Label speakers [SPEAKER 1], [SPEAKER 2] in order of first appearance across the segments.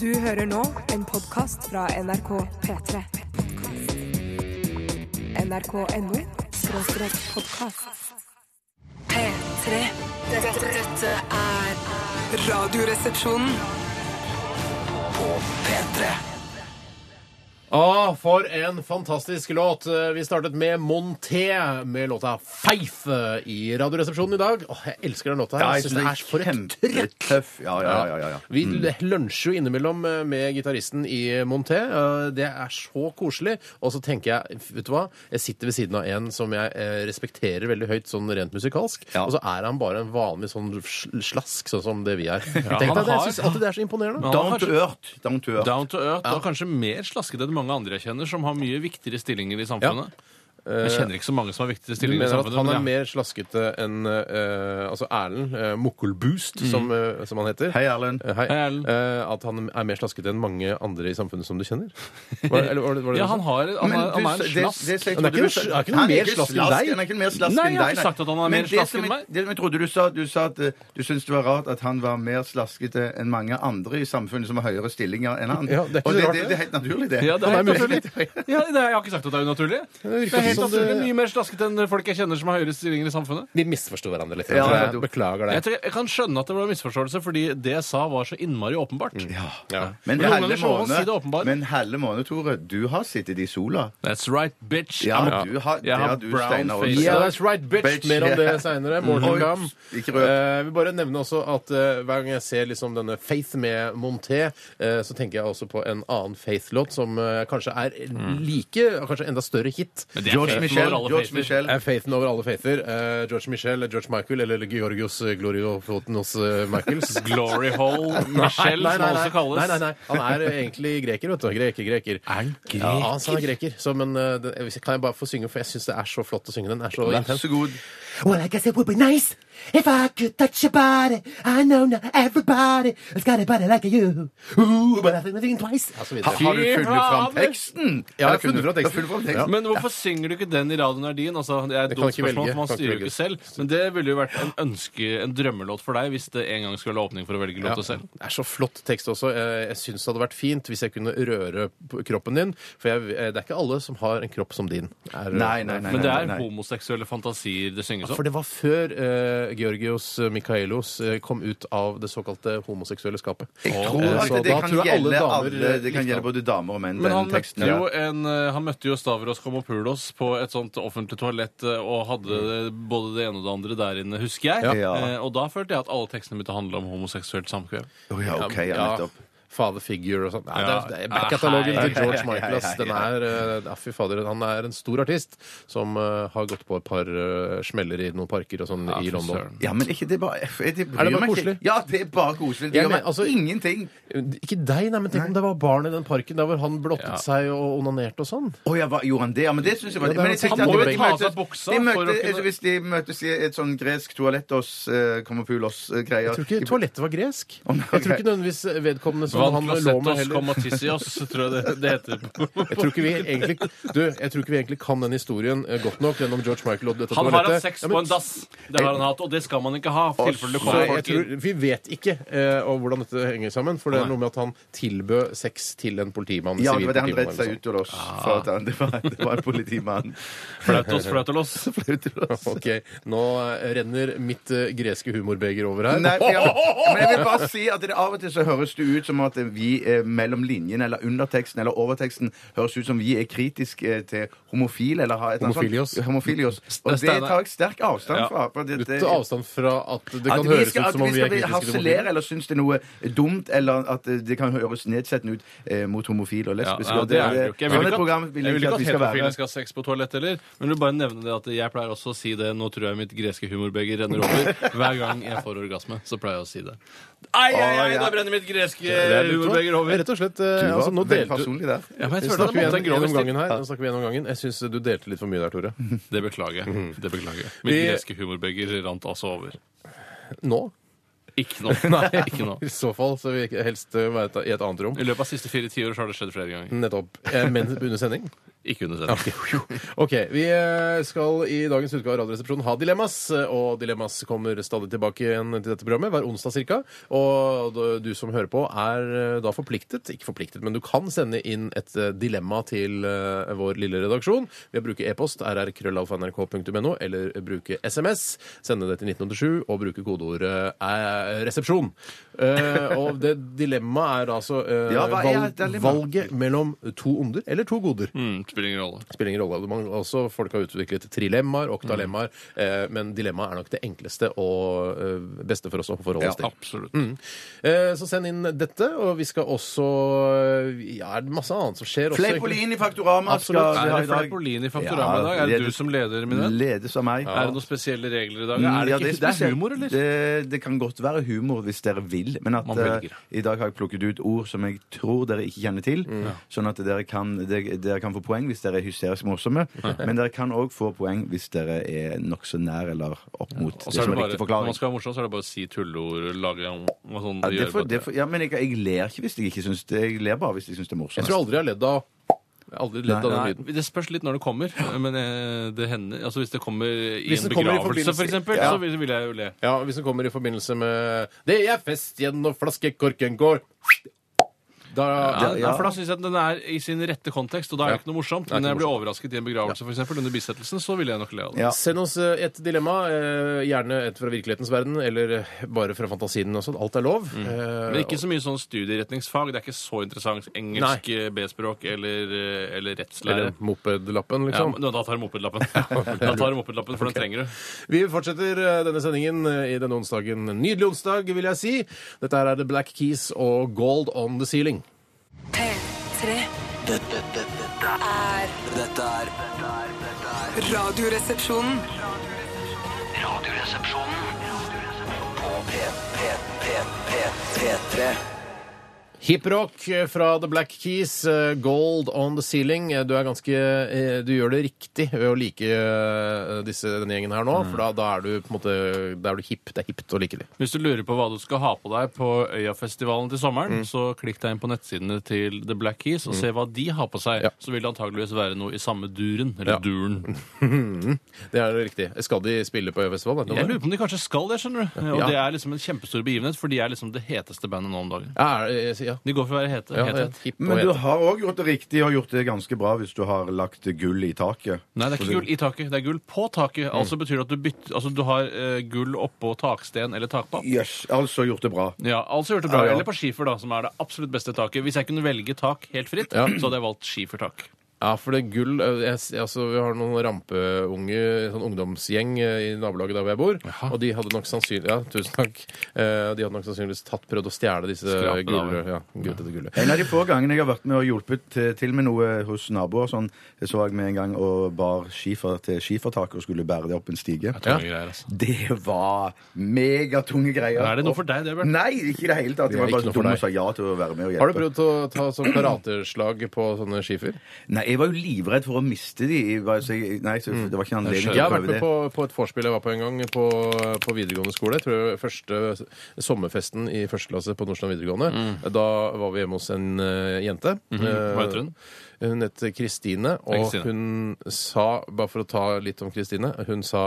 [SPEAKER 1] Du hører nå en podkast fra NRK P3. NRK.no skråstrek podkast. P3. Dette, dette er Radioresepsjonen.
[SPEAKER 2] Å, for en fantastisk låt. Eh, Vi startet med Monté med låta Feif eh, i Radioresepsjonen i dag. Åh, jeg elsker den låta. her.
[SPEAKER 3] altså,
[SPEAKER 2] Jeg synes det er for et trøkk.
[SPEAKER 3] kjempetøff. Ja, ja, ja, ja, ja.
[SPEAKER 2] Vi lunsjer jo innimellom eh, med gitaristen i Monté. Eh, Det er så koselig. Og så tenker jeg, vet du hva, jeg sitter ved siden av en som jeg eh, respekterer veldig høyt sånn rent musikalsk,
[SPEAKER 3] Ja.
[SPEAKER 2] og så er han bare en vanlig sånn sl- slask, sånn som det vi er. Tenk
[SPEAKER 4] han
[SPEAKER 2] deg det, jeg
[SPEAKER 4] har-
[SPEAKER 2] synes alltid det er så imponerende.
[SPEAKER 4] Ja.
[SPEAKER 3] Down to earth. Down to earth.
[SPEAKER 4] Down to earth og kanskje mer slaskete enn mange andre jeg kjenner, som har mye viktigere stillinger i samfunnet. Jeg kjenner ikke så mange som har
[SPEAKER 2] Du
[SPEAKER 4] viktigere stillinger i
[SPEAKER 2] mener at
[SPEAKER 4] samfunnet.
[SPEAKER 2] han
[SPEAKER 4] men
[SPEAKER 2] er
[SPEAKER 4] jeg-
[SPEAKER 2] mer slaskete enn eh, altså Erlend uh, Mokkelboost, som, eh, som han heter?
[SPEAKER 3] Hei, Erlend.
[SPEAKER 2] Eh, Hei.
[SPEAKER 4] Mm. Hei, Erlend.
[SPEAKER 2] Eh, at han er mer slaskete enn mange andre i samfunnet som du kjenner? Var, eller, var det, var det sånn? det du
[SPEAKER 4] Ja, han,
[SPEAKER 2] sa?
[SPEAKER 4] har, han,
[SPEAKER 3] Men
[SPEAKER 4] er, han
[SPEAKER 3] du-
[SPEAKER 4] er en
[SPEAKER 3] det-
[SPEAKER 4] slask.
[SPEAKER 3] det- det-
[SPEAKER 2] Han er ikke noe- han
[SPEAKER 3] du-
[SPEAKER 2] er ikke noe
[SPEAKER 3] han er
[SPEAKER 2] mer slask
[SPEAKER 3] ikke
[SPEAKER 2] enn
[SPEAKER 3] slask,
[SPEAKER 2] deg.
[SPEAKER 3] Han er ikke mer slask
[SPEAKER 4] Nei,
[SPEAKER 3] enn
[SPEAKER 4] jeg har
[SPEAKER 3] deg,
[SPEAKER 4] ikke sagt at han er
[SPEAKER 3] Men
[SPEAKER 4] mer
[SPEAKER 3] det
[SPEAKER 4] slask
[SPEAKER 3] som
[SPEAKER 4] enn
[SPEAKER 3] jeg-
[SPEAKER 4] meg.
[SPEAKER 3] Det som jeg trodde du sa, du sa at eh, du syntes det var rart at han var mer slaskete enn mange andre i samfunnet som har høyere stillinger enn han.
[SPEAKER 2] Ja, det er ikke
[SPEAKER 3] Og
[SPEAKER 2] så
[SPEAKER 3] det,
[SPEAKER 2] rart,
[SPEAKER 3] det,
[SPEAKER 2] det.
[SPEAKER 3] det er helt naturlig, det.
[SPEAKER 4] Ja, det er
[SPEAKER 2] Han er
[SPEAKER 4] helt naturlig. Ja, det, jeg har ikke sagt at det er unaturlig. Det
[SPEAKER 2] virker
[SPEAKER 4] er helt
[SPEAKER 2] som det-
[SPEAKER 4] naturlig. Mye mer slaskete enn folk jeg kjenner som har høyere stillinger i samfunnet.
[SPEAKER 2] Vi misforsto hverandre litt.
[SPEAKER 3] Ja,
[SPEAKER 2] tror jeg.
[SPEAKER 3] ja, du-
[SPEAKER 2] Beklager
[SPEAKER 4] Jeg,
[SPEAKER 2] det.
[SPEAKER 4] tror, jeg kan skjønne at det var en misforståelse, fordi det jeg sa, var så innmari åpenbart.
[SPEAKER 3] Mm.
[SPEAKER 2] Ja.
[SPEAKER 3] Men
[SPEAKER 4] Men noen
[SPEAKER 3] halve
[SPEAKER 4] ganger så må man
[SPEAKER 3] måned-
[SPEAKER 4] si det åpenbart.
[SPEAKER 3] Men halve måned, Tore, du har sittet i sola.
[SPEAKER 4] That's right, bitch.
[SPEAKER 3] Ja,
[SPEAKER 4] I'm-
[SPEAKER 3] du har- det
[SPEAKER 4] jeg har
[SPEAKER 3] har du,
[SPEAKER 4] brown
[SPEAKER 3] Steinar,
[SPEAKER 4] face.
[SPEAKER 3] også.
[SPEAKER 2] Yeah, that's right, bitch.
[SPEAKER 3] Bitch,
[SPEAKER 2] Mer om det
[SPEAKER 3] yeah.
[SPEAKER 2] seinere. Morten
[SPEAKER 3] Oi,
[SPEAKER 2] Gam.
[SPEAKER 3] ikke rød.
[SPEAKER 2] Eh, jeg vil bare nevne også at eh, hver gang jeg ser liksom denne Faith med Monté, eh, så tenker jeg også på en annen Faith-låt som eh, kanskje er like, kanskje enda større hit.
[SPEAKER 4] Mm. Men det er
[SPEAKER 3] George
[SPEAKER 4] faith
[SPEAKER 3] Michel.
[SPEAKER 4] over alle
[SPEAKER 3] George
[SPEAKER 4] faither.
[SPEAKER 3] Michel.
[SPEAKER 2] er faithen over alle faither. Eh, George Michel, George Michael eller Georgios Gloriofotenos eh, Michaels.
[SPEAKER 4] Glory Hole Michelle, som han også kalles.
[SPEAKER 2] Nei, nei, nei. Han er eh, egentlig greker, vet du. Greker, greker.
[SPEAKER 4] Er han greker?
[SPEAKER 2] Ja, altså, han er greker. Så, men eh, det, hvis- kan jeg bare få synge, for jeg syns det er så flott å synge den. Den er så
[SPEAKER 3] Vær
[SPEAKER 2] intens.
[SPEAKER 3] så god.
[SPEAKER 5] Well, I guess it would be nice if I could touch your body. I know not everybody has got a body like you. Ooh, but I think I think twice.
[SPEAKER 2] Ja, så videre.
[SPEAKER 3] Ha- Har du funnet fram
[SPEAKER 4] Fy faen.
[SPEAKER 3] teksten?
[SPEAKER 2] Ja, jeg har funnet
[SPEAKER 3] Eller kunne-
[SPEAKER 2] fram
[SPEAKER 3] du har
[SPEAKER 2] teksten.
[SPEAKER 3] funnet fram teksten.
[SPEAKER 4] Men hvorfor synger du ikke den i radioen er din? Altså, det er et
[SPEAKER 2] Det kan
[SPEAKER 4] dumt
[SPEAKER 2] ikke
[SPEAKER 4] spørsmål,
[SPEAKER 2] velge.
[SPEAKER 4] for man
[SPEAKER 2] Kan ikke
[SPEAKER 4] styrer jo
[SPEAKER 2] velge.
[SPEAKER 4] ikke selv. Men det ville jo vært en ønske, en drømmelåt for deg, hvis det en gang skulle være åpning for å velge
[SPEAKER 2] Ja.
[SPEAKER 4] låta selv.
[SPEAKER 2] Det er så flott tekst også. Eh, Jeg syns det hadde vært fint hvis jeg kunne røre p- kroppen din. For jeg, eh, det er ikke alle som har en kropp som din. Er, eh,
[SPEAKER 3] Nei, nei, nei.
[SPEAKER 4] Men det er
[SPEAKER 3] nei.
[SPEAKER 4] homoseksuelle fantasier det synges
[SPEAKER 2] For
[SPEAKER 4] om.
[SPEAKER 2] det var før eh, Georgios Michaelos eh, kom ut av det såkalte homoseksuelle skapet.
[SPEAKER 3] Jeg tror
[SPEAKER 2] Eh,
[SPEAKER 3] at
[SPEAKER 2] så
[SPEAKER 3] det,
[SPEAKER 2] da
[SPEAKER 3] kan
[SPEAKER 2] tror jeg alle
[SPEAKER 3] gjelde
[SPEAKER 2] damer eh,
[SPEAKER 3] alle, det
[SPEAKER 2] likte
[SPEAKER 3] kan gjelde
[SPEAKER 2] han.
[SPEAKER 3] både damer og menn,
[SPEAKER 4] Men han
[SPEAKER 3] den teksten.
[SPEAKER 4] møtte, jo en, eh, han møtte jo Stavros Komopoulos på et sånt offentlig toalett eh, og hadde eh,
[SPEAKER 2] Mm.
[SPEAKER 4] både det ene og det andre der inne, husker jeg.
[SPEAKER 3] Ja.
[SPEAKER 4] Eh, Og da følte jeg at alle tekstene begynte å handle om homoseksuelt samkvem.
[SPEAKER 3] Å ja, ok, ja,
[SPEAKER 2] Ja,
[SPEAKER 3] nettopp.
[SPEAKER 2] Father figure og sånn. Nei,
[SPEAKER 4] Ja.
[SPEAKER 2] det er- det er Backkatalogen
[SPEAKER 4] Hei,
[SPEAKER 2] til George
[SPEAKER 3] hei,
[SPEAKER 2] Michael, ass.
[SPEAKER 3] hei,
[SPEAKER 2] Den
[SPEAKER 3] hei.
[SPEAKER 2] er, eh, ja, fy fader, han er en stor artist som eh, har gått på et par eh, smeller i noen parker og sånn
[SPEAKER 4] Ja,
[SPEAKER 2] i
[SPEAKER 4] for
[SPEAKER 2] London.
[SPEAKER 4] søren.
[SPEAKER 3] Ja, men ikke det bare jeg, det bryr
[SPEAKER 2] Er det bare
[SPEAKER 3] meg ikke.
[SPEAKER 2] koselig?
[SPEAKER 3] Ja, det er bare koselig. Det
[SPEAKER 2] Jeg
[SPEAKER 3] gjør
[SPEAKER 2] mener,
[SPEAKER 3] meg
[SPEAKER 2] altså-
[SPEAKER 3] ingenting.
[SPEAKER 2] Ikke deg, nei, men tenk om det var barn i den parken der hvor han blottet
[SPEAKER 4] Ja.
[SPEAKER 2] seg og onanerte og sånn.
[SPEAKER 3] Å ja, hva- gjorde han det? Ja, men det synes jeg var
[SPEAKER 2] Ja, det er
[SPEAKER 3] men jeg
[SPEAKER 2] jo-
[SPEAKER 3] tenkte
[SPEAKER 2] han
[SPEAKER 3] at
[SPEAKER 2] må
[SPEAKER 3] de
[SPEAKER 2] jo
[SPEAKER 4] ta av
[SPEAKER 3] møtes-
[SPEAKER 4] seg buksa
[SPEAKER 3] de
[SPEAKER 4] for
[SPEAKER 3] møtes-
[SPEAKER 4] å kunne-
[SPEAKER 3] altså, Hvis de møtes i et sånn gresk toalett hos uh, Komopoulos-greier
[SPEAKER 2] Jeg tror ikke toalettet var gresk.
[SPEAKER 3] Å, nei,
[SPEAKER 2] Jeg tror
[SPEAKER 3] ok.
[SPEAKER 2] ikke nødvendigvis vedkommende som han lå med
[SPEAKER 4] Vantlasetos
[SPEAKER 2] heller.
[SPEAKER 4] komatissios, tror jeg det, det heter.
[SPEAKER 2] Jeg tror, ikke vi egentlig, du, jeg tror ikke vi egentlig kan den historien eh, godt nok gjennom George Michael og dette
[SPEAKER 4] Han har hatt
[SPEAKER 2] toalettet.
[SPEAKER 4] sex
[SPEAKER 2] Ja, men-
[SPEAKER 4] på en dass. Det har han hatt, og det skal man ikke ha. i tilfelle det kommer
[SPEAKER 2] Så jeg
[SPEAKER 4] folk
[SPEAKER 2] tror,
[SPEAKER 4] inn.
[SPEAKER 2] vi vet ikke eh, om hvordan dette henger sammen, for det er
[SPEAKER 4] Nei.
[SPEAKER 2] noe med at han tilbød sex til en politimann.
[SPEAKER 3] Ja,
[SPEAKER 2] sivil
[SPEAKER 3] det var det han
[SPEAKER 2] politimann eller sånt.
[SPEAKER 3] redde seg ut av oss for. At han, det, var, det var en politimann.
[SPEAKER 4] Flautos, flautolos.
[SPEAKER 2] liksom. Ok, Nå eh, renner mitt eh, greske humorbeger over her.
[SPEAKER 3] Nei, men jeg, men jeg vil bare si at det Av og til så høres det ut som at vi eh, mellom linjen eller underteksten eller overteksten høres ut som vi er kritiske eh, til homofile eller har et eller annet sånt-
[SPEAKER 2] Homofilios.
[SPEAKER 3] homofilios. Og det
[SPEAKER 4] Steinar.
[SPEAKER 3] tar jeg sterk avstand
[SPEAKER 4] Ja.
[SPEAKER 3] fra. For det,
[SPEAKER 2] Du
[SPEAKER 3] det,
[SPEAKER 2] tar avstand fra at det kan
[SPEAKER 3] at vi
[SPEAKER 2] høres
[SPEAKER 3] skal,
[SPEAKER 2] ut
[SPEAKER 3] at
[SPEAKER 2] som
[SPEAKER 3] vi
[SPEAKER 2] om vi er
[SPEAKER 3] skal bli-
[SPEAKER 2] kritiske til
[SPEAKER 3] harselere
[SPEAKER 2] homofile.
[SPEAKER 3] eller synes det er noe dumt, eller at eh, det kan høres nedsettende ut eh, mot homofile og
[SPEAKER 4] Ja,
[SPEAKER 3] lesbiske.
[SPEAKER 4] ja,
[SPEAKER 3] og
[SPEAKER 4] det er det jo ikke. Jeg vil
[SPEAKER 3] sånn et
[SPEAKER 4] ikke
[SPEAKER 3] program
[SPEAKER 4] at,
[SPEAKER 3] vil
[SPEAKER 4] jeg vil ikke at
[SPEAKER 3] vi skal være.
[SPEAKER 4] heterofile skal ha sex på toalett heller. Men jeg vil bare nevne det at jeg pleier også å si det. Nå tror jeg mitt greske humorbeger renner over. Hver gang jeg får orgasme, så pleier jeg å si det. Ai, ai, ai, da brenner mitt greske humorbeger over.
[SPEAKER 2] Rett og slett. eh,
[SPEAKER 3] Du var
[SPEAKER 2] Altså, nå
[SPEAKER 3] veldig
[SPEAKER 2] delte
[SPEAKER 3] personlig der.
[SPEAKER 4] Ja, men jeg
[SPEAKER 2] Vi
[SPEAKER 4] føler det
[SPEAKER 2] snakker
[SPEAKER 4] er
[SPEAKER 2] igjen-
[SPEAKER 4] måtte en grov
[SPEAKER 2] gjennom
[SPEAKER 4] stil.
[SPEAKER 2] gangen her. Nå snakker vi gjennom gangen. Jeg syns du delte litt for mye der, Tore.
[SPEAKER 4] Det beklager jeg. Det beklager jeg. Mitt
[SPEAKER 2] Mhm. Vi-
[SPEAKER 4] greske humorbeger rant altså over.
[SPEAKER 2] Nå?
[SPEAKER 4] Ikke nå. Ikke nå.
[SPEAKER 2] I så fall så vil jeg helst eh, være i et annet rom.
[SPEAKER 4] I løpet av de siste fire tiår så har det skjedd flere ganger.
[SPEAKER 2] Nettopp. Eh, Men under sending?
[SPEAKER 4] Ikke under sending.
[SPEAKER 2] OK. Vi eh, skal i dagens utgave av Radioresepsjonen ha dilemmas. eh, Og dilemmas kommer stadig tilbake igjen til dette programmet, hver onsdag ca. Og du som hører på, er eh, da forpliktet Ikke forpliktet, men du kan sende inn et eh, dilemma til eh, vår lille redaksjon ved å bruke e-post rrkrøllalfa.nrk.no eller bruke SMS. Sende det til 1987 og bruke kodeordet eh, 'resepsjon'. Eh, og det dilemmaet er da altså eh,
[SPEAKER 3] Ja, hva er
[SPEAKER 2] valg,
[SPEAKER 3] et dilemma?
[SPEAKER 2] valget mellom to onder eller to goder
[SPEAKER 4] Mm, spiller ingen rolle.
[SPEAKER 2] spiller ingen rolle. Man, også, folk har utviklet trilemmaer, oktalemmaer, eh, men dilemmaet er nok det enkleste og eh, beste for oss å forholde oss til.
[SPEAKER 4] Absolutt.
[SPEAKER 2] Eh, så send inn dette, og vi skal også eh, Ja, er det masse annet som skjer også? egentlig?
[SPEAKER 3] Fleipolin i Faktorama
[SPEAKER 2] Absolutt.
[SPEAKER 3] skal vi
[SPEAKER 4] Er
[SPEAKER 3] ha
[SPEAKER 4] det
[SPEAKER 3] i dag.
[SPEAKER 4] Fleipolin i Faktorama i dag? Er det du som leder, min venn?
[SPEAKER 3] Ledes av meg.
[SPEAKER 4] Er det noen spesielle regler i dag?
[SPEAKER 3] Mm,
[SPEAKER 4] Er det,
[SPEAKER 3] ja,
[SPEAKER 4] ikke, det, er
[SPEAKER 3] spesielt.
[SPEAKER 4] humor, eller?
[SPEAKER 3] Det, det kan godt være humor hvis dere vil, men at
[SPEAKER 4] Man velger.
[SPEAKER 3] eh, i dag har jeg plukket ut ord som jeg tror dere ikke kjenner til,
[SPEAKER 4] Mm.
[SPEAKER 3] sånn at dere kan, dere, dere kan få poeng hvis dere er hysterisk morsomme, men dere kan òg få poeng hvis dere er nokså nær eller opp mot
[SPEAKER 4] Og
[SPEAKER 3] det
[SPEAKER 4] så er
[SPEAKER 3] som
[SPEAKER 4] det
[SPEAKER 3] er
[SPEAKER 4] bare,
[SPEAKER 3] riktig
[SPEAKER 4] når man
[SPEAKER 3] forklaring.
[SPEAKER 4] skal være morsom, så er det bare å si tulleord, lage om, og sånn.
[SPEAKER 3] Ja, det
[SPEAKER 4] gjøre
[SPEAKER 3] får-
[SPEAKER 4] på-
[SPEAKER 3] det får- ja, men jeg, jeg ler ikke hvis jeg ikke syns det. Jeg ler bare hvis jeg syns det er
[SPEAKER 2] Jeg
[SPEAKER 3] morsomt.
[SPEAKER 2] tror aldri jeg har ledd av jeg har aldri ledd av den
[SPEAKER 4] Nei,
[SPEAKER 2] lyden.
[SPEAKER 4] det spørs litt når det kommer, men eh, det hender Altså hvis det kommer i
[SPEAKER 2] Hvis
[SPEAKER 4] en
[SPEAKER 2] det kommer i
[SPEAKER 4] begravelse, for
[SPEAKER 2] forbindelse-
[SPEAKER 4] eksempel,
[SPEAKER 2] Ja.
[SPEAKER 4] så vil vil jeg jo le.
[SPEAKER 2] Ja, Hvis den kommer i forbindelse med 'Det er fest igjen når flaskekorken går' da,
[SPEAKER 4] Ja,
[SPEAKER 2] ja,
[SPEAKER 4] For da syns jeg at den er i sin rette kontekst, og da er det ikke noe morsomt. Men
[SPEAKER 2] ikke
[SPEAKER 4] når jeg blir overrasket i en begravelse, for eksempel, under bisettelsen, så vil jeg nok le av det.
[SPEAKER 3] Ja.
[SPEAKER 2] Send oss eh, et dilemma, eh, gjerne et fra virkelighetens verden, eller eh, bare fra fantasien også. Alt er lov.
[SPEAKER 4] Mm.
[SPEAKER 2] Eh,
[SPEAKER 4] Men ikke så mye sånn studieretningsfag. Det er ikke så interessant. Engelsk, eh, B-språk eller, eh, eller rettslære.
[SPEAKER 2] Eller mopedlappen,
[SPEAKER 4] Ja,
[SPEAKER 2] liksom.
[SPEAKER 4] men da tar jeg mopedlappen. Da tar jeg mopedlappen, For den trenger du.
[SPEAKER 2] Vi fortsetter eh, denne sendingen eh, i denne onsdagen. En Nydelig onsdag, vil jeg si. Dette her er The Black Keys og Gold On The Ceiling.
[SPEAKER 1] P3
[SPEAKER 6] Dette, dette,
[SPEAKER 1] er
[SPEAKER 6] dette er Dette er dette er- dette er
[SPEAKER 1] Radioresepsjonen.
[SPEAKER 6] Radioresepsjonen på P, P, P, P, P3.
[SPEAKER 2] Hiprock eh, fra The Black Keys, eh, Gold On The Ceiling. Eh, Du er ganske eh, Du gjør det riktig ved å like eh, disse, denne gjengen her nå, for da, da er du på en måte Da er du hip. Det er hipt å like dem.
[SPEAKER 4] Hvis du lurer på hva du skal ha på deg på Øyafestivalen til
[SPEAKER 2] Mm.
[SPEAKER 4] sommeren, så klikk deg inn på nettsidene til The Black Keys og se hva de har på seg.
[SPEAKER 2] Ja.
[SPEAKER 4] Så vil det antageligvis være noe i samme duren. Eller
[SPEAKER 2] Ja.
[SPEAKER 4] duren.
[SPEAKER 2] Det er riktig. Skal de spille på Øyafestivalen? vet du om
[SPEAKER 4] Jeg
[SPEAKER 2] det?
[SPEAKER 4] lurer på om de kanskje skal det, skjønner du. Og
[SPEAKER 2] Ja.
[SPEAKER 4] det er liksom en kjempestor begivenhet, for de er liksom det heteste bandet nå om dagen.
[SPEAKER 2] Ja, er det- ja.
[SPEAKER 4] De går for å være hete.
[SPEAKER 2] ja,
[SPEAKER 4] het,
[SPEAKER 2] ja,
[SPEAKER 4] het.
[SPEAKER 2] hip og
[SPEAKER 3] Men du
[SPEAKER 2] het.
[SPEAKER 3] har òg gjort det riktig og gjort det ganske bra hvis du har lagt gull i taket.
[SPEAKER 4] Nei, det er ikke gull i taket. Det er gull på taket. Altså betyr det at du bytter Altså du har eh, gull oppå taksten eller takpapp.
[SPEAKER 3] Yes, altså gjort det bra.
[SPEAKER 4] Ja, altså gjort det bra.
[SPEAKER 3] Ja, ja.
[SPEAKER 4] Eller på skifer, da, som er det absolutt beste taket. Hvis jeg kunne velge tak helt fritt, så hadde jeg valgt skifertak.
[SPEAKER 2] Ja, for det er gull eh, jeg, s- altså, Vi har noen rampeunge, sånn ungdomsgjeng eh, i nabolaget der hvor jeg bor. Og de hadde nok sannsynlig, ja, tusen takk. Eh, de hadde nok sannsynligvis tatt, prøvd å stjele disse
[SPEAKER 4] Skrape det av,
[SPEAKER 2] gull, ja, gull, dette gullet.
[SPEAKER 3] En av de få gangene jeg har vært med og hjulpet til- til med noe hos naboer, sånn, så var jeg med en gang og bar skifer til skifertaket og skulle bære det opp en stige.
[SPEAKER 4] Tunge greier, altså.
[SPEAKER 3] Det var megatunge greier.
[SPEAKER 4] Er det noe for deg, det, Bjørn?
[SPEAKER 3] Nei, ikke i det hele tatt.
[SPEAKER 2] Det er
[SPEAKER 3] Jeg var
[SPEAKER 2] ikke noe
[SPEAKER 3] bare
[SPEAKER 2] for
[SPEAKER 3] dum
[SPEAKER 2] deg.
[SPEAKER 3] og sa ja til å være med og hjelpe.
[SPEAKER 2] Har du prøvd å ta sånn karateslag på sånne skifer?
[SPEAKER 3] Nei, jeg var jo livredd for å miste de. Jeg var- så jeg- Nei, så det var ikke anledning
[SPEAKER 2] Jeg
[SPEAKER 3] til
[SPEAKER 2] har
[SPEAKER 3] å
[SPEAKER 2] vært
[SPEAKER 3] prøve
[SPEAKER 2] med
[SPEAKER 3] det.
[SPEAKER 2] på, på et vorspiel jeg var på en gang på, på videregående skole. Jeg tror første sommerfesten i første klasse på Nordstrand videregående. Da var vi hjemme hos en eh, jente.
[SPEAKER 4] Mm. Mhm. Hva heter hun?
[SPEAKER 2] Eh, Hun het Kristine,
[SPEAKER 4] Hei,
[SPEAKER 2] og
[SPEAKER 4] Kristine.
[SPEAKER 2] hun sa, bare for å ta litt om Kristine Hun sa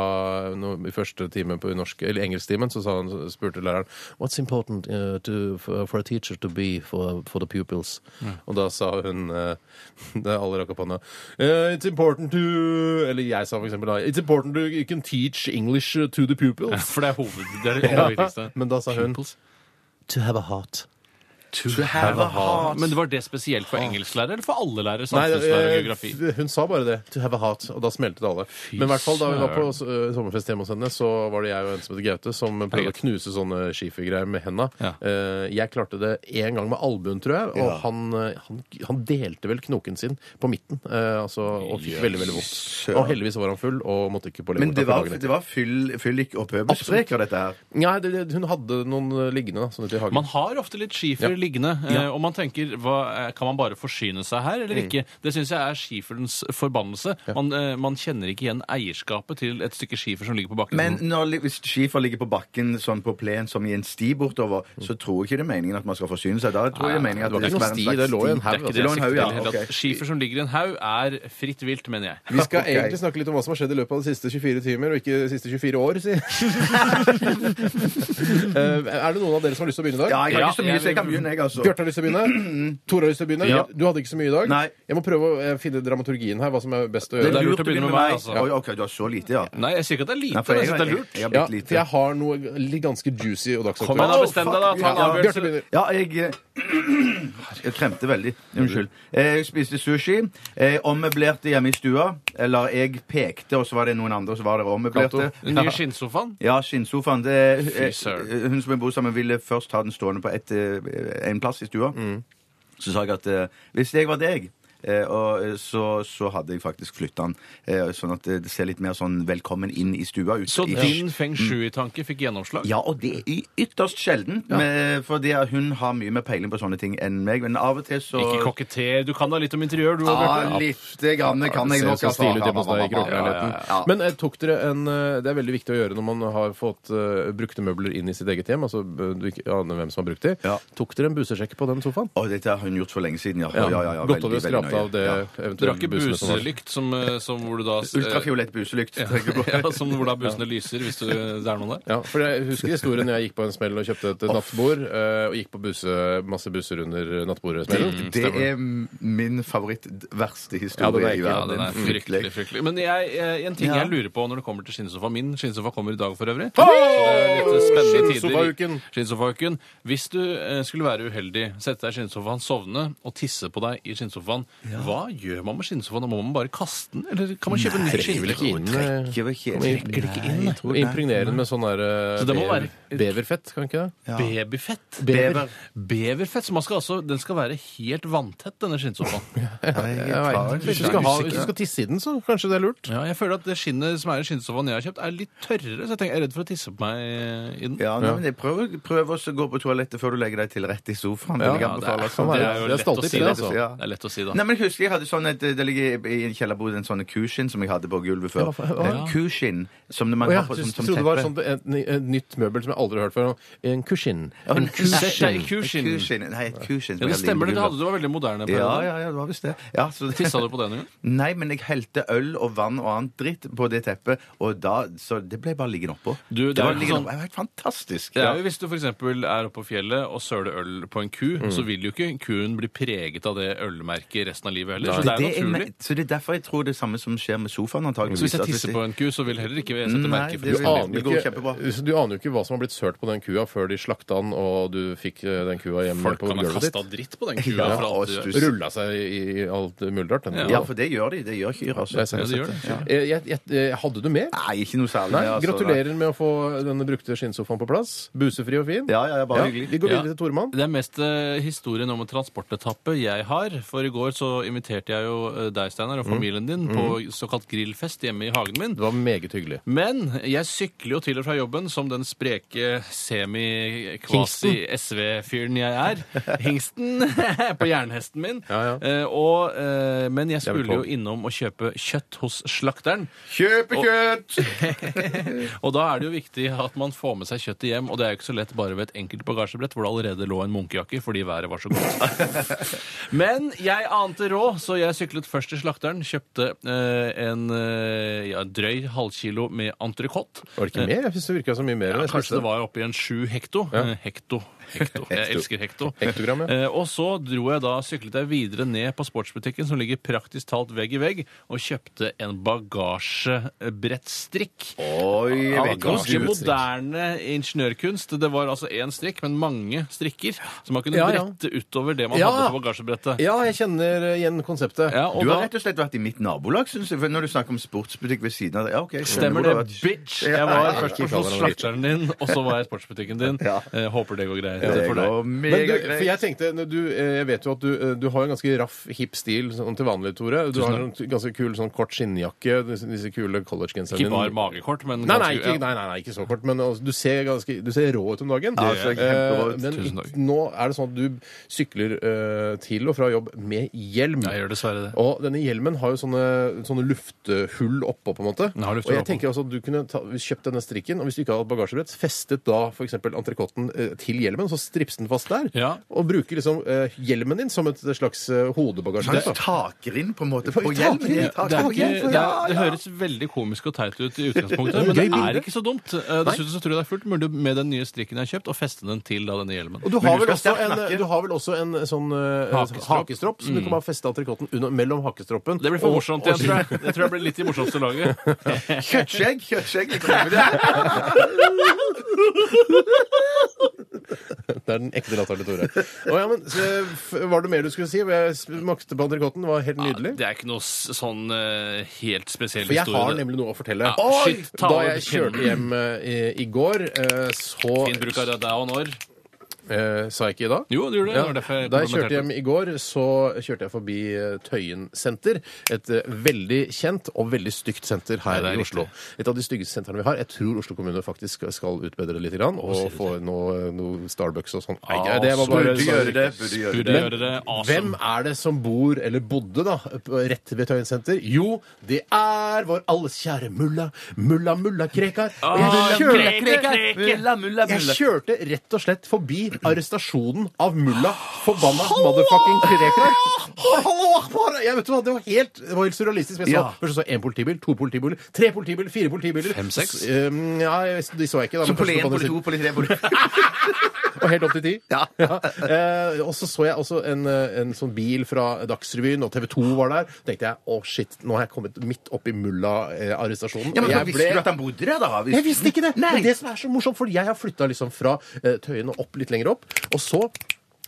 [SPEAKER 2] no, i første time på norsk, eller engelsktimen, så sa hun, spurte læreren What's important eh, to, for, for a teacher to be for, for the pupils? Og da sa hun eh, Det er alle rakk opp hånda. «Eh, it's important to Eller jeg sa for eksempel da It's important to you can teach English to the pupils.
[SPEAKER 4] For det er hoved... Det er det aller viktigste.
[SPEAKER 2] Men da sa hun
[SPEAKER 4] Pimples.
[SPEAKER 2] To have a heart.
[SPEAKER 3] To have a heart.
[SPEAKER 4] Men var det spesielt for engelsklærere eller for alle lærere?
[SPEAKER 2] Nei,
[SPEAKER 4] Samfunnslærer og
[SPEAKER 2] eh,
[SPEAKER 4] geografi?
[SPEAKER 2] f- hun sa bare det. To have a heart. Og da smeltet alle. Men i hvert fall da vi var på eh, sommerfest hjemme hos henne, så var det jeg og en som het Gaute, som prøvde å knuse sånne skifergreier med henda.
[SPEAKER 4] Ja.
[SPEAKER 2] Eh, jeg klarte det én gang med albuen, tror jeg, og
[SPEAKER 3] Ja.
[SPEAKER 2] han, eh, han, han delte vel knoken sin på midten. eh, altså, og fikk veldig, veldig vondt.
[SPEAKER 3] Søren.
[SPEAKER 2] Og heldigvis var han full og måtte ikke på
[SPEAKER 3] Men det
[SPEAKER 2] legevakta for
[SPEAKER 3] var,
[SPEAKER 2] dagen
[SPEAKER 3] det
[SPEAKER 2] etter.
[SPEAKER 3] var fyll- fyllik og pøbelspreker, dette her.
[SPEAKER 2] Nei, det, det, hun hadde noen eh, liggende da, sånn ute i hagen.
[SPEAKER 4] Man har ofte litt skifer
[SPEAKER 2] Ja.
[SPEAKER 4] liggende. Eh, og man tenker hva, eh, kan man bare forsyne seg her eller ikke? Det syns jeg er skifuglens forbannelse. Man, eh, man kjenner ikke igjen eierskapet til et stykke skifer som ligger på bakken.
[SPEAKER 3] Men når, li- hvis skifer ligger på bakken sånn på plen som i en sti bortover,
[SPEAKER 4] Mm.
[SPEAKER 3] så tror jeg ikke det er meningen at man skal forsyne seg. Da tror jeg det er meningen
[SPEAKER 2] det
[SPEAKER 3] at
[SPEAKER 2] var
[SPEAKER 3] det
[SPEAKER 2] ikke noen
[SPEAKER 3] skal være
[SPEAKER 2] sti,
[SPEAKER 3] en slags
[SPEAKER 2] det lå i en
[SPEAKER 3] sti.
[SPEAKER 2] haug, altså.
[SPEAKER 3] Det lå en haug, ja.
[SPEAKER 4] i det hele tatt.
[SPEAKER 3] ok.
[SPEAKER 4] Skifer som ligger i en haug, er fritt vilt, mener jeg.
[SPEAKER 2] Vi skal
[SPEAKER 3] Ok.
[SPEAKER 2] egentlig snakke litt om hva som har skjedd i løpet av de siste 24 timer, og ikke de siste 24 år, si. Eh, er det noen av dere som har lyst til å begynne i dag?
[SPEAKER 3] Ja, jeg har
[SPEAKER 4] Ja,
[SPEAKER 3] ikke så mye,
[SPEAKER 4] jeg
[SPEAKER 3] så jeg kan
[SPEAKER 4] vil-
[SPEAKER 3] begynne, jeg, altså.
[SPEAKER 2] Bjarte har lyst til å begynne. Tore har lyst til å begynne.
[SPEAKER 4] Ja.
[SPEAKER 2] Du hadde ikke så mye i dag.
[SPEAKER 3] Nei.
[SPEAKER 2] Jeg må prøve å eh, finne dramaturgien her, hva som er best å
[SPEAKER 4] Det
[SPEAKER 2] gjøre.
[SPEAKER 4] er lurt å begynne med meg, altså.
[SPEAKER 3] Oi, ok, du har så lite, ja.
[SPEAKER 4] Nei, jeg sier ikke at det er lite.
[SPEAKER 3] Nei, for
[SPEAKER 4] men jeg
[SPEAKER 3] jeg,
[SPEAKER 4] synes det er lurt.
[SPEAKER 3] jeg, jeg har
[SPEAKER 2] Ja,
[SPEAKER 3] blitt
[SPEAKER 2] for
[SPEAKER 3] lite.
[SPEAKER 2] jeg har noe litt ganske juicy og
[SPEAKER 4] Kom igjen,
[SPEAKER 2] dagsaktuelt.
[SPEAKER 4] da.
[SPEAKER 3] Åh,
[SPEAKER 4] Bestem deg, da.
[SPEAKER 3] fuck,
[SPEAKER 4] Ta en
[SPEAKER 3] ja.
[SPEAKER 2] Bjarte
[SPEAKER 4] avgjørelse.
[SPEAKER 2] begynner.
[SPEAKER 3] Ja, jeg eh, Jeg tremte veldig. Unnskyld. Eh, Jeg spiste sushi. Jeg ommøblerte hjemme i stua. Eller jeg pekte, og så var det noen andre som var der og ommøblerte.
[SPEAKER 4] Den nye skinnsofaen.
[SPEAKER 3] Ja, skinnsofaen. Det,
[SPEAKER 4] Fy søren.
[SPEAKER 3] eh, hun som jeg bor sammen med, ville først ha den stående på et, eh, en plass i stua.
[SPEAKER 2] Mm.
[SPEAKER 3] Så sa jeg at eh, hvis jeg var deg eh, og eh, så, så hadde jeg faktisk flytta den, eh, sånn at eh, det ser litt mer sånn velkommen inn i stua. Ut,
[SPEAKER 2] Sånn,
[SPEAKER 4] Så
[SPEAKER 3] i-
[SPEAKER 4] din feng shui-tanke fikk gjennomslag?
[SPEAKER 3] ja, og det er ytterst sjelden, med, fordi hun har mye mer peiling på sånne ting enn meg. Men av og til så
[SPEAKER 4] Ikke kokketer. Du kan da litt om interiør, du òg,
[SPEAKER 3] Ja,
[SPEAKER 4] Bjarte.
[SPEAKER 3] litt grann kan jeg
[SPEAKER 2] Ser
[SPEAKER 3] nok.
[SPEAKER 2] så
[SPEAKER 3] altså.
[SPEAKER 2] stilig ut hjemme hos deg i
[SPEAKER 3] Ja, ja, ja.
[SPEAKER 2] kråkeleiligheten. Men eh, tok dere en eh, Det er veldig viktig å gjøre når man har fått eh, brukte møbler inn i sitt eget hjem. Altså eh, du ikke aner hvem som har brukt de.
[SPEAKER 3] Ja.
[SPEAKER 2] Tok dere en busesjekk på den sofaen?
[SPEAKER 3] Og dette har hun gjort for lenge siden, ja. ja, ja, ja,
[SPEAKER 2] Godt over
[SPEAKER 3] veldig,
[SPEAKER 2] å
[SPEAKER 3] veldig
[SPEAKER 2] skrape av det
[SPEAKER 3] nøye.
[SPEAKER 4] Du har
[SPEAKER 2] eventuelle
[SPEAKER 4] ikke
[SPEAKER 2] busene som var.
[SPEAKER 4] buselykt som, eh, som hvor du da eh,
[SPEAKER 3] Ultrafiolett buselykt. tenker jeg på.
[SPEAKER 4] ja, altså, som hvor da busene lyser hvis du, det er noen der.
[SPEAKER 2] Ja, for Jeg husker historien jeg gikk på en smell og kjøpte et nattbord. eh, og gikk på buse, masse busser under nattbordsmellen.
[SPEAKER 3] Det er min favoritt verste
[SPEAKER 2] Ja, den er
[SPEAKER 3] historie i
[SPEAKER 2] ikke-
[SPEAKER 4] mm, Ja,
[SPEAKER 3] verden.
[SPEAKER 4] den er fryktelig, fryktelig. Men jeg, eh, en ting
[SPEAKER 3] Ja.
[SPEAKER 4] jeg lurer på når det kommer til skinnsofa Min skinnsofa kommer i dag for øvrig. Så det er litt spennende tider.
[SPEAKER 2] Skinnsofauken.
[SPEAKER 4] Skinnsofa-uken. Hvis du eh, skulle være uheldig, sette deg i skinnsofaen, sovne og tisse på deg i skinnsofaen, hva gjør man med skinnsofaen? Da Må man bare kaste den, eller kan man kjøpe en ny
[SPEAKER 2] Trekker vel
[SPEAKER 4] skinnsofa?
[SPEAKER 2] ikke inn eh,
[SPEAKER 3] Trekker vel ikke
[SPEAKER 2] kommer
[SPEAKER 3] inn.
[SPEAKER 2] ikke inn, nei. Impregnere den med sånn der eh,
[SPEAKER 4] Så det må
[SPEAKER 2] bever-
[SPEAKER 4] være-
[SPEAKER 2] beverfett, kan ikke det?
[SPEAKER 4] Babyfett.
[SPEAKER 2] Bever.
[SPEAKER 4] Beverfett. Så man skal altså, den skal være helt vanntett, denne skinnsofaen.
[SPEAKER 2] Jeg vet ikke. Hvis du skal ha- hvis du skal tisse i den, så kanskje det er lurt.
[SPEAKER 4] Ja, jeg føler at det skinnet som er i skinnsofaen jeg har kjøpt, er litt tørrere, så jeg, tenker, jeg er redd for å tisse på meg eh, i den.
[SPEAKER 3] Ja, nei, men jeg prøver, prøver også å gå på toalettet før du legger deg til rett i sofaen. vil jeg
[SPEAKER 4] Ja, det,
[SPEAKER 3] anbefale,
[SPEAKER 4] er,
[SPEAKER 3] altså.
[SPEAKER 2] være-
[SPEAKER 4] det er jo
[SPEAKER 2] det er
[SPEAKER 4] lett å
[SPEAKER 2] stolthet
[SPEAKER 4] si,
[SPEAKER 2] i
[SPEAKER 4] det.
[SPEAKER 2] det,
[SPEAKER 4] Altså.
[SPEAKER 3] ja.
[SPEAKER 4] Det er lett å si, da.
[SPEAKER 3] Nei, men jeg husker jeg hadde sånn et, Det ligger i i en kjellerbod en sånn kuskinn som jeg hadde på gulvet før.
[SPEAKER 2] hva- hva-
[SPEAKER 3] En Kuskinn som man
[SPEAKER 2] Å ja,
[SPEAKER 3] har på,
[SPEAKER 2] du
[SPEAKER 3] som, som
[SPEAKER 2] trodde det var
[SPEAKER 3] teppe.
[SPEAKER 2] sånn et, et nytt møbel som jeg aldri har hørt før. En kushin. En
[SPEAKER 4] Sett deg i
[SPEAKER 2] kushin.
[SPEAKER 4] kuskinn.
[SPEAKER 3] Et kuskinn. Nei, et kuskinn. som
[SPEAKER 4] Ja, det
[SPEAKER 3] jeg hadde
[SPEAKER 4] stemmer,
[SPEAKER 3] liggende
[SPEAKER 4] det
[SPEAKER 3] på
[SPEAKER 4] hadde du var veldig moderne.
[SPEAKER 3] gulvet. Ja,
[SPEAKER 4] periode.
[SPEAKER 3] ja, ja, det var visst det. Ja, så det-
[SPEAKER 4] Tissa du på det en gang?
[SPEAKER 3] Nei, men jeg helte øl og vann og annet dritt på det teppet, og da Så det ble bare liggende oppå.
[SPEAKER 4] Du, det
[SPEAKER 3] det
[SPEAKER 4] er
[SPEAKER 3] var
[SPEAKER 4] jo
[SPEAKER 3] liggende
[SPEAKER 4] sånn-
[SPEAKER 3] oppå. Det var helt fantastisk.
[SPEAKER 4] Det
[SPEAKER 3] Ja.
[SPEAKER 4] er jo Hvis du for eksempel er oppe på fjellet og søler øl på en ku, så vil jo ikke kuen bli preget av det ølmerket resten av livet heller. Så sånn- det er
[SPEAKER 3] Det er
[SPEAKER 4] jo naturlig.
[SPEAKER 3] me- så det er derfor jeg tror det er samme som skjer med sofaen, antakeligvis.
[SPEAKER 4] Så hvis jeg tisser på en ku, så vil heller ikke jeg sette
[SPEAKER 3] Nei,
[SPEAKER 4] merke for
[SPEAKER 3] det
[SPEAKER 4] det.
[SPEAKER 2] Du
[SPEAKER 3] vil-
[SPEAKER 2] aner,
[SPEAKER 3] Det
[SPEAKER 2] jo
[SPEAKER 3] går
[SPEAKER 2] ikke,
[SPEAKER 3] kjempebra.
[SPEAKER 2] du aner jo ikke hva som har blitt sørt på den kua før de slakta den og du fikk eh, den kua hjem
[SPEAKER 4] Folk
[SPEAKER 2] på
[SPEAKER 4] kan ha
[SPEAKER 2] gulvet
[SPEAKER 4] kasta
[SPEAKER 2] ditt.
[SPEAKER 4] dritt på den kua.
[SPEAKER 3] Ja,
[SPEAKER 4] for
[SPEAKER 3] og
[SPEAKER 4] alt det.
[SPEAKER 3] stuss.
[SPEAKER 2] Rulla seg i i alt mulig rart. den kua.
[SPEAKER 3] Ja, for det gjør de. Det gjør kyr, altså.
[SPEAKER 2] Jeg ser-
[SPEAKER 4] Ja, det gjør
[SPEAKER 2] jeg ser- Eh, jeg- jeg- eh, Hadde du mer?
[SPEAKER 3] Nei, ikke noe særlig.
[SPEAKER 2] Nei,
[SPEAKER 3] altså, nei.
[SPEAKER 2] gratulerer med å få denne brukte skinnsofaen på plass. Busefri og fin.
[SPEAKER 3] Ja, ja, ja, bare
[SPEAKER 2] Ja,
[SPEAKER 3] hyggelig.
[SPEAKER 2] Vi går
[SPEAKER 4] Ja.
[SPEAKER 2] videre til Tormann.
[SPEAKER 4] Det er mest eh, historien om en transportetappe jeg har. For i går så inviterte jeg jo eh, deg, Steinar, og familien din på såkalt grillfest hjemme i hagen min.
[SPEAKER 2] Det var meget hyggelig.
[SPEAKER 4] Men jeg sykler jo til og fra jobben som den spreke semi-kvasi-SV-fyren jeg er. Hingsten på jernhesten min.
[SPEAKER 2] Ja, ja.
[SPEAKER 4] Eh, og, eh, men jeg
[SPEAKER 2] er vel
[SPEAKER 4] skulle jo
[SPEAKER 2] på.
[SPEAKER 4] innom og kjøpe kjøtt hos slakteren.
[SPEAKER 3] Kjøpe kjøtt!
[SPEAKER 4] Og da er det jo viktig at man får med seg kjøttet hjem. Og det er jo ikke så lett bare ved et enkelt bagasjebrett hvor det allerede lå en munkejakke fordi været var så godt. Men jeg ante råd, så jeg syklet først til slakteren. Kjøpte eh, en eh, ja, drøy halvkilo med entrecôte.
[SPEAKER 2] Var det ikke mer? Jeg synes det virka så mye mer. enn
[SPEAKER 4] Ja,
[SPEAKER 2] jeg synes
[SPEAKER 4] kanskje det var oppi en sju hekto. Eh, Hekto. hekto. Jeg elsker hekto.
[SPEAKER 2] Hektogram, ja.
[SPEAKER 4] Eh, Og så dro jeg da, syklet jeg videre ned på sportsbutikken som ligger praktisk talt vegg i vegg, og kjøpte en bagasjebrettstrikk.
[SPEAKER 3] Oi, jeg vet ikke om
[SPEAKER 4] Ganske
[SPEAKER 3] du-
[SPEAKER 4] moderne ingeniørkunst. Det var altså én strikk, men mange strikker. Så man kunne
[SPEAKER 2] Ja, ja.
[SPEAKER 4] brette utover det man
[SPEAKER 2] Ja.
[SPEAKER 4] hadde på bagasjebrettet.
[SPEAKER 2] Ja, jeg kjenner kjenner eh, igjen konseptet.
[SPEAKER 4] Ja, og
[SPEAKER 3] Du har
[SPEAKER 4] da-
[SPEAKER 3] rett og slett vært i mitt nabolag, synes jeg. For når du snakker om sportsbutikk ved siden av det. Ja, ok. jeg skjønner
[SPEAKER 4] Stemmer
[SPEAKER 3] hvor du
[SPEAKER 4] det,
[SPEAKER 3] har vært.
[SPEAKER 4] bitch!
[SPEAKER 3] Ja,
[SPEAKER 4] Jeg var
[SPEAKER 3] ja,
[SPEAKER 4] først
[SPEAKER 3] ja.
[SPEAKER 4] hos slakteren din, og så var jeg i sportsbutikken din.
[SPEAKER 3] Ja.
[SPEAKER 4] Eh, håper det går greit
[SPEAKER 3] Det
[SPEAKER 4] for deg.
[SPEAKER 3] går
[SPEAKER 2] Men du,
[SPEAKER 3] megagreit.
[SPEAKER 2] for jeg tenkte, når du, eh, jeg vet jo at du, eh, du har en ganske raff, hipp stil sånn til vanlig, Tore. Du har en ganske kul sånn kort skinnjakke, disse, disse kule collegegenserne
[SPEAKER 4] Ikke bare magekort, men
[SPEAKER 2] Nei nei,
[SPEAKER 4] ganske-
[SPEAKER 2] ikke, nei, nei, nei, ikke så kort, men altså, du, ser ganske, du ser rå ut om dagen.
[SPEAKER 3] Ja, jeg ser kjemperå ut.
[SPEAKER 2] Eh, men
[SPEAKER 4] Tusen takk.
[SPEAKER 2] nå er det sånn at du sykler eh, til og fra jobb med hjelm.
[SPEAKER 4] Ja, jeg gjør dessverre det.
[SPEAKER 2] Og denne hjelmen har jo sånne, sånne lufthull oppå, på en måte.
[SPEAKER 4] Den har
[SPEAKER 2] og
[SPEAKER 4] lufthull
[SPEAKER 2] jeg
[SPEAKER 4] oppå.
[SPEAKER 2] tenker også at du kunne ta, kjøpt denne strikken, og hvis du ikke hadde bagasjebrett, festet da f.eks. entrecôten eh, til hjelmen, så strips den fast der.
[SPEAKER 4] Ja.
[SPEAKER 2] Og bruker liksom eh, hjelmen din som et slags eh, hodebagasjebrett.
[SPEAKER 3] Slags
[SPEAKER 2] da.
[SPEAKER 3] takgrinn, på en måte, på
[SPEAKER 2] takgrinn,
[SPEAKER 3] hjelmen.
[SPEAKER 2] ja.
[SPEAKER 4] Det, er
[SPEAKER 3] Takgrinn,
[SPEAKER 4] ikke, det,
[SPEAKER 3] ja,
[SPEAKER 4] er, det
[SPEAKER 3] ja.
[SPEAKER 4] høres veldig komisk og teit ut i utgangspunktet, men det
[SPEAKER 2] Gøy bilde.
[SPEAKER 4] er ikke så dumt. Eh, Dessuten så tror jeg det er fullt mulig med den nye strikken jeg har kjøpt, å feste den til da denne hjelmen.
[SPEAKER 2] Og du
[SPEAKER 3] Men
[SPEAKER 2] har,
[SPEAKER 3] du
[SPEAKER 2] vel
[SPEAKER 3] skal
[SPEAKER 2] også
[SPEAKER 3] sterkt
[SPEAKER 2] en,
[SPEAKER 3] nakke.
[SPEAKER 2] du har vel også en eh, sånn eh,
[SPEAKER 4] Hakestropp.
[SPEAKER 2] hakestropp som du kan bare feste entrecôten under- mellom hakestroppen.
[SPEAKER 4] Mm. Det blir for
[SPEAKER 2] og-
[SPEAKER 4] morsomt igjen, tror jeg. Jeg tror jeg blir litt i morsomste laget.
[SPEAKER 3] Kjøttskjegg, kjøttskjegg. liksom. Det
[SPEAKER 2] Det er den ekte latteren til Tore. Å, ja, men, så, eh, f- var det mer du skulle si? Jeg smakte på entrecôten, det var helt
[SPEAKER 4] Ja,
[SPEAKER 2] nydelig.
[SPEAKER 4] det er ikke noe s- sånn eh, helt spesiell
[SPEAKER 2] For jeg
[SPEAKER 4] historie.
[SPEAKER 2] har
[SPEAKER 4] det.
[SPEAKER 2] nemlig noe å fortelle.
[SPEAKER 4] Ja, Oi! shit, ta
[SPEAKER 2] da
[SPEAKER 4] over
[SPEAKER 2] jeg kjørte hjem eh, i, i går, eh, så
[SPEAKER 4] Fin bruk av deg og når.
[SPEAKER 2] Eh, Sa jeg ikke i dag?
[SPEAKER 4] Jo, du gjorde det.
[SPEAKER 2] Ja.
[SPEAKER 4] Det var derfor jeg
[SPEAKER 2] Da jeg kjørte
[SPEAKER 4] kommenterte.
[SPEAKER 2] hjem i går, så kjørte jeg forbi eh, Tøyen senter. Et eh, veldig kjent og veldig stygt senter her
[SPEAKER 4] Ja, det er
[SPEAKER 2] i Oslo. Et av de styggeste sentrene vi har. Jeg tror Oslo kommune faktisk skal utbedre det litt grann, og få noe, noe Starbucks og sånn. Nei,
[SPEAKER 4] Ah,
[SPEAKER 2] det var bare
[SPEAKER 3] Burde gjøre det. Burde gjøre
[SPEAKER 4] Burde
[SPEAKER 3] det.
[SPEAKER 4] gjøre det
[SPEAKER 2] Hvem
[SPEAKER 4] awesome.
[SPEAKER 2] er det som bor, eller bodde, da, på- rett ved Tøyen senter? Jo, det er vår alles kjære mulla, mulla mulla Krekar. Og jeg kjørte,
[SPEAKER 3] Mulla, Ah, mulla,
[SPEAKER 2] jeg kjørte rett og slett forbi arrestasjonen av mulla forbanna motherfucking Krekar. Hallo, Akbar! Jeg vet du hva, Det var helt, det var helt surrealistisk. Jeg så,
[SPEAKER 3] Ja.
[SPEAKER 2] Først så jeg én politibil, to politibiler, tre politibiler, fire politibiler.
[SPEAKER 4] Fem, seks?
[SPEAKER 2] S- um, ja, jeg- de så jeg ikke. da.
[SPEAKER 3] Så
[SPEAKER 2] men
[SPEAKER 3] poli
[SPEAKER 2] først
[SPEAKER 3] én,
[SPEAKER 2] på den
[SPEAKER 3] poli to,
[SPEAKER 2] siden.
[SPEAKER 3] poli tre, poli
[SPEAKER 2] Og helt opp til ti.
[SPEAKER 3] Ja.
[SPEAKER 2] Eh, og så så jeg også en, eh, en sånn bil fra Dagsrevyen, og TV 2 var der. tenkte jeg å shit, nå har jeg kommet midt opp i mulla-arrestasjonen.
[SPEAKER 3] Ja, men så
[SPEAKER 2] jeg
[SPEAKER 3] Visste du at han bodde der, da?
[SPEAKER 2] jeg visste ikke det!
[SPEAKER 3] Nei.
[SPEAKER 2] Men det som er så morsomt, for jeg har flytta liksom fra eh, Tøyen og opp litt lenger opp, og så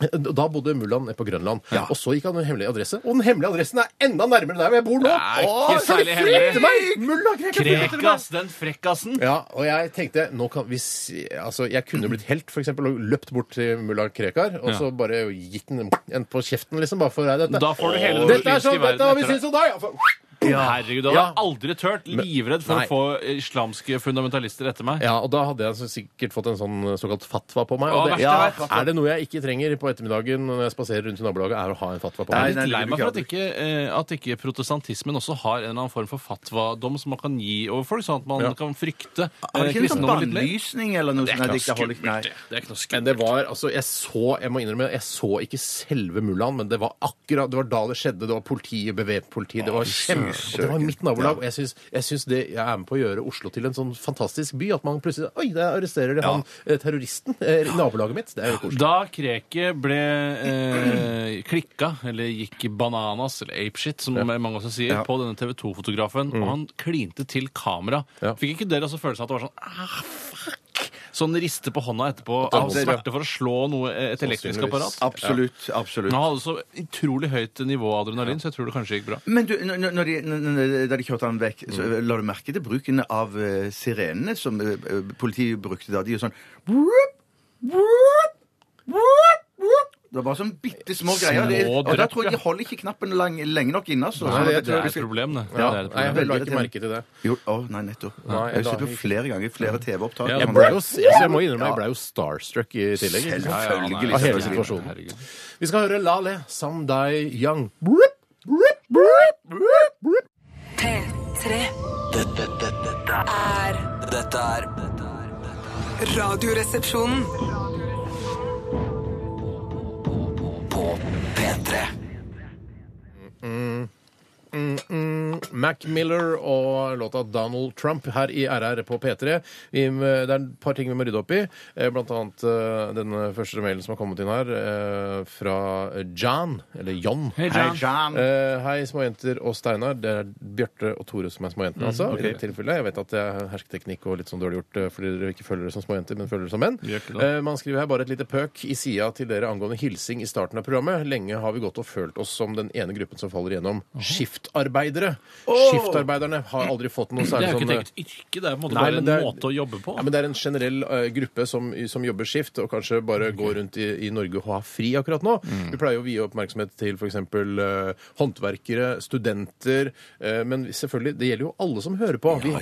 [SPEAKER 2] eh, da bodde mullaen nede på Grønland. Og så gikk han en hemmelig adresse. Og den hemmelige adressen er enda nærmere der hvor jeg bor nå!
[SPEAKER 4] er ikke
[SPEAKER 2] Åh, så
[SPEAKER 4] særlig
[SPEAKER 2] de flytter
[SPEAKER 4] hemmelig.
[SPEAKER 2] meg! Mulla Krekar flytter meg!
[SPEAKER 4] Krekas, den frekkasen.
[SPEAKER 2] Ja, og jeg tenkte nå kan, hvis, altså, Jeg kunne blitt helt, for eksempel, og løpt bort til mulla Krekar og så bare gitt den en på kjeften, liksom. Bare for deg, dette.
[SPEAKER 4] Da får du hele den
[SPEAKER 2] dette er
[SPEAKER 4] muslimske
[SPEAKER 2] sånn,
[SPEAKER 4] verden
[SPEAKER 2] dette har vi
[SPEAKER 4] etter deg.
[SPEAKER 2] syntes om deg! Ja, for-
[SPEAKER 4] Herregud, jeg hadde
[SPEAKER 2] Ja.
[SPEAKER 4] jeg aldri tørt. Livredd for
[SPEAKER 2] Nei.
[SPEAKER 4] å få islamske fundamentalister etter meg.
[SPEAKER 2] Ja, og da hadde jeg så sikkert fått en sånn såkalt fatwa på meg.
[SPEAKER 4] Å,
[SPEAKER 2] Og
[SPEAKER 4] verst
[SPEAKER 2] det,
[SPEAKER 4] jeg
[SPEAKER 3] vet.
[SPEAKER 2] Er det noe jeg ikke trenger på ettermiddagen når jeg spaserer rundt i nabolaget, er å ha en fatwa på
[SPEAKER 3] Nei,
[SPEAKER 2] meg?
[SPEAKER 4] Jeg er litt
[SPEAKER 3] nei,
[SPEAKER 4] lei
[SPEAKER 3] det
[SPEAKER 4] meg
[SPEAKER 3] vil
[SPEAKER 4] for at
[SPEAKER 3] vi
[SPEAKER 4] ikke, eh, at ikke protestantismen også har en eller annen form for fatwa-dom som man kan gi over folk, sånn at man
[SPEAKER 2] Ja.
[SPEAKER 4] kan frykte eh,
[SPEAKER 3] Har du ikke en sånn
[SPEAKER 4] kristendommen litt mer.
[SPEAKER 3] bannlysning eller noe?
[SPEAKER 4] Det er
[SPEAKER 3] Nei,
[SPEAKER 4] ikke noe
[SPEAKER 3] det holder
[SPEAKER 4] skummelt,
[SPEAKER 3] ikke. Nei.
[SPEAKER 4] det. Det er ikke noe
[SPEAKER 2] Men
[SPEAKER 4] skummelt.
[SPEAKER 2] det var, altså, jeg så jeg må innrømme, jeg så ikke selve mullaen, men det var akkurat, det var da det skjedde. Det var politiet, bevæpnet politi. Det var kjempe... Og det var mitt nabolag. Og jeg syns, jeg syns det jeg er med på å gjøre Oslo til en sånn fantastisk by. At man plutselig Oi, der arresterer de han eh, terroristen eh, i nabolaget mitt. Det er jo koselig.
[SPEAKER 4] Da Kreket ble eh, klikka, eller gikk bananas, eller apeshit, som mange også sier, på denne TV 2-fotografen, og han klinte til kamera,
[SPEAKER 2] Ja.
[SPEAKER 4] fikk ikke dere også følelsen av at det var sånn ah, fuck! Sånn riste på hånda etterpå av
[SPEAKER 3] håndter, ja.
[SPEAKER 4] smerte for å slå noe, eh, et elektrisk
[SPEAKER 2] Sannsynligvis.
[SPEAKER 4] apparat?
[SPEAKER 3] Absolutt. absolutt.
[SPEAKER 4] Han hadde så utrolig høyt nivå av adrenalin, så jeg tror det kanskje gikk bra.
[SPEAKER 3] Men du, når- når de, når- når- da de kjørte han vekk, så la du merke til bruken av eh, sirenene som eh, politiet brukte da? De gjør sånn «Whoop, whoop, whoop, whoop». Det var sånn bitte små greier. Det, og da
[SPEAKER 4] drypp,
[SPEAKER 3] tror jeg de holder ikke knappen lang, lenge nok inne. Altså,
[SPEAKER 2] Nei,
[SPEAKER 3] Sånn
[SPEAKER 2] jeg
[SPEAKER 3] at
[SPEAKER 4] Det
[SPEAKER 2] tror
[SPEAKER 4] er
[SPEAKER 3] vi
[SPEAKER 4] et
[SPEAKER 3] skal-
[SPEAKER 4] problem, det.
[SPEAKER 2] Ja,
[SPEAKER 4] det er et
[SPEAKER 2] nei, jeg
[SPEAKER 4] problem.
[SPEAKER 2] la ikke merke til det.
[SPEAKER 3] Jo, å, nei, nettopp.
[SPEAKER 2] Nei,
[SPEAKER 3] jeg har
[SPEAKER 2] da-
[SPEAKER 3] sett det flere ganger. Flere TV-opptak.
[SPEAKER 2] Jeg ble jo, altså, jeg må innrømme, jeg ble jo starstruck i tillegg.
[SPEAKER 3] Selvfølgelig.
[SPEAKER 2] Ja, ja.
[SPEAKER 4] Selvfølgelig.
[SPEAKER 2] Av liksom hele
[SPEAKER 4] Selvfølgelig.
[SPEAKER 2] situasjonen.
[SPEAKER 4] Herregud.
[SPEAKER 2] Vi skal høre La Le, Someday Young. Brup, brup, brup, brup, brup.
[SPEAKER 1] P3
[SPEAKER 6] Dette, dette, dette
[SPEAKER 1] er
[SPEAKER 6] er Dette er dette er-
[SPEAKER 1] Radioresepsjonen.
[SPEAKER 6] På P3
[SPEAKER 2] Mm, Mac Miller og låta Donald Trump her i RR på P3. Vi, må- det er et par ting vi må rydde opp i, eh, blant annet eh, denne første mailen som har kommet inn her, eh, fra John, eller John.
[SPEAKER 4] Hei,
[SPEAKER 3] Hei,
[SPEAKER 4] John.
[SPEAKER 3] John.
[SPEAKER 2] Eh, hei, småjenter og Steinar. Det er Bjarte og Tore som er småjentene,
[SPEAKER 4] Mm,
[SPEAKER 2] altså. I dette tilfellet. Jeg vet at det er hersketeknikk og litt sånn dårlig gjort eh, fordi dere ikke føler dere som småjenter, men føler dere som menn.
[SPEAKER 4] Vi gjør ikke det.
[SPEAKER 2] Eh, man skriver her bare et lite pøk i sida til dere angående hilsing i starten av programmet. Lenge har vi gått og følt oss som den ene gruppen som faller igjennom. Skiftarbeidere. Skiftarbeiderne har aldri fått noe
[SPEAKER 4] Det
[SPEAKER 2] særlig
[SPEAKER 4] er jo ikke
[SPEAKER 2] sånn
[SPEAKER 4] et
[SPEAKER 2] eh,
[SPEAKER 4] eget yrke, det er på en måte
[SPEAKER 2] Nei,
[SPEAKER 4] bare
[SPEAKER 2] men
[SPEAKER 4] en
[SPEAKER 2] det er-
[SPEAKER 4] måte å jobbe på.
[SPEAKER 2] ja, men Det er en generell eh, gruppe som, som jobber skift, og kanskje bare går rundt i, i Norge og har fri akkurat nå.
[SPEAKER 4] Mm.
[SPEAKER 2] Vi pleier jo å vie oppmerksomhet til f.eks. Uh, håndverkere, studenter eh, Men selvfølgelig, det gjelder jo alle som hører på. Vi,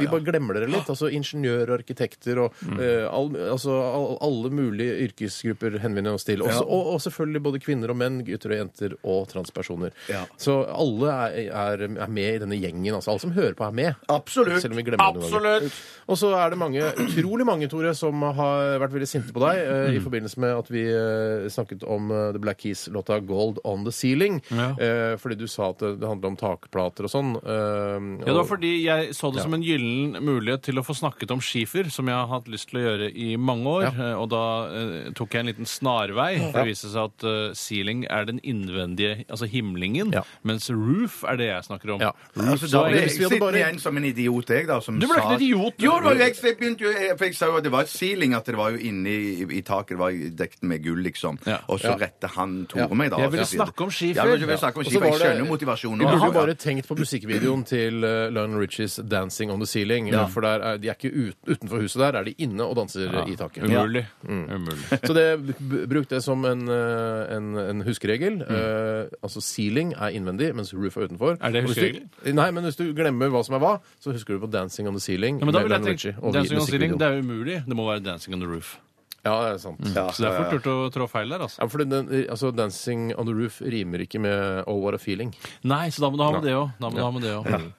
[SPEAKER 2] vi bare glemmer dere litt. Altså ingeniører, arkitekter og
[SPEAKER 4] Mm.
[SPEAKER 2] eh, all, altså, all, alle mulige yrkesgrupper henvender oss til. Også, og, og selvfølgelig både kvinner og menn, gutter og jenter og transpersoner. Så alle er, er, er med i denne gjengen. Altså, alle som hører på, er med.
[SPEAKER 3] Absolutt.
[SPEAKER 2] Selv om vi glemmer det noen ganger. Og så er det mange, utrolig mange, Tore, som har vært veldig sinte på deg eh,
[SPEAKER 4] Mm.
[SPEAKER 2] i forbindelse med at vi eh, snakket om eh, The Black Keys-låta 'Gold On The Ceiling'.
[SPEAKER 4] Ja.
[SPEAKER 2] Eh, fordi du sa at det, det handla om takplater og sånn. eh,
[SPEAKER 4] Ja, det var
[SPEAKER 2] og-
[SPEAKER 4] fordi jeg så det som en gyllen mulighet til å få snakket om skifer, som jeg har hatt lyst til å gjøre i mange år. eh, Og da eh, tok jeg en liten snarvei, for det viste seg at eh, ceiling er den innvendige, altså himlingen,
[SPEAKER 2] Ja.
[SPEAKER 4] mens roof er det jeg snakker om.
[SPEAKER 2] Ja.
[SPEAKER 4] Roof,
[SPEAKER 3] Altså,
[SPEAKER 4] da
[SPEAKER 3] da ble
[SPEAKER 4] er
[SPEAKER 3] jeg
[SPEAKER 2] hvis vi hadde
[SPEAKER 3] sittende
[SPEAKER 2] bare-
[SPEAKER 3] igjen som en idiot, jeg, da. Som
[SPEAKER 4] Du ble ikke
[SPEAKER 3] sa-
[SPEAKER 4] en idiot.
[SPEAKER 3] Jo, det var jo jeg, jeg begynte jo For jeg sa jo at det var et ceiling, at det var jo inni i, i taket, det var dekt med gull, liksom.
[SPEAKER 4] Ja.
[SPEAKER 3] Og så
[SPEAKER 2] Ja.
[SPEAKER 3] rette han Tore
[SPEAKER 2] Ja.
[SPEAKER 3] meg, da.
[SPEAKER 4] Jeg ville
[SPEAKER 3] og så videre.
[SPEAKER 4] snakke om skifer.
[SPEAKER 3] Ja, jeg ville snakke om
[SPEAKER 2] Og så
[SPEAKER 3] skifer.
[SPEAKER 2] var
[SPEAKER 3] Jeg
[SPEAKER 2] det-
[SPEAKER 3] skjønner motivasjonen.
[SPEAKER 2] Vi burde jo
[SPEAKER 3] Ja.
[SPEAKER 2] bare tenkt på musikkvideoen til eh, Lionel Richies 'Dancing On The Ceiling'. For der er, de er ikke ut, utenfor huset der, er de inne og danser i taket. Mm.
[SPEAKER 4] Umulig. Umulig.
[SPEAKER 2] Så det, b- bruk det som en, eh, en, en huskeregel. Eh, altså ceiling er innvendig, mens roof er utenfor.
[SPEAKER 4] Mm. Er det
[SPEAKER 2] Og hvis du- Nei, men hvis du glemmer hva som er hva, så husker du på 'Dancing on the Ceiling'.
[SPEAKER 4] Ja, men da
[SPEAKER 2] med
[SPEAKER 4] vil jeg
[SPEAKER 2] Lionel Richie
[SPEAKER 4] tenke
[SPEAKER 2] og vi-
[SPEAKER 4] Dancing on the ceiling,
[SPEAKER 2] musikkvideoen.
[SPEAKER 4] det Mm. er jo umulig. Det må være dancing on the roof.
[SPEAKER 2] Ja, det er sant. Ja.
[SPEAKER 3] Altså,
[SPEAKER 4] Så det er fort gjort å trå feil der, altså.
[SPEAKER 2] for den, altså, 'Dancing on the Roof' rimer ikke med 'Oh, what a feeling'.
[SPEAKER 4] Nei, så da må du ha med det òg. Da må du ha med det òg.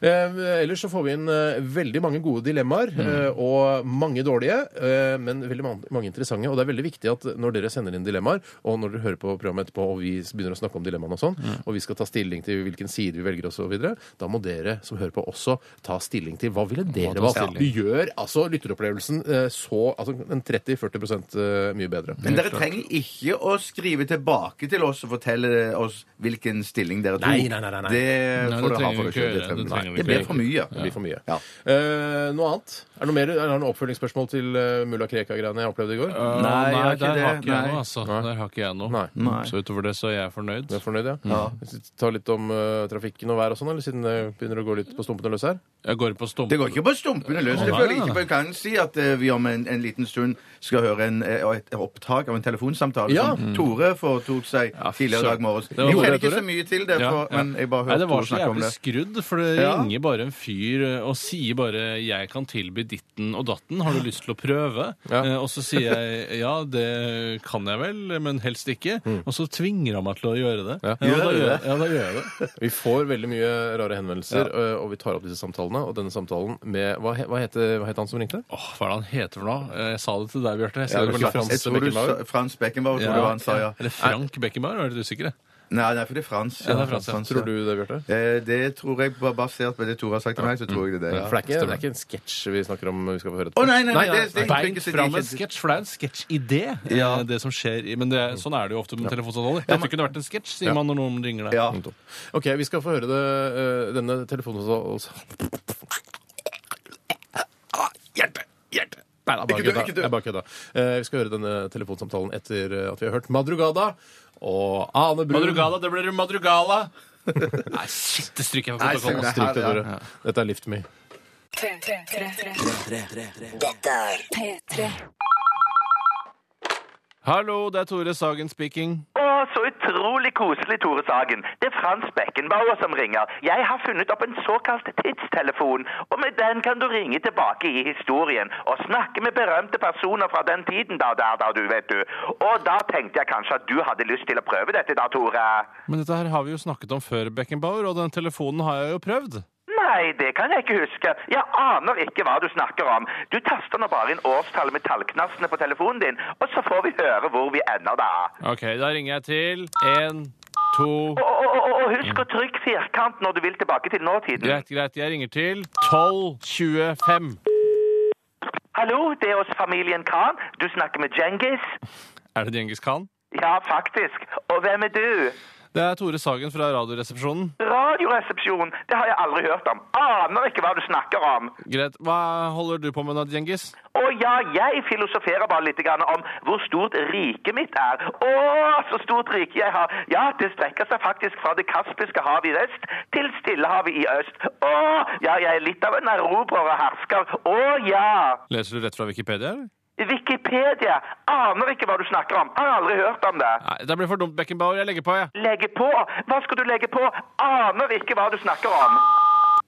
[SPEAKER 2] Eh, ellers så får vi inn eh, veldig mange gode dilemmaer,
[SPEAKER 4] Mm.
[SPEAKER 2] eh, og mange dårlige, eh, men veldig man mange interessante. Og det er veldig viktig at når dere sender inn dilemmaer, og når dere hører på programmet etterpå, og vi s- begynner å snakke om dilemmaene og sånn,
[SPEAKER 4] Mm.
[SPEAKER 2] og vi skal ta stilling til hvilken side vi velger og så videre, da må dere som hører på også ta stilling til hva ville dere
[SPEAKER 4] ta
[SPEAKER 2] valgt.
[SPEAKER 4] stilling.
[SPEAKER 2] Vi gjør altså lytteropplevelsen eh, så altså, en 30-40 eh, mye bedre.
[SPEAKER 3] Men dere trenger ikke å skrive tilbake til oss og fortelle oss hvilken stilling dere tok.
[SPEAKER 2] Nei, nei, nei, nei, nei.
[SPEAKER 3] Det
[SPEAKER 4] Nei,
[SPEAKER 3] får
[SPEAKER 4] det
[SPEAKER 3] dere ha
[SPEAKER 4] trenger
[SPEAKER 3] for
[SPEAKER 4] vi
[SPEAKER 3] dere selv.
[SPEAKER 4] ikke
[SPEAKER 3] Det,
[SPEAKER 4] gjøre. Det
[SPEAKER 3] trenger-
[SPEAKER 4] trenger vi
[SPEAKER 3] Nei, det
[SPEAKER 4] ikke
[SPEAKER 3] blir
[SPEAKER 4] gjøre.
[SPEAKER 3] for mye.
[SPEAKER 2] Det blir for mye.
[SPEAKER 3] Ja.
[SPEAKER 2] Eh, noe annet? Er det noe mer, er det noen oppfølgingsspørsmål til eh, mulla Krekar-greiene jeg opplevde i går?
[SPEAKER 3] Nei,
[SPEAKER 4] Nei, nei
[SPEAKER 3] jeg har ikke
[SPEAKER 4] der har
[SPEAKER 3] det.
[SPEAKER 4] ikke jeg
[SPEAKER 3] Nei.
[SPEAKER 4] noe, altså. Der har ikke jeg noe.
[SPEAKER 2] Nei.
[SPEAKER 4] Så utover det så er jeg fornøyd.
[SPEAKER 2] Du er fornøyd, ja? Hvis vi tar litt om eh, trafikken og vær og sånn, eller siden det begynner å gå litt på stumpen og løs her?
[SPEAKER 4] Jeg går på stump.
[SPEAKER 3] Det går ikke på stumpene løs.
[SPEAKER 4] Å,
[SPEAKER 3] Jeg
[SPEAKER 4] nei,
[SPEAKER 3] føler
[SPEAKER 4] nei,
[SPEAKER 3] ikke,
[SPEAKER 4] nei.
[SPEAKER 3] for jeg kan si at eh, vi om en, en liten stund skal høre en, eh, et opptak av en telefonsamtale
[SPEAKER 2] Ja.
[SPEAKER 3] som Tore foretok seg tidligere i dag morges.
[SPEAKER 4] Det var
[SPEAKER 3] Jeg
[SPEAKER 4] det,
[SPEAKER 3] kjenner ikke
[SPEAKER 4] Tore.
[SPEAKER 3] så mye til det, for, men jeg bare
[SPEAKER 4] Nei,
[SPEAKER 3] hørte
[SPEAKER 4] det var
[SPEAKER 3] Tore
[SPEAKER 4] så
[SPEAKER 3] snakke om
[SPEAKER 4] jævlig
[SPEAKER 3] det.
[SPEAKER 4] skrudd, for det
[SPEAKER 3] Ja.
[SPEAKER 4] ringer bare en fyr eh, og sier bare 'jeg kan tilby ditten og datten, har du lyst til å prøve?'
[SPEAKER 2] Ja.
[SPEAKER 4] Eh, Og så sier jeg 'ja, det kan jeg vel, men helst ikke', og så tvinger han meg til å gjøre det.
[SPEAKER 2] Ja.
[SPEAKER 4] da
[SPEAKER 3] Mm. Gjør du
[SPEAKER 4] gjør,
[SPEAKER 3] det?
[SPEAKER 4] ja da gjør jeg det.
[SPEAKER 2] Vi får veldig mye rare henvendelser, eh, og vi tar opp disse samtalene. Og denne samtalen med Hva, he, hva, heter, hva het han som ringte?
[SPEAKER 4] Åh, hva er det han heter for noe? Eh, Jeg sa det til deg, Bjarte. Jeg ser
[SPEAKER 2] Ja, det
[SPEAKER 4] det på
[SPEAKER 2] var
[SPEAKER 4] lappen.
[SPEAKER 2] Frans
[SPEAKER 3] Jeg tror du
[SPEAKER 2] Beckenbauer.
[SPEAKER 3] sa Frans Beckenbauer, tror det var han sa, ja.
[SPEAKER 4] Eller Frank Beckenbauer, er dere usikre?
[SPEAKER 3] Nei, nei, for det er Frans.
[SPEAKER 4] Ja, det er Frans, ja.
[SPEAKER 2] Tror du det, Bjarte?
[SPEAKER 3] Eh, Det tror jeg, bare basert på det Tore har sagt til meg, så tror jeg det er det.
[SPEAKER 2] For det er, ikke,
[SPEAKER 3] ja.
[SPEAKER 2] det er ikke en sketsj vi snakker om. vi skal få høre
[SPEAKER 3] Å,
[SPEAKER 2] etterpå.
[SPEAKER 3] nei, nei, nei, det, det, det,
[SPEAKER 4] Beint fram en sketsj, for det er en sketsjidé, eh,
[SPEAKER 3] Ja.
[SPEAKER 4] det som skjer i Men det, er- sånn er det jo ofte med telefonsamtaler. Dette kunne vært en sketsj, sier man når noen ringer deg.
[SPEAKER 3] Ja.
[SPEAKER 2] OK, vi skal få høre det, eh, denne telefonsamtalen Hjelpe! Hjelpe! Nei, det er bare
[SPEAKER 3] Ikke dø,
[SPEAKER 2] kødda.
[SPEAKER 3] ikke dø.
[SPEAKER 2] Det er bare kødda. Eh, Vi skal høre denne telefonsamtalen etter eh, at vi har hørt Madrugada og Ane Brun.
[SPEAKER 4] Madrugada, det blir madrugala. Nei, shit, det stryker jeg på
[SPEAKER 3] Nei,
[SPEAKER 4] protokollen. altså. ass.
[SPEAKER 3] se
[SPEAKER 2] Stryk det,
[SPEAKER 3] Ja,
[SPEAKER 2] Tore. Dette er Lift Me.
[SPEAKER 1] P3.
[SPEAKER 4] Hallo, det er Tore Sagen speaking.
[SPEAKER 6] Å, så utrolig koselig, Tore Sagen. Det er Frans Beckenbauer som ringer. Jeg har funnet opp en såkalt tidstelefon, og med den kan du ringe tilbake i historien og snakke med berømte personer fra den tiden da, der, da, du vet du. Og da tenkte jeg kanskje at du hadde lyst til å prøve dette da, Tore.
[SPEAKER 4] Men dette her har vi jo snakket om før, Beckenbauer, og den telefonen har jeg jo prøvd.
[SPEAKER 6] Nei, det kan jeg ikke huske. Jeg aner ikke hva du snakker om. Du taster nå bare inn årstallet med tallknastene på telefonen din, og så får vi høre hvor vi ender da.
[SPEAKER 4] Ok, da ringer jeg til en to
[SPEAKER 6] Og, og, og, og husk å trykke firkant når du vil tilbake til nåtiden.
[SPEAKER 4] Greit, greit. Jeg ringer til 1225.
[SPEAKER 6] Hallo, det er oss familien Khan. Du snakker med Djengis?
[SPEAKER 4] Er det Djengis Khan?
[SPEAKER 6] Ja, faktisk. Og hvem er du?
[SPEAKER 4] Det er Tore Sagen fra Radioresepsjonen.
[SPEAKER 6] Radioresepsjon, det har jeg aldri hørt om. Aner ikke hva du snakker om.
[SPEAKER 4] Greit. Hva holder du på med nå, Djengis?
[SPEAKER 6] Å ja, jeg filosoferer bare litt grann om hvor stort riket mitt er. Å, så stort rike jeg har. Ja, det strekker seg faktisk fra det kaspiske havet i vest til Stillehavet i øst. Å, ja, jeg er litt av en erobrer og hersker. Å ja.
[SPEAKER 4] Leser du rett fra Wikipedia, eller?
[SPEAKER 6] Wikipedia. Aner ikke hva du snakker om. Har aldri hørt om det.
[SPEAKER 4] Nei, det blir for dumt, Beckenbauer. Jeg legger på, jeg.
[SPEAKER 6] Legge på? Hva skal du legge på? Aner ikke hva du snakker om.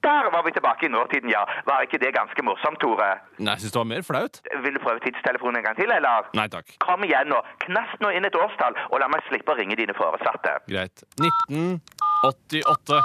[SPEAKER 6] Der var vi tilbake i nåtiden, ja. Var ikke det ganske morsomt, Tore?
[SPEAKER 4] Nei, jeg syns det var mer flaut.
[SPEAKER 6] Vil du prøve tidstelefonen en gang til, eller?
[SPEAKER 4] Nei takk.
[SPEAKER 6] Kom igjen nå. Knast nå inn et årstall, og la meg slippe å ringe dine foresatte.
[SPEAKER 4] Greit. 1988.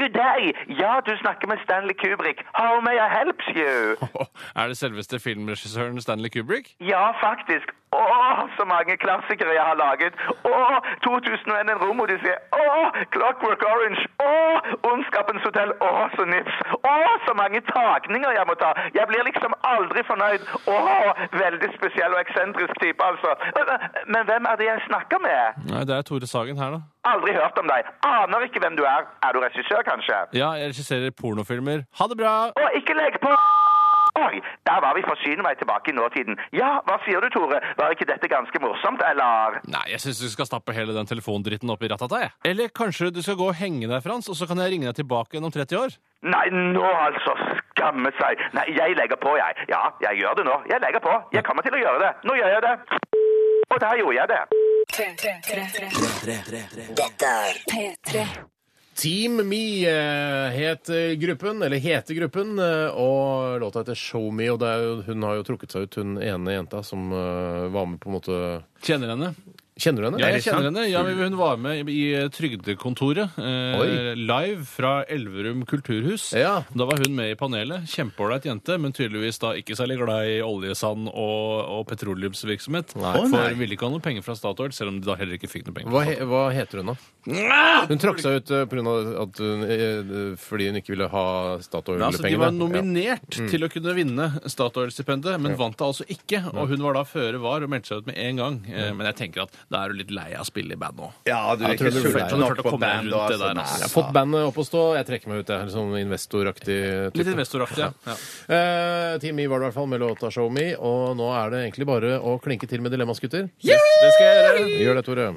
[SPEAKER 6] Good day! Ja, du snakker med Stanley Kubrick. How may I help you?
[SPEAKER 4] Er det selveste filmregissøren Stanley Kubrick?
[SPEAKER 6] Ja, faktisk. Åh, så mange klassikere jeg har laget. Åh, 2001 en romodyssé. Åh, Clockwork Orange. Åh, Ondskapens hotell. Åh, så nips. Åh, så mange takninger jeg må ta. Jeg blir liksom aldri fornøyd. Åh, veldig spesiell og eksentrisk type, altså. Men hvem er det jeg snakker med?
[SPEAKER 4] Nei, det er Tore Sagen her, da.
[SPEAKER 6] Aldri hørt om deg. Aner ikke hvem du er. Er du regissør, kanskje?
[SPEAKER 4] Ja, jeg regisserer pornofilmer. Ha det bra!
[SPEAKER 6] Å, ikke legg på! Oi, der var vi forsyne meg tilbake i nåtiden. Ja, hva sier du, Tore? Var ikke dette ganske morsomt, eller?
[SPEAKER 4] Nei, jeg syns du skal stappe hele den telefondritten opp i rattata, jeg. Eller kanskje du skal gå og henge deg, Frans, og så kan jeg ringe deg tilbake igjen om 30 år?
[SPEAKER 6] Nei, nå altså, skamme seg. Nei, jeg legger på, jeg. Ja, jeg gjør det nå. Jeg legger på. Jeg kommer til å gjøre det. Nå gjør jeg det. Og der gjorde jeg det.
[SPEAKER 1] P3.
[SPEAKER 2] Team Me eh, het eh, gruppen, eller heter gruppen, eh, og låta heter Show Me. Og det er jo, hun har jo trukket seg ut, hun ene jenta som eh, var med på en måte
[SPEAKER 4] Kjenner henne.
[SPEAKER 2] Kjenner du henne?
[SPEAKER 4] Ja, jeg kjenner henne. Ja, men hun var med i i Trygdekontoret eh,
[SPEAKER 2] Oi.
[SPEAKER 4] live fra Elverum kulturhus.
[SPEAKER 2] Ja.
[SPEAKER 4] Da var hun med i panelet. Kjempeålreit jente, men tydeligvis da ikke særlig glad i oljesand og, og petroleumsvirksomhet. For ville ikke ha noe penger fra Statoil, selv om de da heller ikke fikk noe penger.
[SPEAKER 2] Hva, he, hva heter hun, da? Hun trakk seg ut eh, på grunn av at hun, eh, fordi hun ikke ville ha
[SPEAKER 4] Ja, Mm. altså, de
[SPEAKER 2] Statoil-pengene.
[SPEAKER 4] var nominert til å kunne vinne Statoil-stipendet, men vant det altså ikke. Og hun var da føre var og meldte seg ut med en gang. Eh, Men jeg tenker at da er du litt lei av å spille i band nå.
[SPEAKER 3] Ja, du er
[SPEAKER 2] tror
[SPEAKER 3] ikke
[SPEAKER 2] du
[SPEAKER 3] sulten
[SPEAKER 2] følte-
[SPEAKER 4] du
[SPEAKER 3] nok
[SPEAKER 4] følte å
[SPEAKER 3] for
[SPEAKER 4] komme
[SPEAKER 3] band. og
[SPEAKER 4] rundt det der,
[SPEAKER 3] altså, nei,
[SPEAKER 4] ass.
[SPEAKER 2] Jeg har fått bandet opp å stå. Jeg trekker meg ut, jeg. Sånn investoraktig type.
[SPEAKER 4] Litt investoraktig, ja. ja.
[SPEAKER 2] Eh, Team Me var det i hvert fall med låta Show Me, og nå er det egentlig bare å klinke til med Dilemmas, gutter.
[SPEAKER 4] Det skal jeg gjøre.
[SPEAKER 2] Gjør det, Tore.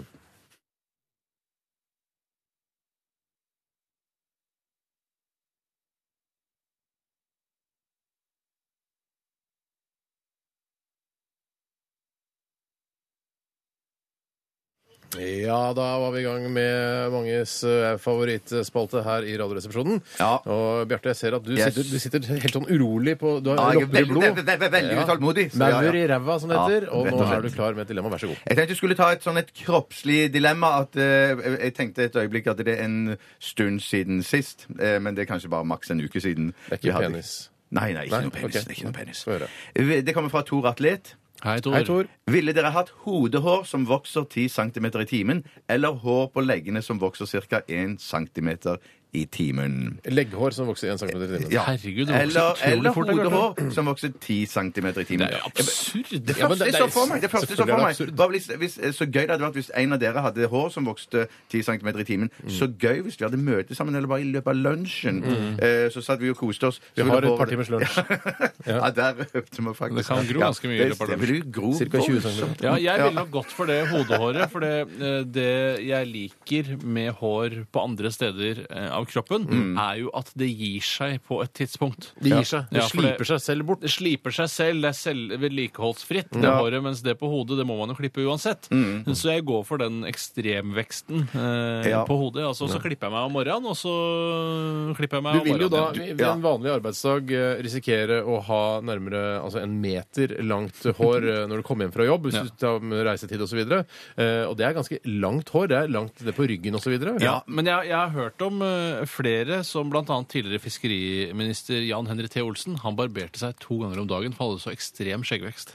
[SPEAKER 2] Ja, da var vi i gang med manges eh, favorittspalte her i Radioresepsjonen.
[SPEAKER 3] Ja.
[SPEAKER 2] Og Bjarte, jeg ser at du,
[SPEAKER 3] Yes.
[SPEAKER 2] sitter, du sitter helt sånn urolig på Du har
[SPEAKER 3] Ja, jeg er
[SPEAKER 2] lopper i
[SPEAKER 3] veldig,
[SPEAKER 2] blod.
[SPEAKER 3] veldig, veldig, veldig
[SPEAKER 2] Ja.
[SPEAKER 3] utålmodig, så ja, ja.
[SPEAKER 2] Maur i ræva, som det
[SPEAKER 3] Ja,
[SPEAKER 2] heter. Og
[SPEAKER 3] rett og
[SPEAKER 2] nå er
[SPEAKER 3] slett.
[SPEAKER 2] du klar med et dilemma. Vær så god.
[SPEAKER 3] Jeg tenkte jeg skulle ta et sånn et kroppslig dilemma. at eh, Jeg tenkte et øyeblikk at det er en stund siden sist. eh, men det er kanskje bare maks en uke siden.
[SPEAKER 2] Det er
[SPEAKER 3] vi
[SPEAKER 2] ikke
[SPEAKER 3] hadde-
[SPEAKER 2] penis.
[SPEAKER 3] Nei, nei, ikke
[SPEAKER 2] Nei,
[SPEAKER 3] noe penis.
[SPEAKER 2] ok.
[SPEAKER 3] Det, er ikke noe penis.
[SPEAKER 2] Få høre.
[SPEAKER 3] det kommer fra Tor Atlet.
[SPEAKER 4] Hei, Tor.
[SPEAKER 2] Hei, Tor.
[SPEAKER 3] Ville dere hatt hodehår som vokser 10 cm i timen, eller hår på leggene som vokser ca. 1 cm i timen?
[SPEAKER 2] Legghår som vokser 1 cm i timen.
[SPEAKER 3] Ja.
[SPEAKER 4] Herregud, det vokser
[SPEAKER 3] Eller,
[SPEAKER 4] utrolig
[SPEAKER 3] eller
[SPEAKER 4] fort, det er klart.
[SPEAKER 3] hodehår som vokser 10 cm i timen.
[SPEAKER 4] Det er jo absurd.
[SPEAKER 3] Det
[SPEAKER 2] Ja, men
[SPEAKER 3] første
[SPEAKER 2] det-
[SPEAKER 3] jeg så for meg, det første jeg så
[SPEAKER 2] selvfølgelig er
[SPEAKER 3] for
[SPEAKER 2] det
[SPEAKER 3] meg
[SPEAKER 2] absurd.
[SPEAKER 3] var hvis, hvis, eh, Så gøy det hadde vært hvis en av dere hadde hår som vokste 10 cm i timen.
[SPEAKER 2] Mm.
[SPEAKER 3] Så gøy hvis vi hadde møte sammen, eller bare i løpet av lunsjen. Eh, Så satt vi og koste oss.
[SPEAKER 2] Mm. Vi
[SPEAKER 3] Så
[SPEAKER 2] har
[SPEAKER 3] ville
[SPEAKER 2] et par
[SPEAKER 3] håret-
[SPEAKER 2] timers lunsj.
[SPEAKER 3] Ja, der øvde vi faktisk.
[SPEAKER 4] Det kan gro
[SPEAKER 3] Ja,
[SPEAKER 4] ganske mye i
[SPEAKER 3] det-
[SPEAKER 4] løpet av
[SPEAKER 3] det vil jo gro
[SPEAKER 2] Cirka 20
[SPEAKER 3] voldsomt.
[SPEAKER 2] centimeter.
[SPEAKER 4] Ja, jeg ville nok gått for det hodehåret, for det, eh, det jeg liker med hår på andre steder eh, av kroppen, er jo at det gir seg på et tidspunkt.
[SPEAKER 2] Mm. Det gir seg. Det
[SPEAKER 4] Ja, for
[SPEAKER 2] sliper seg selv bort.
[SPEAKER 4] Det sliper seg selv, det er selv vedlikeholdsfritt, det håret, mens det på hodet, det må man jo klippe uansett.
[SPEAKER 2] Mm.
[SPEAKER 4] Så jeg går for den ekstremveksten eh,
[SPEAKER 3] Ja.
[SPEAKER 4] på hodet. Altså, så klipper jeg meg om morgenen, og så klipper jeg meg
[SPEAKER 2] Du
[SPEAKER 4] om
[SPEAKER 2] vil jo
[SPEAKER 4] morgenen.
[SPEAKER 2] da
[SPEAKER 4] igjen.
[SPEAKER 2] ved en vanlig arbeidsdag eh, risikere å ha nærmere altså en meter langt hår eh, når du kommer hjem fra jobb, hvis du tar med reisetid osv. Eh, Og det er ganske langt hår. Det er langt ned på ryggen osv.
[SPEAKER 4] Ja, men jeg, jeg har hørt om eh, eh, flere som bl.a. tidligere fiskeriminister Jan Henry T. Olsen. Han barberte seg to ganger om dagen for han hadde så ekstrem skjeggvekst.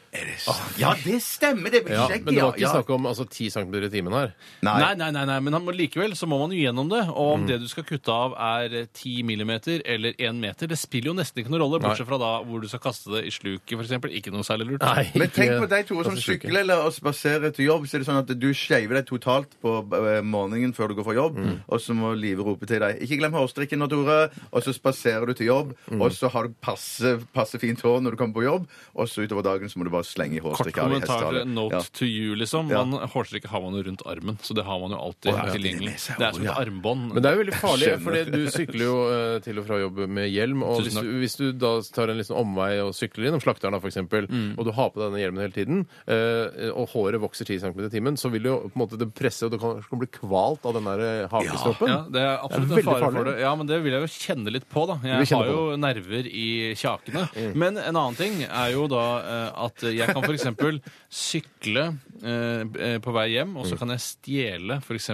[SPEAKER 3] Ja, det stemmer! Det blir
[SPEAKER 2] Ja,
[SPEAKER 3] skjegg,
[SPEAKER 2] men det var ikke
[SPEAKER 3] ja.
[SPEAKER 2] snakk om altså, 10 cm i timen her.
[SPEAKER 3] Nei.
[SPEAKER 4] Nei, nei, nei, nei, men han må- likevel så må man jo gjennom det. Og
[SPEAKER 3] Mm.
[SPEAKER 4] om det du skal kutte av er eh, 10 millimeter eller 1 meter, det spiller jo nesten ikke noen rolle, bortsett fra da hvor du skal kaste det i sluket, f.eks. Ikke noe særlig lurt.
[SPEAKER 3] Men tenk
[SPEAKER 2] ikke-
[SPEAKER 3] på deg, Tore, som
[SPEAKER 2] altså, sluke.
[SPEAKER 3] sykler eller og spaserer til jobb. Så er det sånn at du skeiver deg totalt på eh, morgenen før du går fra jobb,
[SPEAKER 4] Mm.
[SPEAKER 3] og så må Live rope til deg 'Ikke glem hårstrikken nå, Tore', og så spaserer du til jobb,
[SPEAKER 4] Mm.
[SPEAKER 3] og så har du passe, passe fint hår når du kommer på jobb, og så utover dagen så må du bare slenge
[SPEAKER 4] Kort
[SPEAKER 3] hårstrikka av i
[SPEAKER 4] kommentar til
[SPEAKER 3] hestehalen.
[SPEAKER 4] note
[SPEAKER 3] Ja.
[SPEAKER 4] to you, liksom.
[SPEAKER 3] Ja.
[SPEAKER 4] Man, hårstrikket har man jo rundt armen, så det har man jo alltid
[SPEAKER 3] ja, det
[SPEAKER 4] tilgjengelig.
[SPEAKER 3] er med seg,
[SPEAKER 4] Det er som
[SPEAKER 3] ja.
[SPEAKER 4] et armbånd.
[SPEAKER 2] Men det er jo veldig farlig,
[SPEAKER 3] Skjønner.
[SPEAKER 2] for du sykler jo eh, til og fra jobb med hjelm. Og
[SPEAKER 4] Tusen
[SPEAKER 2] hvis
[SPEAKER 4] takk.
[SPEAKER 2] du, hvis du da tar en liksom omvei og sykler gjennom slakteren, da, for eksempel,
[SPEAKER 4] Mm.
[SPEAKER 2] og du har på deg denne hjelmen hele tiden, eh, og håret vokser 10 cm i timen, så vil jo på en måte det presse, og du kan, kan bli kvalt av den der eh, hakestroppen.
[SPEAKER 4] Ja, det er absolutt
[SPEAKER 2] Det er
[SPEAKER 4] en fare
[SPEAKER 2] veldig farlig.
[SPEAKER 4] for det. Ja, men det vil jeg jo kjenne litt på, da.
[SPEAKER 2] vil
[SPEAKER 4] Jeg
[SPEAKER 2] kjenne
[SPEAKER 4] har jo nerver i kjakene. Men en annen ting er jo da eh, at jeg kan f.eks. sykle eh, eh, på vei hjem, og så kan jeg stjele f.eks.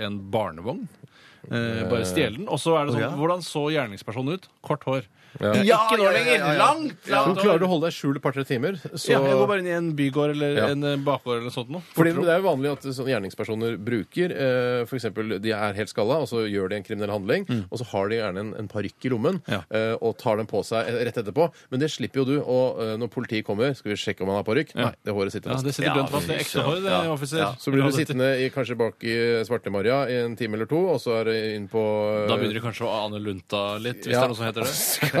[SPEAKER 4] en barnevogn. Eh, bare stjele den. Og så er det sånn Hvordan så gjerningspersonen ut? Kort hår. Eh,
[SPEAKER 3] Ja,
[SPEAKER 4] ikke nå
[SPEAKER 3] ja, ja,
[SPEAKER 4] lenger!
[SPEAKER 3] ja, ja.
[SPEAKER 4] Langt!
[SPEAKER 2] Så
[SPEAKER 4] langt
[SPEAKER 2] klarer du å
[SPEAKER 4] hår.
[SPEAKER 2] holde deg skjult et par-tre timer, så
[SPEAKER 4] ja, jeg går bare inn i en bygård eller
[SPEAKER 2] Ja.
[SPEAKER 4] en eh, bakgård eller sånt noe.
[SPEAKER 2] Fordi Det er jo vanlig at sånne gjerningspersoner bruker eh, for eksempel, De er helt skalla, og så gjør de en kriminell handling. Og så har de gjerne en, en parykk i lommen
[SPEAKER 4] Mm. Ja.
[SPEAKER 2] eh, og tar den på seg eh, rett etterpå. Men det slipper jo du. Og eh, når politiet kommer, skal vi sjekke om han har parykk.
[SPEAKER 4] Ja.
[SPEAKER 2] Nei, det håret sitter
[SPEAKER 4] Ja,
[SPEAKER 2] fast.
[SPEAKER 4] det sitter
[SPEAKER 3] Ja,
[SPEAKER 4] grønt fast. Det er ekte
[SPEAKER 3] ja.
[SPEAKER 4] hår, det,
[SPEAKER 3] Ja.
[SPEAKER 4] offiser.
[SPEAKER 3] Ja.
[SPEAKER 2] Så blir du sittende i, kanskje bak i Svarte-Maria i en time eller to, og så er det inn på eh,
[SPEAKER 4] Da begynner det kanskje å ane lunta litt, hvis
[SPEAKER 2] Ja.
[SPEAKER 4] det er noe som heter det.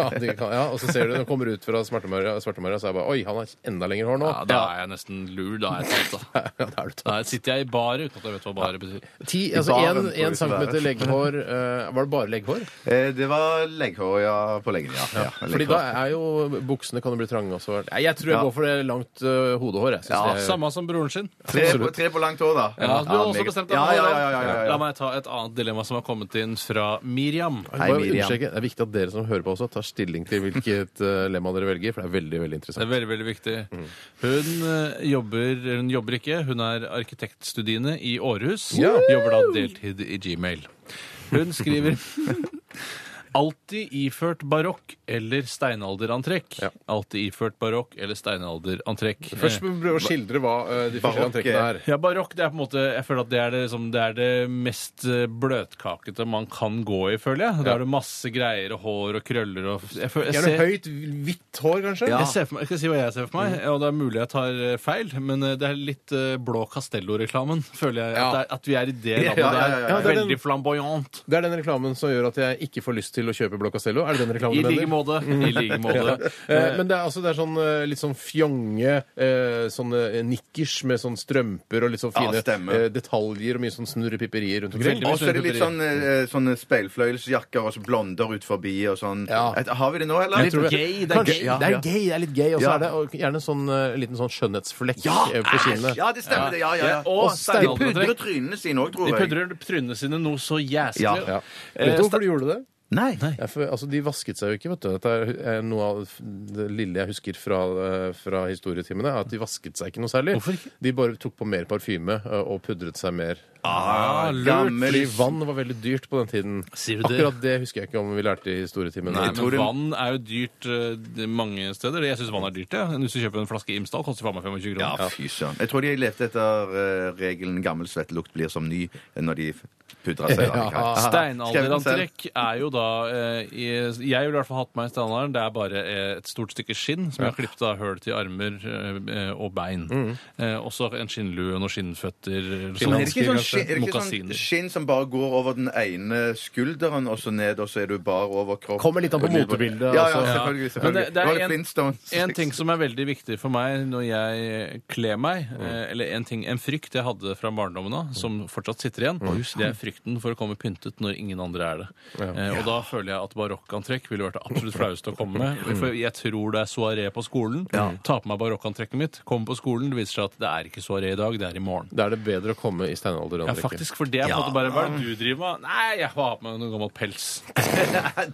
[SPEAKER 2] ja, det kan, ja, og så ser du når du kommer ut fra Svarte-Maria, Svarte-Maria, så er jeg bare Oi, han har enda lengre hår nå.
[SPEAKER 4] Ja, da er jeg nesten lur. Da, er jeg tatt, da.
[SPEAKER 2] Ja, da er du tatt.
[SPEAKER 4] da sitter jeg i baret uten at jeg vet hva baret betyr.
[SPEAKER 2] Ti, altså
[SPEAKER 3] baren får
[SPEAKER 2] én
[SPEAKER 3] det ikke
[SPEAKER 2] centimeter
[SPEAKER 3] være.
[SPEAKER 2] legghår. eh, var det bare legghår?
[SPEAKER 3] Eh, Det var legghår, ja, på leggen, ja. ja.
[SPEAKER 2] Fordi
[SPEAKER 3] legghår.
[SPEAKER 2] da er jo buksene kan jo bli trange også. Nei, jeg tror jeg
[SPEAKER 3] Ja.
[SPEAKER 2] går for det langt øh, hodehår. Jeg, synes
[SPEAKER 3] Ja,
[SPEAKER 2] det er-
[SPEAKER 4] Samme som broren sin.
[SPEAKER 3] tre, på, tre på langt hår, da.
[SPEAKER 4] Ja, du har også
[SPEAKER 3] meget.
[SPEAKER 4] bestemt deg
[SPEAKER 3] ja,
[SPEAKER 4] for
[SPEAKER 3] ja,
[SPEAKER 4] det, da.
[SPEAKER 3] ja, ja, ja, ja.
[SPEAKER 4] La meg ta et annet dilemma som har kommet inn fra Miriam.
[SPEAKER 2] Jeg må
[SPEAKER 3] Hei, Miriam.
[SPEAKER 2] understreke, det er viktig at dere som hører på også, tar stilling til hvilket øh, lemma dere velger, for det er veldig veldig
[SPEAKER 4] Det er
[SPEAKER 2] interessant.
[SPEAKER 4] veldig, veldig viktig. Hun eh, jobber Hun jobber ikke. Hun er arkitektstudiene i Århus.
[SPEAKER 2] Ja.
[SPEAKER 4] Jobber da deltid i Gmail. Hun skriver Alltid iført barokk eller steinalderantrekk.
[SPEAKER 2] Ja.
[SPEAKER 4] Alltid iført barokk eller steinalderantrekk.
[SPEAKER 2] Først må vi prøve å skildre hva øh, de forskjellige
[SPEAKER 3] Barokk,
[SPEAKER 2] antrekkene er.
[SPEAKER 4] Ja, barokk det er på en måte, jeg føler at det er det, liksom, det, er det mest eh, bløtkakete man kan gå i, føler jeg. Da
[SPEAKER 2] Ja.
[SPEAKER 4] er det masse greier og hår og krøller og jeg, føler, jeg,
[SPEAKER 2] Gjerne
[SPEAKER 4] ser,
[SPEAKER 2] høyt, hvitt hår, kanskje?
[SPEAKER 4] jeg ser for meg, jeg skal si hva jeg ser for meg,
[SPEAKER 2] Mm.
[SPEAKER 4] og det er mulig jeg tar eh, feil, men eh, det er litt eh, blå Castello-reklamen, føler jeg.
[SPEAKER 2] Ja.
[SPEAKER 4] At, det er, at vi er i det
[SPEAKER 3] Ja,
[SPEAKER 4] landet
[SPEAKER 3] ja, ja, ja,
[SPEAKER 4] der.
[SPEAKER 2] Ja,
[SPEAKER 3] ja.
[SPEAKER 2] det er den-
[SPEAKER 4] Veldig flamboyant.
[SPEAKER 2] Det er den reklamen som gjør at jeg ikke får lyst til å kjøpe Blå Castello. Er det den
[SPEAKER 4] I
[SPEAKER 2] reklamen du
[SPEAKER 4] like
[SPEAKER 2] mener?
[SPEAKER 4] måte. I like
[SPEAKER 2] Ja.
[SPEAKER 4] måte.
[SPEAKER 2] Eh, Men det er, altså, det er sånn eh, litt sånn fjonge eh, sånne eh, nikkers med sånn strømper og litt sånn
[SPEAKER 3] Ja,
[SPEAKER 2] fine
[SPEAKER 3] stemmer.
[SPEAKER 2] eh, detaljer og mye sånn snurrepipperier rundt omkring.
[SPEAKER 4] Veldig
[SPEAKER 3] Og så er det litt sånn, eh, sånne speilfløyelsjakker og så blonder ut forbi og sånn.
[SPEAKER 2] Ja.
[SPEAKER 3] Et- Har vi det nå, eller?
[SPEAKER 2] Jeg tror det.
[SPEAKER 4] gay, det er
[SPEAKER 2] Kanskje-
[SPEAKER 4] gay.
[SPEAKER 2] Det er gay, det er litt gay, og så
[SPEAKER 3] Ja.
[SPEAKER 2] er det og gjerne en sånn eh, liten sånn skjønnhetsflekk
[SPEAKER 3] Ja,
[SPEAKER 2] eh, på kinnet.
[SPEAKER 3] ja, det stemmer det. Ja, ja, ja.
[SPEAKER 4] Og
[SPEAKER 3] De
[SPEAKER 4] steinalderantrekk.
[SPEAKER 3] pudrer trynene sine òg, tror
[SPEAKER 4] De
[SPEAKER 3] jeg.
[SPEAKER 4] pudrer trynene sine noe så jæsklig.
[SPEAKER 3] Ja.
[SPEAKER 2] Ja.
[SPEAKER 4] Eh,
[SPEAKER 2] Vet du
[SPEAKER 4] sta-
[SPEAKER 2] hvorfor de gjorde det?
[SPEAKER 3] Nei.
[SPEAKER 2] Ja, for, altså, de vasket seg jo ikke, vet du. Dette er eh, noe av det lille jeg husker fra, eh, fra historietimene, er at de vasket seg ikke noe særlig.
[SPEAKER 4] Hvorfor ikke?
[SPEAKER 2] De bare tok på mer parfyme eh, og pudret seg mer.
[SPEAKER 3] Ah, gammel.
[SPEAKER 2] Fordi vann var veldig dyrt på den tiden.
[SPEAKER 4] Sier du det?
[SPEAKER 2] Akkurat det husker jeg ikke om vi lærte i historietimen.
[SPEAKER 4] Nei,
[SPEAKER 2] Jeg
[SPEAKER 4] men
[SPEAKER 2] tror det-
[SPEAKER 4] vann er jo dyrt eh, det- mange steder. Jeg syns vann er dyrt. Ja. Hvis du kjøper en flaske Imsdal, koster faen meg 25 kroner.
[SPEAKER 3] Ja, fy søren. Jeg tror de levde etter eh, regelen 'gammel svettelukt blir som ny' eh, når de pudra seg. da.
[SPEAKER 2] Ja.
[SPEAKER 4] Steinalderantrekk er jo da eh, i, Jeg ville i hvert fall hatt på meg steinalderen. Det er bare eh, et stort stykke skinn som jeg har klippet av høl til armer eh, og bein. Eh, også en skinnlue og noen skinnføtter.
[SPEAKER 3] Mm. Men
[SPEAKER 4] Sånn,
[SPEAKER 3] er det ikke sånn, skinn, er det ikke sånn
[SPEAKER 4] altså, Mokasiner.
[SPEAKER 3] skinn som bare går over den ene skulderen og så ned, og så er du bar over kropp?
[SPEAKER 2] Kommer litt an på motebildet,
[SPEAKER 3] Ja, ja,
[SPEAKER 2] altså.
[SPEAKER 3] selvfølgelig.
[SPEAKER 4] Men
[SPEAKER 3] selvfølgelig.
[SPEAKER 4] det, det
[SPEAKER 3] Var
[SPEAKER 4] er en,
[SPEAKER 3] Flintstones?
[SPEAKER 4] en ting som er veldig viktig for meg når jeg kler meg, eh, eller en, ting, en frykt jeg hadde fra barndommen av, som fortsatt sitter igjen, det er frykten for å komme pyntet når ingen andre er det. Eh, Og da føler jeg at barokkantrekk ville vært det absolutt flaueste å komme med. For jeg tror det er soaré på skolen. Ta på meg barokkantrekket mitt, kommer på skolen, det viser seg at det er ikke soaré i dag, det er i morgen.
[SPEAKER 2] Da er det bedre å komme i
[SPEAKER 4] Ja,
[SPEAKER 2] hverandre. ikke.
[SPEAKER 4] faktisk, for det er på en måte bare Hva er det du driver med? Nei, jeg har på meg noe gammel pels.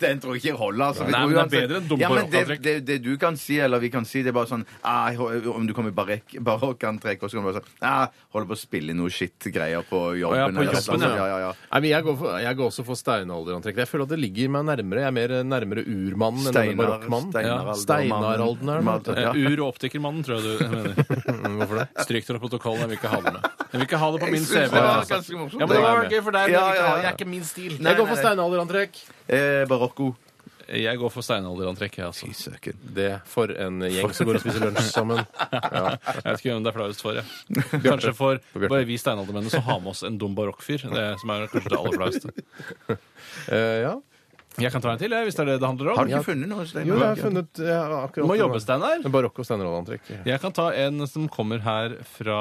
[SPEAKER 3] Den tror jeg ikke holder. Altså.
[SPEAKER 4] Nei, men det er bedre enn dumme
[SPEAKER 3] ja, men det,
[SPEAKER 4] barokkantrekk.
[SPEAKER 3] det, det du kan si, eller vi kan si, det er bare sånn ah, jeg hol- Om du kommer i barek- barokkantrekk, og så kan du bare sånn ah, Holder på å spille noe shit-greier på jobben.
[SPEAKER 4] ja, på
[SPEAKER 3] eller
[SPEAKER 4] jobben,
[SPEAKER 3] sånn.
[SPEAKER 4] ja.
[SPEAKER 3] ja, ja, ja.
[SPEAKER 2] Nei, men jeg går, for, jeg går også for steinalderantrekk. Jeg føler at det ligger meg nærmere. Jeg er mer eh, nærmere urmannen enn denne barokkmannen.
[SPEAKER 3] Steinar-
[SPEAKER 2] Ja, Steinaralden er det.
[SPEAKER 3] Ja.
[SPEAKER 4] Eh, Ur- og optikermannen, tror jeg du mener.
[SPEAKER 2] Hvorfor det?
[SPEAKER 4] Stryk det fra protokollen. Jeg vil ikke ha det med. Jeg vil ikke ha det på
[SPEAKER 3] Jeg
[SPEAKER 4] min
[SPEAKER 3] synes
[SPEAKER 4] CV.
[SPEAKER 3] det var
[SPEAKER 4] altså.
[SPEAKER 3] ganske morsomt.
[SPEAKER 4] Ja, men det
[SPEAKER 3] Det er
[SPEAKER 4] var
[SPEAKER 3] jeg
[SPEAKER 4] gøy for deg. men
[SPEAKER 3] Ja,
[SPEAKER 4] jeg vil
[SPEAKER 3] ja,
[SPEAKER 4] ikke ha det.
[SPEAKER 3] ja.
[SPEAKER 4] Det er ikke min stil.
[SPEAKER 3] Nei,
[SPEAKER 2] Jeg går for
[SPEAKER 3] nei.
[SPEAKER 2] steinalderantrekk.
[SPEAKER 3] Eh, barokko.
[SPEAKER 4] Jeg går for steinalderantrekk, jeg, altså.
[SPEAKER 3] Søken.
[SPEAKER 2] Det for en gjeng som går og spiser lunsj sammen. Ja.
[SPEAKER 4] Jeg vet ikke hvem det er flaust for. Jeg. Kanskje for
[SPEAKER 2] Bjarte.
[SPEAKER 4] bare vi steinaldermennene som har med oss en dum barokkfyr. Det er- som er kanskje det aller flaueste.
[SPEAKER 2] Eh, ja.
[SPEAKER 4] Jeg kan ta en til, jeg, hvis det er det det handler om.
[SPEAKER 3] Har du ikke funnet noe? Steinar?
[SPEAKER 2] Jo, jeg har funnet jeg har
[SPEAKER 4] Du
[SPEAKER 2] akkurat
[SPEAKER 4] må jobbe, Steinar.
[SPEAKER 2] Men Barokk og steinalderantrekk. Ja.
[SPEAKER 4] Jeg kan ta en som kommer her fra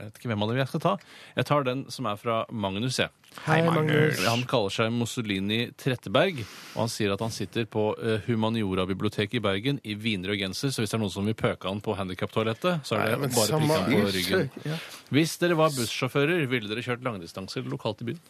[SPEAKER 4] Jeg vet ikke hvem av dere jeg skal ta. Jeg tar den som er fra Magnus, jeg.
[SPEAKER 2] Hei, Magnus.
[SPEAKER 4] Han kaller seg Mussolini Tretteberg, og han sier at han sitter på eh, Humaniora-biblioteket i Bergen i vinrød genser, så hvis det er noen som vil pøke han på handikaptoalettet, så er
[SPEAKER 2] Nei, men
[SPEAKER 4] det bare
[SPEAKER 2] samme-
[SPEAKER 4] pikk han på ryggen. Hvis dere var bussjåfører, ville dere kjørt langdistanse eller lokalt i byen?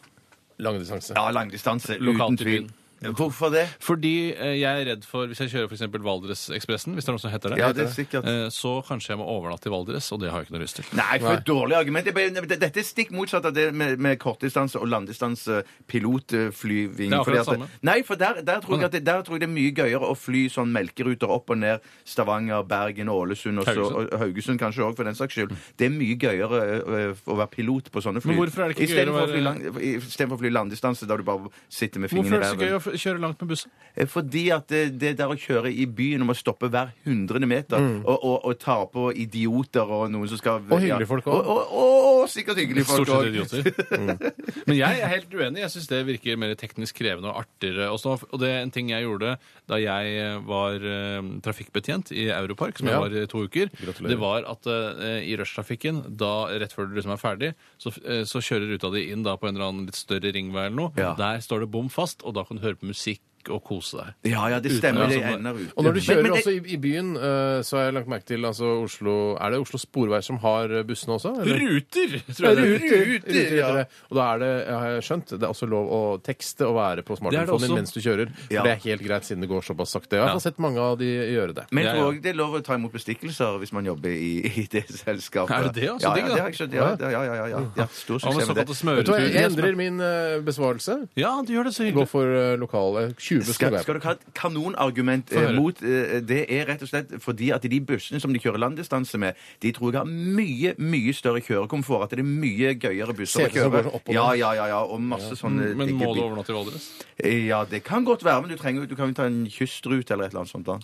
[SPEAKER 2] Langdistanse.
[SPEAKER 3] Ja, langdistanse.
[SPEAKER 4] Lokalt
[SPEAKER 3] Uten
[SPEAKER 4] i
[SPEAKER 3] tvil.
[SPEAKER 4] byen.
[SPEAKER 3] Hvorfor det?
[SPEAKER 4] Fordi eh, jeg er redd for, hvis jeg kjører f.eks. Valdresekspressen, hvis det er noe som heter det,
[SPEAKER 3] Ja, det er sikkert.
[SPEAKER 4] eh, så kanskje jeg må overnatte i Valdres, og det har jeg ikke noe lyst til.
[SPEAKER 3] Nei, for et dårlig argument. Det er bare- Dette er stikk motsatt av det med, med kortdistanse og langdistanse pilotflyving.
[SPEAKER 4] Det er akkurat
[SPEAKER 3] Fordi at-
[SPEAKER 4] samme.
[SPEAKER 3] Nei, for der, der, tror jeg at det, der tror jeg det er mye gøyere å fly sånn melkeruter opp og ned Stavanger, Bergen, Ålesund og, så,
[SPEAKER 4] Haugesund.
[SPEAKER 3] og Haugesund kanskje òg, for den saks skyld. Det er mye gøyere ø, ø, å være pilot på sånne fly.
[SPEAKER 4] Men hvorfor er det
[SPEAKER 3] I
[SPEAKER 4] ikke
[SPEAKER 3] stedet
[SPEAKER 4] gøyere å
[SPEAKER 3] for å fly
[SPEAKER 4] være-
[SPEAKER 3] lang- i stedet for å fly langdistanse, der du bare sitter med
[SPEAKER 4] Hvorfor
[SPEAKER 3] fingrene i
[SPEAKER 4] er det så gøy
[SPEAKER 3] ræven.
[SPEAKER 4] å f- kjøre langt med bussen?
[SPEAKER 3] Eh, Fordi at det, det der å kjøre i byen og må stoppe hver hundrede meter og, og, og ta på idioter og noen som skal
[SPEAKER 2] Mm. Og hyggelige folk også.
[SPEAKER 3] Og, og, og, og sikkert hyggelige
[SPEAKER 4] Stort
[SPEAKER 3] folk òg.
[SPEAKER 4] sett idioter. Men jeg er helt uenig. Jeg syns det virker mer teknisk krevende og artigere. Og, så, og det er en ting jeg gjorde da jeg var eh, trafikkbetjent i Europark, som
[SPEAKER 2] Ja.
[SPEAKER 4] jeg var i to uker,
[SPEAKER 2] Gratulerer.
[SPEAKER 4] det var at eh, i rushtrafikken, da rett før du liksom er ferdig, så, eh, så kjører ruta di inn da på en eller annen litt større ringvei eller noe.
[SPEAKER 3] Ja.
[SPEAKER 4] Der står det bom fast, og da kan du høre på musikk og kose deg.
[SPEAKER 3] Ja, ja, det stemmer.
[SPEAKER 4] Uten,
[SPEAKER 3] Det
[SPEAKER 4] altså,
[SPEAKER 3] ender ute.
[SPEAKER 2] Og når du kjører
[SPEAKER 3] Men- men det-
[SPEAKER 2] også i, i byen, eh, så har jeg lagt merke til altså Oslo Er det Oslo Sporvei som har eh, bussene også? Eller?
[SPEAKER 4] Ruter!
[SPEAKER 2] Ja,
[SPEAKER 4] Tror jeg det.
[SPEAKER 2] ruter, ruter, ruter. Og da er det, jeg har skjønt, det er også lov å tekste og være på
[SPEAKER 4] Det er det
[SPEAKER 2] smartphonen din
[SPEAKER 4] også.
[SPEAKER 2] mens du kjører. For
[SPEAKER 3] Ja.
[SPEAKER 2] det er helt greit siden det går såpass sakte. Jeg
[SPEAKER 4] Ja.
[SPEAKER 2] har sett mange av de gjøre det.
[SPEAKER 3] Men jeg
[SPEAKER 4] Ja,
[SPEAKER 3] tror
[SPEAKER 4] ja.
[SPEAKER 3] også det er lov å ta imot bestikkelser hvis man jobber i, i det selskapet.
[SPEAKER 4] Er det det, altså?
[SPEAKER 3] Ja,
[SPEAKER 4] Digg,
[SPEAKER 3] ja,
[SPEAKER 4] da.
[SPEAKER 3] det har jeg skjønt. Ja, ja, ja. ja, ja. ja stor suksess med
[SPEAKER 4] Hva med Sånn såkalte
[SPEAKER 3] det.
[SPEAKER 2] Vet du hva, jeg
[SPEAKER 4] smøreturer?
[SPEAKER 2] endrer min eh, besvarelse.
[SPEAKER 4] Ja, du gjør det så
[SPEAKER 2] Gå
[SPEAKER 4] hyggelig.
[SPEAKER 2] for eh, lokale 20
[SPEAKER 3] Skal,
[SPEAKER 2] skal jeg.
[SPEAKER 3] skal du ha et kanonargument eh,
[SPEAKER 4] høre.
[SPEAKER 3] mot eh, det, er rett og slett fordi at de bussene som de kjører langdistanse med, de tror jeg har mye, mye større kjørekomfort. At det er mye gøyere busser
[SPEAKER 2] Seter
[SPEAKER 3] å
[SPEAKER 2] som
[SPEAKER 3] kjøre.
[SPEAKER 2] går sånn opp og ned.
[SPEAKER 3] Ja, ja, ja, ja, og masse sånne
[SPEAKER 4] Men
[SPEAKER 3] digge
[SPEAKER 4] må du
[SPEAKER 3] bi-
[SPEAKER 4] overnatte i Valdres?
[SPEAKER 3] Eh, Ja, det kan godt være, men du, trenger, jo- du kan jo ta en kystrute eller et eller annet sånt. da.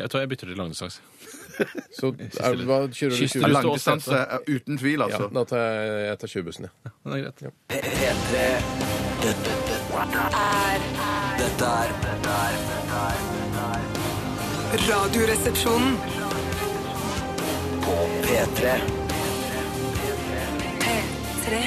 [SPEAKER 4] Jeg tror jeg bytter til langdistanse.
[SPEAKER 2] Så er, hva kjører du 20?
[SPEAKER 4] Kyss- Kyss-
[SPEAKER 3] Langdistanse eh, uten tvil, altså.
[SPEAKER 2] Da tar jeg, jeg tar 20-bussen, jeg.
[SPEAKER 4] Det er greit.
[SPEAKER 7] P3 Dette, dette er Dette er dette er- dette er
[SPEAKER 1] Radioresepsjonen.
[SPEAKER 7] På P3
[SPEAKER 1] P3.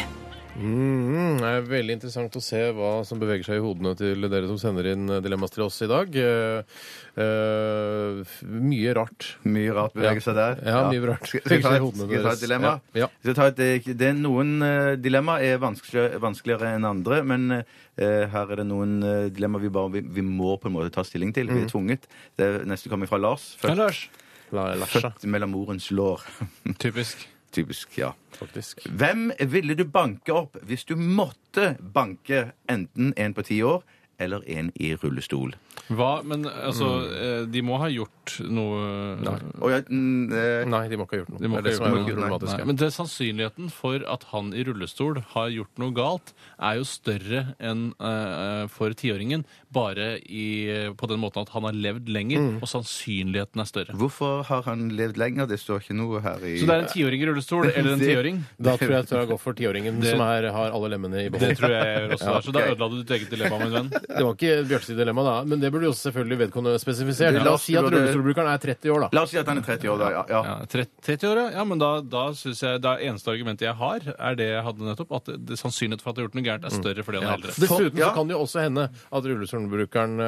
[SPEAKER 2] Mm, det er veldig interessant å se hva som beveger seg i hodene til dere som sender inn dilemmas til oss i dag. Eh, eh, f- mye rart.
[SPEAKER 3] Mye rart beveger seg der.
[SPEAKER 2] Ja, mye rart.
[SPEAKER 3] Skal, skal, jeg
[SPEAKER 2] Beveger seg
[SPEAKER 3] ta
[SPEAKER 2] i
[SPEAKER 3] et,
[SPEAKER 2] hodene
[SPEAKER 3] skal jeg ta
[SPEAKER 2] deres.
[SPEAKER 3] et dilemma?
[SPEAKER 2] Ja. Ja.
[SPEAKER 3] Skal jeg ta et, eh, det er noen eh, dilemma er vanskeligere, vanskeligere enn andre, men eh, her er det noen eh, dilemma vi bare vi, vi må på en måte ta stilling til.
[SPEAKER 2] Mm.
[SPEAKER 3] Vi er tvunget. Det er- neste kommer fra Lars.
[SPEAKER 4] Hei,
[SPEAKER 3] Født,
[SPEAKER 4] Lars.
[SPEAKER 2] La- Lasja,
[SPEAKER 3] født mellom morens lår.
[SPEAKER 4] Typisk.
[SPEAKER 3] Typisk, ja.
[SPEAKER 2] faktisk.
[SPEAKER 3] Hvem ville du banke opp hvis du måtte banke enten en på ti år eller en i rullestol?
[SPEAKER 4] Hva, men altså, eh, de må ha gjort noe eh,
[SPEAKER 3] Og jeg, mm, eh,
[SPEAKER 2] Nei, de må ikke ha gjort noe.
[SPEAKER 4] De må
[SPEAKER 2] det er det
[SPEAKER 4] ikke
[SPEAKER 2] som er
[SPEAKER 4] ha gjort
[SPEAKER 2] det
[SPEAKER 3] noe.
[SPEAKER 2] problematiske.
[SPEAKER 4] Nei, Men det sannsynligheten for at han i rullestol har gjort noe galt, er jo større enn eh, for tiåringen. Bare i, på den måten at han har levd lenger, og sannsynligheten er større.
[SPEAKER 3] hvorfor har han levd lenger? Det står ikke noe her i
[SPEAKER 4] Så det er en tiåring i rullestol eller en
[SPEAKER 3] Det-
[SPEAKER 4] tiåring?
[SPEAKER 2] Da tror jeg at jeg går for tiåringen
[SPEAKER 4] Det-
[SPEAKER 2] som er, har alle lemmene i
[SPEAKER 4] Det
[SPEAKER 2] behold.
[SPEAKER 4] tror jeg jeg gjør også.
[SPEAKER 3] Ja,
[SPEAKER 4] Lars. Så da
[SPEAKER 3] ok.
[SPEAKER 4] ødela du ditt eget dilemma, min venn.
[SPEAKER 2] Det var ikke Bjørtes dilemma, da, men det burde jo også selvfølgelig vedkommende spesifisert. La oss si at rullestolbrukeren er 30 år, da.
[SPEAKER 3] La oss si at han er 30 år, da. Ja. ja.
[SPEAKER 4] Ja, 30 år, ja. ja men da, da synes jeg det eneste argumentet jeg har, er det jeg hadde nettopp, at det, det, sannsynligheten for at jeg har gjort noe gærent, er større fordi han er eldre.
[SPEAKER 2] Dessuten så
[SPEAKER 3] Ja.
[SPEAKER 2] kan det jo også hende at rullestolbrukeren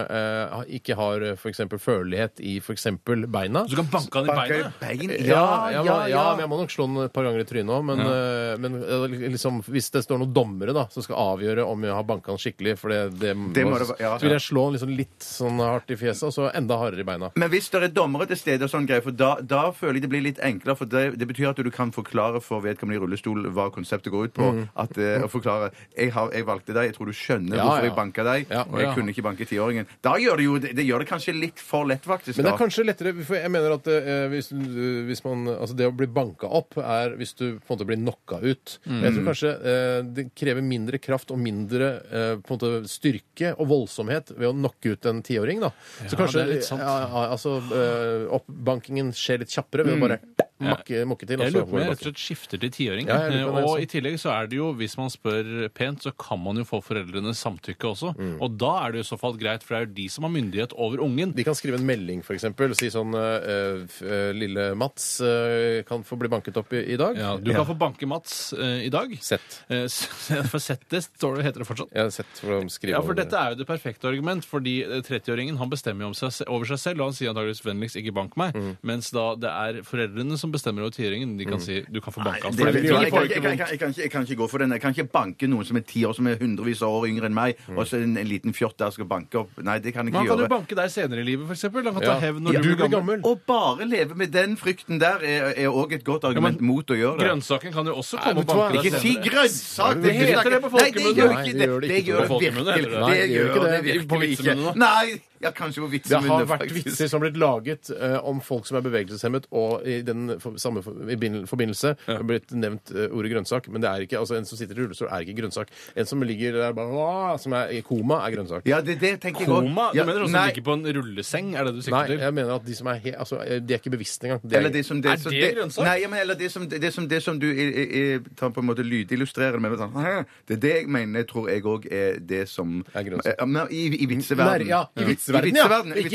[SPEAKER 2] eh, ikke har f.eks. følelighet i f.eks. beina.
[SPEAKER 4] Så du kan banke han i
[SPEAKER 3] Banker
[SPEAKER 4] beinet.
[SPEAKER 3] bein.
[SPEAKER 2] Ja, ja, ja, men jeg må nok slå den et par ganger i trynet òg. Men, eh, men eh, liksom, hvis det står noen dommere da, som skal avgjøre om jeg har banka han skikkelig, for det, det,
[SPEAKER 3] Det må det være, ja.
[SPEAKER 2] så vil jeg slå han liksom litt sånn hardt i fjeset, og så enda hardere i beina.
[SPEAKER 3] Men hvis det er dommere til stede, og sånn greier, for da, da føler jeg det blir litt enklere. For det, det betyr at du kan forklare for vedkommende i rullestol hva konseptet går ut på. At, eh, å forklare jeg, har, 'Jeg valgte deg, jeg tror du skjønner
[SPEAKER 2] Mm. Ja,
[SPEAKER 3] hvorfor
[SPEAKER 2] ja.
[SPEAKER 3] jeg banka deg',
[SPEAKER 2] Ja,
[SPEAKER 3] og jeg
[SPEAKER 2] ja.
[SPEAKER 3] kunne ikke banke tiåringen. Da gjør det jo det, det gjør det kanskje litt for lett, faktisk.
[SPEAKER 2] Men det
[SPEAKER 3] da.
[SPEAKER 2] er kanskje lettere For jeg mener at eh, hvis, du- hvis man Altså det å bli banka opp er hvis du på en måte blir knocka ut.
[SPEAKER 4] Mm.
[SPEAKER 2] Jeg tror kanskje eh, det krever mindre kraft og mindre eh, på en måte styrke og voldsomhet ved å knocke ut en tiåring, da. Så kanskje
[SPEAKER 4] det er litt sant.
[SPEAKER 2] Ja, ja, altså eh, oppbankingen skjer litt kjappere ved å bare makke, mokke til. altså og
[SPEAKER 4] Mm. Jeg
[SPEAKER 2] så
[SPEAKER 4] lurer på om
[SPEAKER 2] går det
[SPEAKER 4] jeg rett og
[SPEAKER 2] bakover.
[SPEAKER 4] slett skifter til tiåring.
[SPEAKER 2] Ja, jeg lurer på det også.
[SPEAKER 4] og i tillegg så er det jo, hvis man spør pent, så kan man jo få foreldrenes samtykke også.
[SPEAKER 2] Mm.
[SPEAKER 4] Og da er det jo i så fall greit, for det er jo de som har myndighet over ungen.
[SPEAKER 2] De kan skrive en melding, f.eks. Si sånn eh, f- eh, Lille Mats eh, kan få bli banket opp i, i dag.
[SPEAKER 4] Ja, du kan få banke Mats eh, i dag.
[SPEAKER 2] Sett.
[SPEAKER 4] Eh, s- for sett det, står det, heter det fortsatt.
[SPEAKER 2] Jeg har sett hvordan de skriver
[SPEAKER 4] Ja, for
[SPEAKER 2] om det.
[SPEAKER 4] dette er jo det perfekte argument, fordi eh, 30-åringen han bestemmer jo om seg, se- over seg selv, og han sier antageligvis 'vennligst, ikke bank meg', mens da det er foreldrene som bestemmer over 10-åringen, de kan si 'du kan få banka ham'.
[SPEAKER 3] Det
[SPEAKER 4] For
[SPEAKER 3] vet
[SPEAKER 4] det
[SPEAKER 3] jeg,
[SPEAKER 4] vil
[SPEAKER 3] ikke. jeg,
[SPEAKER 4] jo ikke
[SPEAKER 3] kan,
[SPEAKER 4] få
[SPEAKER 3] jeg, kan, jeg, kan, jeg, kan ikke, jeg kan ikke gå for den. Jeg kan ikke banke noen som er ti år, som er hundrevis av år yngre enn meg,
[SPEAKER 2] Mm.
[SPEAKER 3] og så en, en liten fjott der skal banke opp. Nei, det kan jeg ikke
[SPEAKER 4] Men han kan jo
[SPEAKER 3] gjøre.
[SPEAKER 4] banke deg senere i livet, f.eks. Han kan ta
[SPEAKER 2] Ja.
[SPEAKER 4] hevn når
[SPEAKER 2] Ja,
[SPEAKER 4] du blir gammel.
[SPEAKER 3] Å bare leve med den frykten der er òg et godt argument
[SPEAKER 4] men
[SPEAKER 3] mot å gjøre det.
[SPEAKER 4] Grønnsaken kan jo også
[SPEAKER 2] vet
[SPEAKER 4] komme og
[SPEAKER 2] du hva?
[SPEAKER 4] banke
[SPEAKER 3] Ikke
[SPEAKER 4] deg
[SPEAKER 3] si
[SPEAKER 4] senere.
[SPEAKER 3] grønnsak!
[SPEAKER 2] Det heter
[SPEAKER 3] snakker-
[SPEAKER 4] det på
[SPEAKER 3] Nei, det
[SPEAKER 4] folkemunne.
[SPEAKER 3] gjør
[SPEAKER 2] Nei,
[SPEAKER 3] ikke
[SPEAKER 2] det
[SPEAKER 3] det.
[SPEAKER 2] gjør det
[SPEAKER 3] Det
[SPEAKER 2] ikke
[SPEAKER 3] gjør
[SPEAKER 4] på
[SPEAKER 3] det
[SPEAKER 4] folkemunne,
[SPEAKER 3] virkelig
[SPEAKER 4] heter det.
[SPEAKER 3] Det
[SPEAKER 2] Nei, det gjør
[SPEAKER 3] gjør
[SPEAKER 2] ikke
[SPEAKER 3] det
[SPEAKER 2] det.
[SPEAKER 4] På
[SPEAKER 3] virkelig
[SPEAKER 4] vitsemunne,
[SPEAKER 3] ikke.
[SPEAKER 4] da.
[SPEAKER 3] Nei! Ja, kanskje på
[SPEAKER 2] Det har
[SPEAKER 3] vitsemunne,
[SPEAKER 2] vært
[SPEAKER 3] faktisk.
[SPEAKER 2] vitser som har blitt laget eh, om folk som er bevegelseshemmet, og i den for, samme for, i bin- forbindelse har blitt nevnt eh, ordet grønnsak. Men det er ikke, altså en som sitter i rullestol, er ikke grønnsak. En som ligger der bare, «Åh», som er i koma, er grønnsak.
[SPEAKER 3] Ja, det, det tenker jeg også.
[SPEAKER 4] Koma? Du
[SPEAKER 3] Ja,
[SPEAKER 4] mener også
[SPEAKER 3] nei,
[SPEAKER 4] ligge på en rulleseng? Er det du
[SPEAKER 2] Nei,
[SPEAKER 4] sikter til?
[SPEAKER 2] jeg mener at de som er he, altså, eh, de er ikke bevisste engang. De er-
[SPEAKER 3] Eller det som det,
[SPEAKER 4] Er
[SPEAKER 3] som-
[SPEAKER 4] det grønnsak?
[SPEAKER 3] Nei, ja, men eller det som, det som, det som du i- i- i- tar på en måte lydillustrerer med. Sånn, «Hæ?» det er det jeg mener, tror jeg òg er det som
[SPEAKER 2] Er grønnsak.
[SPEAKER 3] Ja, men I, i vitseverden.
[SPEAKER 2] Nei, ja, i vitseverden, ja. Ikke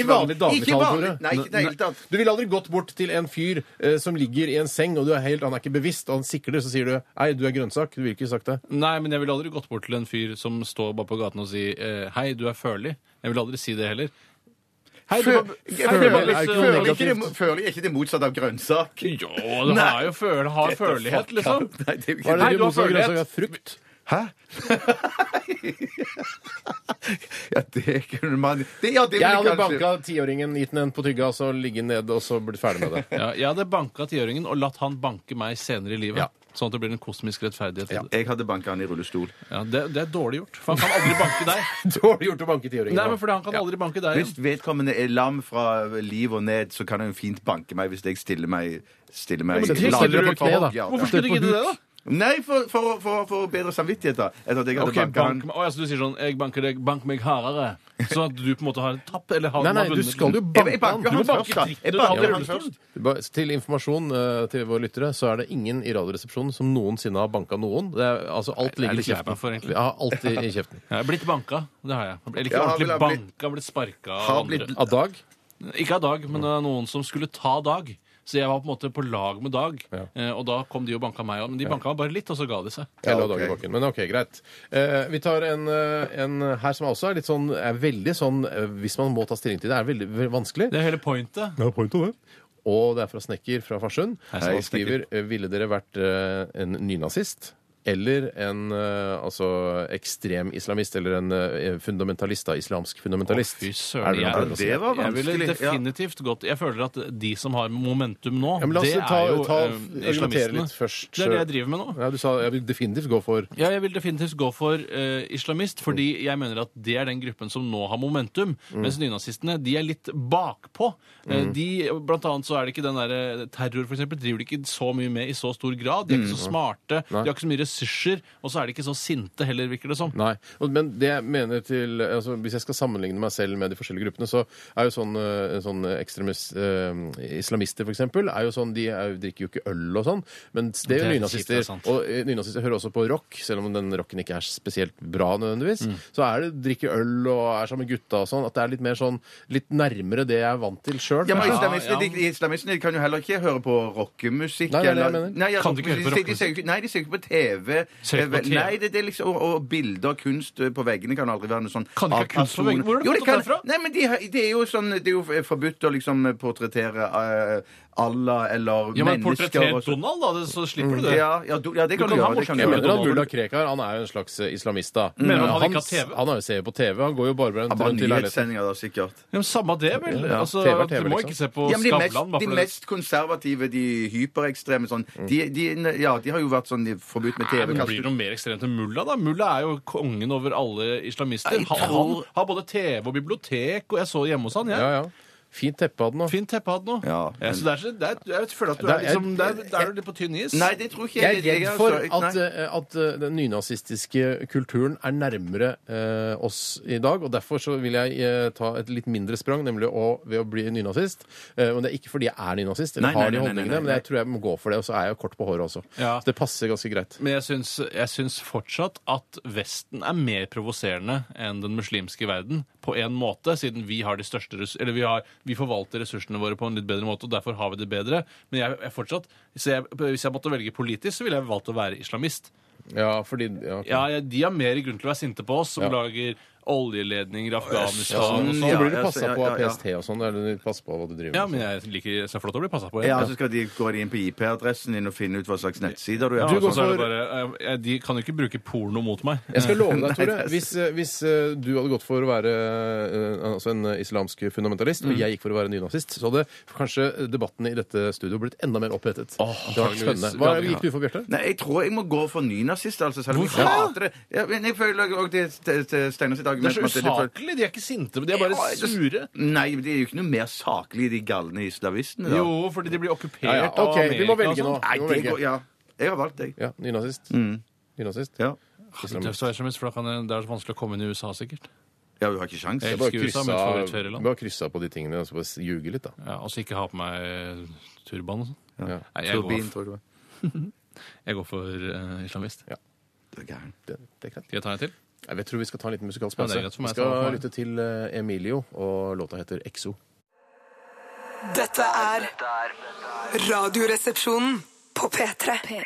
[SPEAKER 2] vanlig dagligtale,
[SPEAKER 3] Ikke vanlig,
[SPEAKER 2] Tore.
[SPEAKER 3] Nei, ikke i det hele tatt.
[SPEAKER 2] Du ville aldri gått bort til en fyr eh, som ligger i en seng, og du er helt, han er ikke bevisst, og han sikler, så sier du Nei, du er grønnsak. Du ville ikke sagt det.
[SPEAKER 4] Nei, men jeg ville aldri gått bort til en fyr som står bare på gaten og sier eh, 'hei, du er følig'. Jeg vil aldri si det heller. Hei, du
[SPEAKER 3] Føler
[SPEAKER 4] var-
[SPEAKER 2] føler-
[SPEAKER 4] hei, du
[SPEAKER 2] føler-
[SPEAKER 4] var-
[SPEAKER 3] føler ikke det- føler ikke det motsatte av grønnsak?
[SPEAKER 4] Jo, du har jo føl har følighet, liksom.
[SPEAKER 3] Nei, det er
[SPEAKER 2] Hva
[SPEAKER 3] jo ikke
[SPEAKER 2] er det
[SPEAKER 4] Nei,
[SPEAKER 2] du
[SPEAKER 4] du har
[SPEAKER 2] motsatt av
[SPEAKER 4] følelighet.
[SPEAKER 2] grønnsak? er? Frukt?
[SPEAKER 3] Ja, det kunne man det, ja, det
[SPEAKER 2] Jeg hadde
[SPEAKER 3] ville kanskje-
[SPEAKER 2] banka tiåringen, gitt den en på tygga, og så ligge ned og så blitt ferdig med det.
[SPEAKER 4] Ja, jeg hadde banka tiåringen og latt han banke meg senere i livet.
[SPEAKER 2] Ja.
[SPEAKER 4] Sånn at det blir en kosmisk rettferdighet. i det.
[SPEAKER 3] Jeg hadde banka han i rullestol.
[SPEAKER 4] Ja, det, det er dårlig gjort. For han kan aldri banke deg.
[SPEAKER 2] Dårlig gjort å banke tiåringen.
[SPEAKER 4] Nei, men fordi han kan aldri banke deg.
[SPEAKER 3] Hvis vedkommende er lam fra liv og ned, så kan han jo fint banke meg hvis jeg stiller meg stiller meg
[SPEAKER 2] men det
[SPEAKER 3] lager
[SPEAKER 2] stiller du
[SPEAKER 3] meg
[SPEAKER 2] på
[SPEAKER 3] for
[SPEAKER 2] kne, da.
[SPEAKER 3] hogg, ja.
[SPEAKER 4] Hvorfor skulle du gidde det, da?
[SPEAKER 3] Nei, for, for, for, for bedre samvittighet, da. Etter at jeg hadde
[SPEAKER 4] Ok,
[SPEAKER 3] banket
[SPEAKER 4] bank
[SPEAKER 3] han.
[SPEAKER 4] meg. Å, ja, så du sier sånn 'jeg banker deg, bank meg hardere', sånn at du på en måte har en tapp? Eller har
[SPEAKER 2] Nei, nei,
[SPEAKER 4] har
[SPEAKER 2] du
[SPEAKER 4] vunnet.
[SPEAKER 2] skal jo
[SPEAKER 3] Jeg, jeg
[SPEAKER 2] banke han.
[SPEAKER 3] banker
[SPEAKER 4] må
[SPEAKER 3] han
[SPEAKER 4] banke
[SPEAKER 3] først, da.
[SPEAKER 4] dritt
[SPEAKER 3] Jeg
[SPEAKER 4] ut av
[SPEAKER 3] banker han
[SPEAKER 4] rullestolen.
[SPEAKER 3] først.
[SPEAKER 2] Bare Til informasjon eh, til våre lyttere, så er det ingen i Radioresepsjonen som noensinne har banka noen. Det er, altså, alt
[SPEAKER 4] Nei,
[SPEAKER 2] ligger i
[SPEAKER 4] det er litt lei meg
[SPEAKER 2] kjeften.
[SPEAKER 4] for, egentlig.
[SPEAKER 2] Jeg har alltid i kjeften.
[SPEAKER 4] Jeg er blitt banka. Det har jeg. Eller ikke
[SPEAKER 3] Ja, han vil
[SPEAKER 4] ordentlig
[SPEAKER 3] ha blitt-
[SPEAKER 4] banka, blitt sparka.
[SPEAKER 3] Har
[SPEAKER 4] av andre.
[SPEAKER 3] blitt-
[SPEAKER 2] Av Dag?
[SPEAKER 4] Ikke av Dag, men av noen som skulle ta Dag. Så jeg var på en måte på lag med Dag, eh, og da kom de og banka meg òg. Men de banka meg bare litt, og så ga de seg.
[SPEAKER 2] Jeg lå
[SPEAKER 3] ok.
[SPEAKER 2] Dag i bakken. Men OK, greit. Eh, vi tar en, eh, en her som også er litt sånn er veldig sånn eh, Hvis man må ta stilling til det, er veldig, veldig vanskelig.
[SPEAKER 4] Det er hele pointet.
[SPEAKER 2] Og det er fra Snekker fra Farsund.
[SPEAKER 4] sann.
[SPEAKER 2] Han skriver Ville dere vært eh, en nynazist? Eller en eh, altså, ekstrem islamist? Eller en eh, fundamentalist? Da, islamsk fundamentalist?
[SPEAKER 4] Fy
[SPEAKER 2] Er
[SPEAKER 4] søren.
[SPEAKER 2] det noe
[SPEAKER 4] Jeg,
[SPEAKER 2] annet å si?
[SPEAKER 3] Det var
[SPEAKER 4] jeg ville
[SPEAKER 3] vanskelig. Ja.
[SPEAKER 4] definitivt gått Jeg føler at de som har momentum nå,
[SPEAKER 2] Ja, men la oss
[SPEAKER 4] det
[SPEAKER 2] ta,
[SPEAKER 4] er jo
[SPEAKER 2] ta,
[SPEAKER 4] eh,
[SPEAKER 2] argumentere
[SPEAKER 4] islamistene.
[SPEAKER 2] litt først.
[SPEAKER 4] Det er det jeg driver med nå.
[SPEAKER 2] Ja, du sa jeg vil definitivt gå for
[SPEAKER 4] Ja, jeg vil definitivt gå for eh, islamist, fordi jeg mener at det er den gruppen som nå har momentum,
[SPEAKER 2] Mm.
[SPEAKER 4] mens nynazistene, de er litt bakpå. Eh, de, blant annet
[SPEAKER 2] Mm.
[SPEAKER 4] så er det ikke den der eh, terror, for eksempel, driver de ikke så mye med i så stor grad. De er ikke så smarte, de har ikke så mye ressurser, og så er de ikke så sinte heller, virker det som.
[SPEAKER 2] Nei. Og- Men det jeg mener til altså, Hvis jeg skal sammenligne meg selv med de forskjellige gruppene, så er jo sånn, eh, sånn ekstremist eh, Islamister, for eksempel, er jo sånn, de er, jo- drikker jo ikke øl og sånn, men det gjør
[SPEAKER 4] Det er kjipt, det er
[SPEAKER 2] nynazister.
[SPEAKER 4] sant.
[SPEAKER 2] Og eh, nynazister hører også på rock, selv om den rocken ikke er spesielt bra nødvendigvis.
[SPEAKER 4] Mm.
[SPEAKER 2] Så er det drikke øl og er sammen med gutta og sånn, at det er litt mer sånn litt nærmere det jeg er vant til sjøl.
[SPEAKER 3] Ja, men
[SPEAKER 4] Ja,
[SPEAKER 3] islamistene,
[SPEAKER 4] ja.
[SPEAKER 3] De, islamistene de kan jo heller ikke høre på rockemusikk.
[SPEAKER 2] Nei, det er det jeg
[SPEAKER 3] eller-
[SPEAKER 2] mener.
[SPEAKER 3] Nei, ja,
[SPEAKER 4] Kan de ikke høre på
[SPEAKER 3] de- de- de ser jo ikke- Nei, de ser ikke på TV.
[SPEAKER 4] Ser ikke på TV.
[SPEAKER 3] Nei, det, det er liksom, og, og bilder, kunst eh, på veggene kan aldri være noe sånn
[SPEAKER 4] Kan de ikke ha
[SPEAKER 3] av
[SPEAKER 4] kunst på
[SPEAKER 3] personer.
[SPEAKER 4] veggene? Hvor har du
[SPEAKER 3] Jo,
[SPEAKER 4] fått
[SPEAKER 3] de kan-
[SPEAKER 4] det fra?
[SPEAKER 3] Nei, men de, har- det er jo sånn Det er jo forbudt å liksom portrettere eh, Allah eller
[SPEAKER 4] Ja, men
[SPEAKER 3] mennesker.
[SPEAKER 4] portretter
[SPEAKER 3] og så-
[SPEAKER 4] Donald, da, det-
[SPEAKER 2] Mm.
[SPEAKER 4] så slipper du det.
[SPEAKER 3] Ja, ja, do, ja, det
[SPEAKER 4] Du
[SPEAKER 3] kan
[SPEAKER 4] kan
[SPEAKER 3] du
[SPEAKER 4] ha
[SPEAKER 3] gjøre. Det kan du
[SPEAKER 2] Jeg
[SPEAKER 4] morsomme
[SPEAKER 3] gjøre.
[SPEAKER 2] mener at Mulla Krekar han er jo en slags eh, islamist. da
[SPEAKER 4] Mener han
[SPEAKER 2] han,
[SPEAKER 4] ikke har TV?
[SPEAKER 2] han er jo ser jo på TV. Han går jo bare
[SPEAKER 3] Ja,
[SPEAKER 2] rundt
[SPEAKER 3] Bare
[SPEAKER 2] rundt i leiligheten.
[SPEAKER 3] nyhetssendinger, da, sikkert.
[SPEAKER 4] Ja, men samme det, vel?
[SPEAKER 2] Ja,
[SPEAKER 4] altså,
[SPEAKER 2] TV er TV,
[SPEAKER 4] du må
[SPEAKER 2] liksom.
[SPEAKER 4] ikke se på
[SPEAKER 3] Ja, men de, mest,
[SPEAKER 4] Skavlan. bare
[SPEAKER 3] de
[SPEAKER 4] for det.
[SPEAKER 3] mest konservative, de hyperekstreme sånn de, de, Ja, de har jo vært sånn de, forbudt med
[SPEAKER 4] Nei, men det
[SPEAKER 3] TV.
[SPEAKER 4] blir noe mer ekstremt enn mulla, da. Mulla er jo kongen over alle islamister.
[SPEAKER 3] Jeg
[SPEAKER 4] Han, han
[SPEAKER 3] tror-
[SPEAKER 4] har både TV og bibliotek, og jeg så hjemme hos han, jeg.
[SPEAKER 2] Ja, ja. Fint teppe hadde han. da.
[SPEAKER 4] Fint teppe hadde nå.
[SPEAKER 3] Ja,
[SPEAKER 4] Ja, så det er, så- det er, jeg føler at du
[SPEAKER 2] Det
[SPEAKER 4] er
[SPEAKER 2] er-
[SPEAKER 4] liksom Der der er du litt på tynn is.
[SPEAKER 3] Nei, det tror ikke
[SPEAKER 2] Jeg er redd for
[SPEAKER 3] altså-
[SPEAKER 2] at,
[SPEAKER 3] nei.
[SPEAKER 2] eh, at eh, den nynazistiske kulturen er nærmere eh, oss i dag, og derfor så vil jeg eh, ta et litt mindre sprang, nemlig å, ved å bli nynazist. Eh, men det er ikke fordi jeg er nynazist, eller
[SPEAKER 3] Nei, nei,
[SPEAKER 2] har de
[SPEAKER 3] nei, nei,
[SPEAKER 2] holdningene,
[SPEAKER 3] nei, nei.
[SPEAKER 2] men jeg tror jeg må gå for det, og så er jeg jo kort på håret også.
[SPEAKER 4] Ja.
[SPEAKER 2] Så det passer ganske greit.
[SPEAKER 4] Men jeg syns, jeg syns fortsatt at Vesten er mer provoserende enn den muslimske verden. På en måte, siden vi har de største ress- Eller vi, har, vi forvalter ressursene våre på en litt bedre måte, og derfor har vi det bedre. Men jeg, jeg fortsatt, så jeg, hvis jeg måtte velge politisk, så ville jeg valgt å være islamist.
[SPEAKER 2] Ja, fordi ja, ok.
[SPEAKER 4] Ja, ja, De har mer grunn til å være sinte på oss, som
[SPEAKER 2] Ja.
[SPEAKER 4] lager oljeledninger i Afghanistan
[SPEAKER 2] Sånn,
[SPEAKER 4] og
[SPEAKER 3] ja,
[SPEAKER 2] så
[SPEAKER 4] sånn.
[SPEAKER 2] blir du
[SPEAKER 3] ja,
[SPEAKER 2] passa
[SPEAKER 3] ja,
[SPEAKER 2] på av
[SPEAKER 3] ja, ja.
[SPEAKER 2] PST og sånn. Eller du passer på hva du driver med.
[SPEAKER 4] Ja, men jeg liker det er flott å bli passa på. jeg.
[SPEAKER 3] Ja, altså, så skal de gå inn på IP-adressen din og finne ut hva slags nettsider du er
[SPEAKER 4] Ja,
[SPEAKER 3] på.
[SPEAKER 4] og så
[SPEAKER 3] sånn.
[SPEAKER 4] er det bare, eh, De kan jo ikke bruke porno mot meg.
[SPEAKER 2] Jeg skal love deg, Tore,
[SPEAKER 3] Nei, det er-
[SPEAKER 2] hvis, eh, hvis eh, du hadde gått for å være eh, altså en eh, islamsk fundamentalist,
[SPEAKER 4] Mm.
[SPEAKER 2] og jeg gikk for å være nynazist, så hadde kanskje debatten i dette studioet blitt enda mer opphetet. det var spennende. Hva gikk du for, Bjarte?
[SPEAKER 3] Nei, jeg tror jeg må gå for nynazist, altså. Selv om jeg
[SPEAKER 4] Hvorfor?
[SPEAKER 3] hater det. Ja, men jeg føler også til, til, til Steinar sitt
[SPEAKER 4] Det
[SPEAKER 3] argument om
[SPEAKER 4] er så
[SPEAKER 3] at det- det-
[SPEAKER 4] usaklig. De er ikke sinte, men de er bare
[SPEAKER 3] Ja, det-
[SPEAKER 4] sure.
[SPEAKER 3] Nei, men det er jo ikke noe mer saklig, de galne islamistene. Da.
[SPEAKER 4] Jo, fordi de blir okkupert
[SPEAKER 2] Ja, ja,
[SPEAKER 4] av
[SPEAKER 2] ok,
[SPEAKER 4] Amerika.
[SPEAKER 2] vi må velge
[SPEAKER 4] og
[SPEAKER 2] nå.
[SPEAKER 4] sånn.
[SPEAKER 3] Nei,
[SPEAKER 2] Vi må
[SPEAKER 3] det
[SPEAKER 2] velge.
[SPEAKER 3] går Ja. Jeg har valgt deg.
[SPEAKER 2] Ja, nynazist. Nynazist.
[SPEAKER 3] Ja.
[SPEAKER 4] Mm. Det er så islamist, for da kan jeg, det er så vanskelig å komme inn i USA, sikkert.
[SPEAKER 3] ja, du har ikke sjans.
[SPEAKER 4] Jeg
[SPEAKER 2] Bare
[SPEAKER 4] elsker USA, mitt
[SPEAKER 2] kryssa,
[SPEAKER 4] favorittferieland.
[SPEAKER 2] bare kryssa på de tingene og så bare ljuge litt, da.
[SPEAKER 4] Ja, og så ikke ha på meg eh, turban og sånn.
[SPEAKER 2] Ja.
[SPEAKER 4] Nei, jeg
[SPEAKER 3] Turbin,
[SPEAKER 4] går,
[SPEAKER 3] tror jeg det var.
[SPEAKER 4] jeg går for eh, islamist.
[SPEAKER 3] Du er gæren.
[SPEAKER 2] Det, det er greit.
[SPEAKER 4] Skal jeg ta en til?
[SPEAKER 2] Jeg vet- tror vi skal ta en liten musikalsk
[SPEAKER 4] Ja, det
[SPEAKER 2] pause.
[SPEAKER 4] er greit for meg,
[SPEAKER 2] vi
[SPEAKER 4] så
[SPEAKER 2] skal
[SPEAKER 4] da.
[SPEAKER 2] lytte til eh, Emilio, og låta heter Exo.
[SPEAKER 8] Dette er Radioresepsjonen på P3.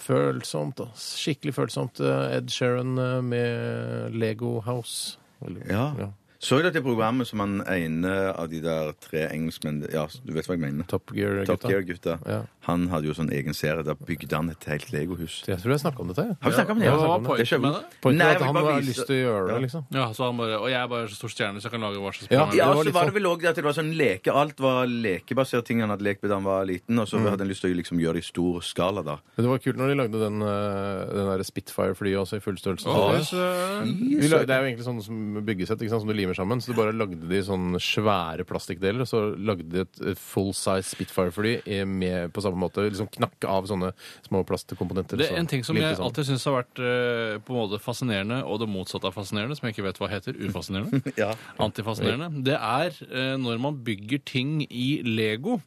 [SPEAKER 2] Følsomt, ass. Skikkelig følsomt. eh, Ed Sheeran eh, med Lego House. Eller-
[SPEAKER 3] Ja. Så du det programmet som han ene av de der tre engelskmenn Ja, du vet hva jeg mener.
[SPEAKER 2] Top Gear-gutta.
[SPEAKER 3] Top Gear-gutta.
[SPEAKER 2] Ja.
[SPEAKER 3] Han hadde jo sånn egen serie. Der bygde han et helt legohus.
[SPEAKER 2] Jeg tror jeg snakka om dette. jeg.
[SPEAKER 3] Har vi snakket om det?
[SPEAKER 2] Ja,
[SPEAKER 3] Har vi
[SPEAKER 2] hva
[SPEAKER 3] snakket
[SPEAKER 2] var
[SPEAKER 3] om
[SPEAKER 4] poenget
[SPEAKER 3] det? skjønner
[SPEAKER 4] med
[SPEAKER 3] vi.
[SPEAKER 4] det?
[SPEAKER 2] Poenget
[SPEAKER 3] Nei,
[SPEAKER 2] er
[SPEAKER 3] jeg
[SPEAKER 2] at
[SPEAKER 3] vil
[SPEAKER 2] han
[SPEAKER 3] bare
[SPEAKER 2] har
[SPEAKER 3] vise-
[SPEAKER 2] lyst til å gjøre det, liksom.
[SPEAKER 4] Ja, så han bare, Og jeg er bare så stor stjerne, så jeg kan lage hva slags
[SPEAKER 2] Ja.
[SPEAKER 4] program jeg
[SPEAKER 3] Ja,
[SPEAKER 4] vil.
[SPEAKER 2] var
[SPEAKER 3] så
[SPEAKER 2] litt sånn.
[SPEAKER 3] var det vel også at det var sånn leke, alt var lekebasert ting han hadde lekt med da han var liten, og så
[SPEAKER 2] Mm.
[SPEAKER 3] hadde han lyst til å liksom gjøre det i stor skala da.
[SPEAKER 2] Men det var kult når de lagde den, eh, den der Spitfire-flyet også i full størrelse.
[SPEAKER 4] Å,
[SPEAKER 2] Så det- vi lagde, det er jo egentlig sånn som byggesett ikke sant, som du limer sammen. Så du bare lagde de sånne svære plastikkdeler, og så lagde de et eh, full size Spitfire-fly i- med- på samme måte. Liksom knakke av sånne små plastkomponenter.
[SPEAKER 4] Det
[SPEAKER 2] så sånn.
[SPEAKER 4] er en ting som
[SPEAKER 2] limte
[SPEAKER 4] jeg
[SPEAKER 2] sammen.
[SPEAKER 4] alltid syns har vært eh, på en måte fascinerende, og det motsatte av fascinerende, som jeg ikke vet hva heter, ufascinerende, antifascinerende, det er eh, når man bygger ting i Lego,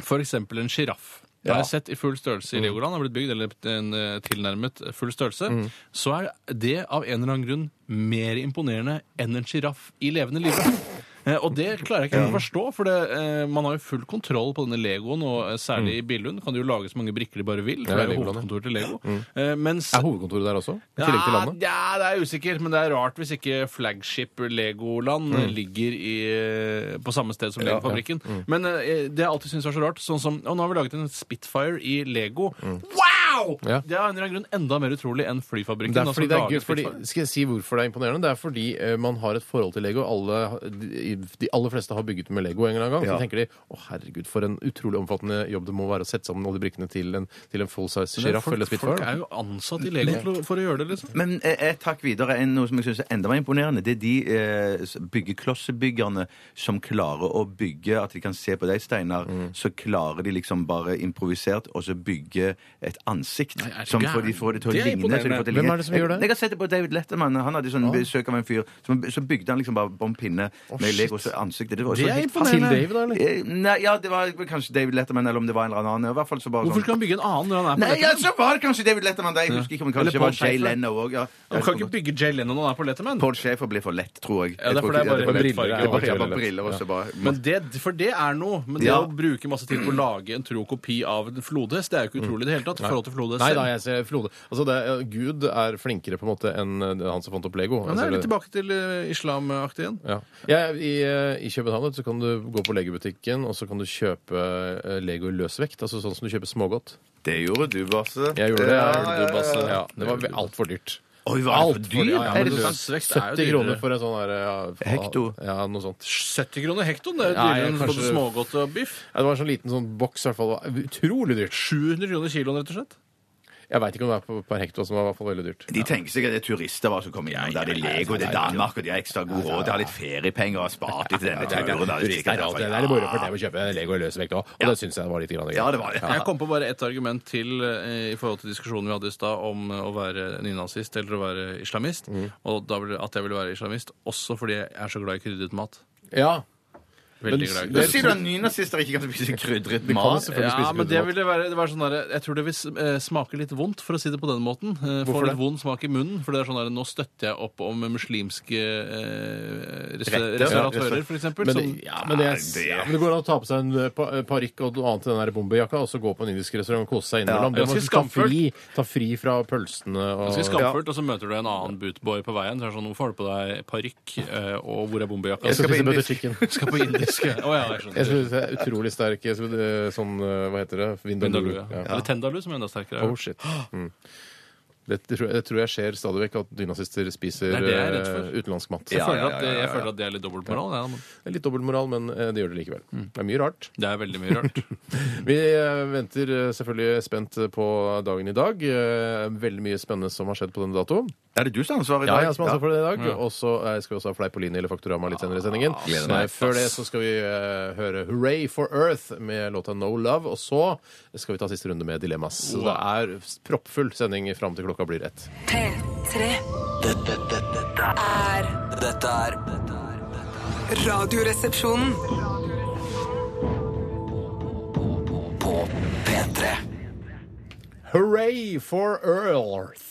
[SPEAKER 4] f.eks. en sjiraff. Det har jeg sett i full størrelse i Legoland, har blitt bygd eller en eh, tilnærmet full størrelse. Så er det av en eller annen grunn mer imponerende enn en sjiraff i levende live. Eh, Og det klarer jeg ikke helt å forstå, for det, eh, man har jo full kontroll på denne Legoen, og eh, særlig i Billund kan du jo lage så mange brikker de bare vil, for
[SPEAKER 2] Ja,
[SPEAKER 4] det er jo
[SPEAKER 2] Legoland, ja.
[SPEAKER 4] hovedkontor til Lego. Eh, Mens
[SPEAKER 2] Er hovedkontoret der også? I tillegg til landet?
[SPEAKER 4] Ja, ja, det er jeg usikker, men det er rart hvis ikke flagship Legoland
[SPEAKER 2] Mm.
[SPEAKER 4] ligger i, eh, på samme sted som Legofabrikken. Men eh, det jeg alltid syntes var så rart, sånn som Å, nå har vi laget en Spitfire i Lego. Wow! Wow!
[SPEAKER 2] Mm. Ja.
[SPEAKER 4] Det er av en eller annen grunn enda mer utrolig enn flyfabrikken.
[SPEAKER 2] Det er
[SPEAKER 4] altså,
[SPEAKER 2] fordi det er
[SPEAKER 4] lager
[SPEAKER 2] gøy, fordi,
[SPEAKER 4] flyfabrik-
[SPEAKER 2] skal jeg si hvorfor det er imponerende? Det er fordi eh, man har et forhold til Lego. Alle, de, de aller fleste har bygget med Lego en eller annen gang.
[SPEAKER 3] Ja.
[SPEAKER 2] Så tenker de å herregud, for en utrolig omfattende jobb det må være å sette sammen alle de brikkene til en, til en full size
[SPEAKER 4] Men
[SPEAKER 2] sjiraff eller
[SPEAKER 4] folk, folk er
[SPEAKER 2] spitfire.
[SPEAKER 4] jo ansatt i Lego til å- for å gjøre det, liksom.
[SPEAKER 3] Men eh, jeg trakk videre enn noe som jeg synes er enda mer imponerende. Det er de eh, s- byggeklossebyggerne som klarer å bygge At de kan se på deg, Steinar,
[SPEAKER 2] Mm.
[SPEAKER 3] så klarer de liksom bare improvisert og så bygge et ansikt.
[SPEAKER 4] er det
[SPEAKER 3] som
[SPEAKER 4] gæren?
[SPEAKER 3] får de får det til å
[SPEAKER 4] Det er
[SPEAKER 3] ligne. så de
[SPEAKER 4] imponerende.
[SPEAKER 3] får til å
[SPEAKER 2] Hvem
[SPEAKER 3] ligne.
[SPEAKER 2] er det som gjør det?
[SPEAKER 3] Jeg, jeg har sett det på David Letterman. Han hadde sånn besøk av en fyr. Som, så bygde han liksom bare bom pinne med
[SPEAKER 2] shit.
[SPEAKER 3] Legos ansikt. Det, var
[SPEAKER 2] Det
[SPEAKER 3] så
[SPEAKER 2] er
[SPEAKER 3] helt
[SPEAKER 2] imponerende.
[SPEAKER 3] fascinerende.
[SPEAKER 2] Til David, da, eller?
[SPEAKER 3] Eh, Nei, ja, det var kanskje David Letterman, eller om det var en eller annen. I hvert fall så bare
[SPEAKER 4] Hvorfor
[SPEAKER 3] sånn
[SPEAKER 4] skal han bygge en annen når han er på
[SPEAKER 3] Nei, ja,
[SPEAKER 4] Letterman?
[SPEAKER 3] så var det kanskje David Letterman. da. Jeg husker ikke om det
[SPEAKER 4] Eller
[SPEAKER 3] kanskje
[SPEAKER 4] Paul
[SPEAKER 3] var Jay
[SPEAKER 4] Schaefer.
[SPEAKER 3] Leno òg. Ja.
[SPEAKER 4] Han kan ikke bygge Jay Leno når han er på Letterman.
[SPEAKER 3] Paul Schäfer ble for lett, tror jeg.
[SPEAKER 4] Ja, det er
[SPEAKER 3] Jeg tror
[SPEAKER 4] fordi
[SPEAKER 3] ikke- ja,
[SPEAKER 4] det er bare
[SPEAKER 3] det
[SPEAKER 4] rødt farge,
[SPEAKER 3] det er
[SPEAKER 4] og
[SPEAKER 3] bare, ja,
[SPEAKER 2] briller.
[SPEAKER 3] bare briller og så bare
[SPEAKER 4] Men det, for det er noe. Men det
[SPEAKER 3] Ja.
[SPEAKER 4] å bruke masse tid på å lage en tro kopi av en flodhest, det er jo ikke utrolig i det hele tatt. i forhold til flodhest
[SPEAKER 2] Nei
[SPEAKER 4] selv.
[SPEAKER 2] da, jeg ser Frode. Altså, det er, Gud er flinkere på en måte enn eh, han som fant opp Lego.
[SPEAKER 4] Men det
[SPEAKER 2] Altså,
[SPEAKER 4] er litt
[SPEAKER 2] det-
[SPEAKER 4] tilbake til eh, islamaktig igjen.
[SPEAKER 2] Ja. Jeg- i, eh, I København vet du, så kan du gå på legobutikken og så kan du kjøpe eh, Lego i løsvekt. Altså sånn som du kjøper smågodt.
[SPEAKER 3] Det gjorde du, Basse.
[SPEAKER 2] Jeg gjorde det.
[SPEAKER 3] Ja,
[SPEAKER 2] jeg gjorde
[SPEAKER 3] ja,
[SPEAKER 2] det, Basse.
[SPEAKER 3] ja.
[SPEAKER 2] Ja, det var altfor dyrt.
[SPEAKER 3] Oi, var
[SPEAKER 2] Alt
[SPEAKER 3] det
[SPEAKER 2] for
[SPEAKER 3] for
[SPEAKER 2] dyrt.
[SPEAKER 3] dyrt?
[SPEAKER 2] Ja,
[SPEAKER 3] Er
[SPEAKER 2] men
[SPEAKER 3] det
[SPEAKER 2] du-
[SPEAKER 3] sant?
[SPEAKER 4] Løsvekt
[SPEAKER 2] 70
[SPEAKER 4] er jo dyrere.
[SPEAKER 2] kroner for en sånn her ja, fa-
[SPEAKER 3] Hekto.
[SPEAKER 2] Ja, noe sånt.
[SPEAKER 4] 70 kroner hektoen, det er jo
[SPEAKER 2] Nei,
[SPEAKER 4] dyrere enn både
[SPEAKER 2] kanskje-
[SPEAKER 4] smågodt og biff.
[SPEAKER 2] Ja, det var en sånn liten sånn boks, i hvert fall. Det var Utrolig dyrt.
[SPEAKER 4] 700 kroner kiloen, rett og slett.
[SPEAKER 2] Jeg veit ikke om det er på- per hekto, som var i hvert fall veldig dyrt.
[SPEAKER 3] De tenker sikkert det er turister hva som kommer innom. Det er det Lego, det er Danmark, og de har ekstra god råd. De har litt feriepenger og har spart litt til denne turen. da. Det er altså. sikkert derfor,
[SPEAKER 2] Det er litt moro for dem å kjøpe Lego i løsvekt òg, og det syns jeg var litt grann gøy.
[SPEAKER 3] Ja, det var det.
[SPEAKER 4] Jeg kom på bare ett argument til eh, i forhold til diskusjonen vi hadde i stad om eh, å være nynazist eller å være islamist.
[SPEAKER 2] Mm.
[SPEAKER 4] Og da ble det at jeg ville være islamist også fordi jeg er så glad i krydret mat.
[SPEAKER 2] Ja. Men
[SPEAKER 4] Veldig glad i
[SPEAKER 2] det-
[SPEAKER 3] Du
[SPEAKER 4] krydret
[SPEAKER 3] sier du at nynazister ikke kan spise krydret
[SPEAKER 2] Kan jo
[SPEAKER 3] mat.
[SPEAKER 2] selvfølgelig
[SPEAKER 4] ja,
[SPEAKER 2] spise
[SPEAKER 4] men det
[SPEAKER 2] kryddermat.
[SPEAKER 4] ville være, det var sånn der, Jeg tror det vil s- eh, smake litt vondt, for å si det på den måten. Eh, Får
[SPEAKER 2] Hvorfor det?
[SPEAKER 4] litt vond smak i munnen. For det er sånn der, nå støtter jeg opp om muslimske eh, resta-
[SPEAKER 3] Retter.
[SPEAKER 4] restauratører, for eksempel.
[SPEAKER 2] Men,
[SPEAKER 4] Som,
[SPEAKER 2] det- ja, men, jeg,
[SPEAKER 3] det-
[SPEAKER 2] ja, men det går an å ta på seg en eh, pa- eh, parykk og noe annet i den der bombejakka, og så gå på en indisk restaurant og kose seg innimellom.
[SPEAKER 4] Ja,
[SPEAKER 2] det må
[SPEAKER 4] ganske
[SPEAKER 2] ta fri, ta fri fra pølsene og
[SPEAKER 4] Ganske skamfullt, og så møter du en annen bootboy på veien. Så er det sånn, Hvorfor har du på deg parykk, eh, og hvor er bombejakka?
[SPEAKER 2] Jeg skal
[SPEAKER 3] på
[SPEAKER 2] spise butter
[SPEAKER 3] indisk.
[SPEAKER 2] chicken.
[SPEAKER 4] skal på indisk. ja. Å ja, jeg
[SPEAKER 2] Jeg
[SPEAKER 4] skjønner.
[SPEAKER 2] synes det er utrolig sterk eh, sånn, eh, hva heter det? Vindaloo.
[SPEAKER 4] Vindaloo, ja.
[SPEAKER 2] Ja.
[SPEAKER 4] Eller Tendaloo, som er enda sterkere.
[SPEAKER 2] Oh, shit. Mm. Det, det, tror jeg, det tror jeg skjer stadig vekk, at nynazister spiser
[SPEAKER 4] Det er det jeg er redd for.
[SPEAKER 2] eh, utenlandsk mat.
[SPEAKER 4] jeg,
[SPEAKER 3] Ja,
[SPEAKER 4] føler
[SPEAKER 3] ja,
[SPEAKER 4] at
[SPEAKER 3] ja,
[SPEAKER 4] det,
[SPEAKER 3] ja,
[SPEAKER 4] jeg
[SPEAKER 3] ja.
[SPEAKER 4] føler at det er litt dobbeltmoral. Ja, men
[SPEAKER 2] Det er litt dobbeltmoral, men eh, det gjør det likevel.
[SPEAKER 4] Mm.
[SPEAKER 2] Det er mye rart.
[SPEAKER 4] det er veldig mye rart.
[SPEAKER 2] Vi eh, venter eh, selvfølgelig spent på dagen i dag. Eh, Veldig mye spennende som har skjedd på denne datoen.
[SPEAKER 3] Er det du som har ansvaret i
[SPEAKER 2] Ja,
[SPEAKER 3] dag?
[SPEAKER 2] jeg har ansvar for det i dag. Og så eh, skal vi også ha Fleipolini eller Faktorama litt senere i sendingen.
[SPEAKER 3] Mm. Ah, gleder
[SPEAKER 2] Nei,
[SPEAKER 3] meg.
[SPEAKER 2] før det så skal vi eh, høre Hooray for Earth med låta No Love. Og så skal vi ta siste runde med Dilemmas. Så det er proppfull sending fram til klokka blir ett.
[SPEAKER 8] P3
[SPEAKER 7] Dette, dette, dette er-
[SPEAKER 8] er
[SPEAKER 7] dette er dette er- dette er
[SPEAKER 8] Radioresepsjonen.
[SPEAKER 7] På P3
[SPEAKER 2] Hooray for Earth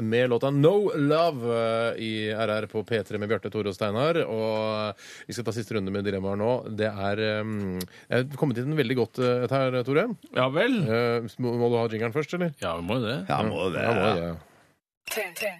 [SPEAKER 2] med låta No Love eh, i RR på P3 med Bjarte, Tore og Steinar. Og eh, vi skal ta siste runde med dilemmaer nå. Det er um, Jeg er kommet inn veldig godt eh, her, Tore.
[SPEAKER 4] Ja vel.
[SPEAKER 2] Eh, Må må du ha jingeren først, eller?
[SPEAKER 4] Ja, vi må jo det.
[SPEAKER 3] Ja, må det.
[SPEAKER 2] Ja, må jeg, ja.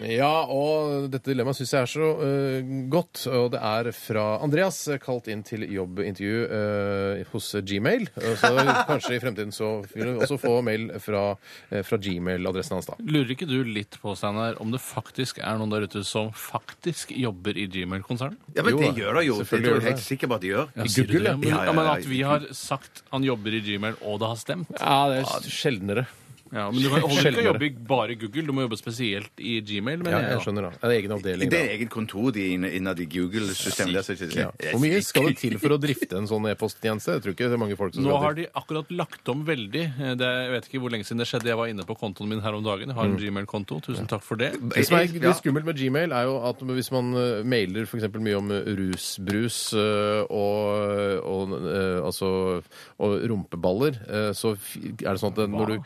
[SPEAKER 2] Ja, og dette dilemmaet syns jeg er så øh, godt. Og det er fra Andreas, eh, kalt inn til jobbintervju øh, hos Gmail. Øh, Så kanskje i fremtiden så vil du også få mail fra, eh, fra Gmail-adressen hans, da.
[SPEAKER 4] Lurer ikke du litt på, Steinar, om det faktisk er noen der ute som faktisk jobber i Gmail-konsernet?
[SPEAKER 3] Ja, men
[SPEAKER 2] Jo,
[SPEAKER 3] det gjør det jo. Det
[SPEAKER 2] selvfølgelig
[SPEAKER 3] tror jeg
[SPEAKER 2] gjør det.
[SPEAKER 3] helt sikker på at de gjør.
[SPEAKER 4] Sier du
[SPEAKER 2] Google,
[SPEAKER 4] det?
[SPEAKER 2] ja.
[SPEAKER 4] Men,
[SPEAKER 3] Ja, ja,
[SPEAKER 4] men
[SPEAKER 3] ja,
[SPEAKER 4] at vi har sagt han jobber i Gmail, og det har stemt.
[SPEAKER 2] Ja, det er sjeldnere.
[SPEAKER 4] Ja, men du kan holder ikke å
[SPEAKER 2] Sjeldnere.
[SPEAKER 4] jobbe i bare Google, du må jobbe spesielt i Gmail.
[SPEAKER 2] Ja, jeg
[SPEAKER 4] mener jeg da.
[SPEAKER 2] skjønner, da. Det er egen avdeling.
[SPEAKER 3] Det
[SPEAKER 2] Da.
[SPEAKER 3] er eget kontor de inne- innad i Google-systemet. der, så ikke-
[SPEAKER 2] Ja. Hvor mye skal det til for å drifte en sånn e-posttjeneste? Jeg tror ikke det er mange folk som
[SPEAKER 4] Nå
[SPEAKER 2] skal
[SPEAKER 4] har
[SPEAKER 2] til.
[SPEAKER 4] de akkurat lagt om veldig. Eh, Det, jeg vet ikke hvor lenge siden det skjedde. Jeg var inne på kontoen min her om dagen. Jeg har
[SPEAKER 2] Mm.
[SPEAKER 4] en Gmail-konto. Tusen takk for det.
[SPEAKER 2] Det som er
[SPEAKER 3] Ja.
[SPEAKER 2] litt skummelt med Gmail, er jo at hvis man eh, mailer f.eks. mye om eh, rusbrus eh, og, og, eh, altså, og rumpeballer, eh, så f- er det sånn at det- når du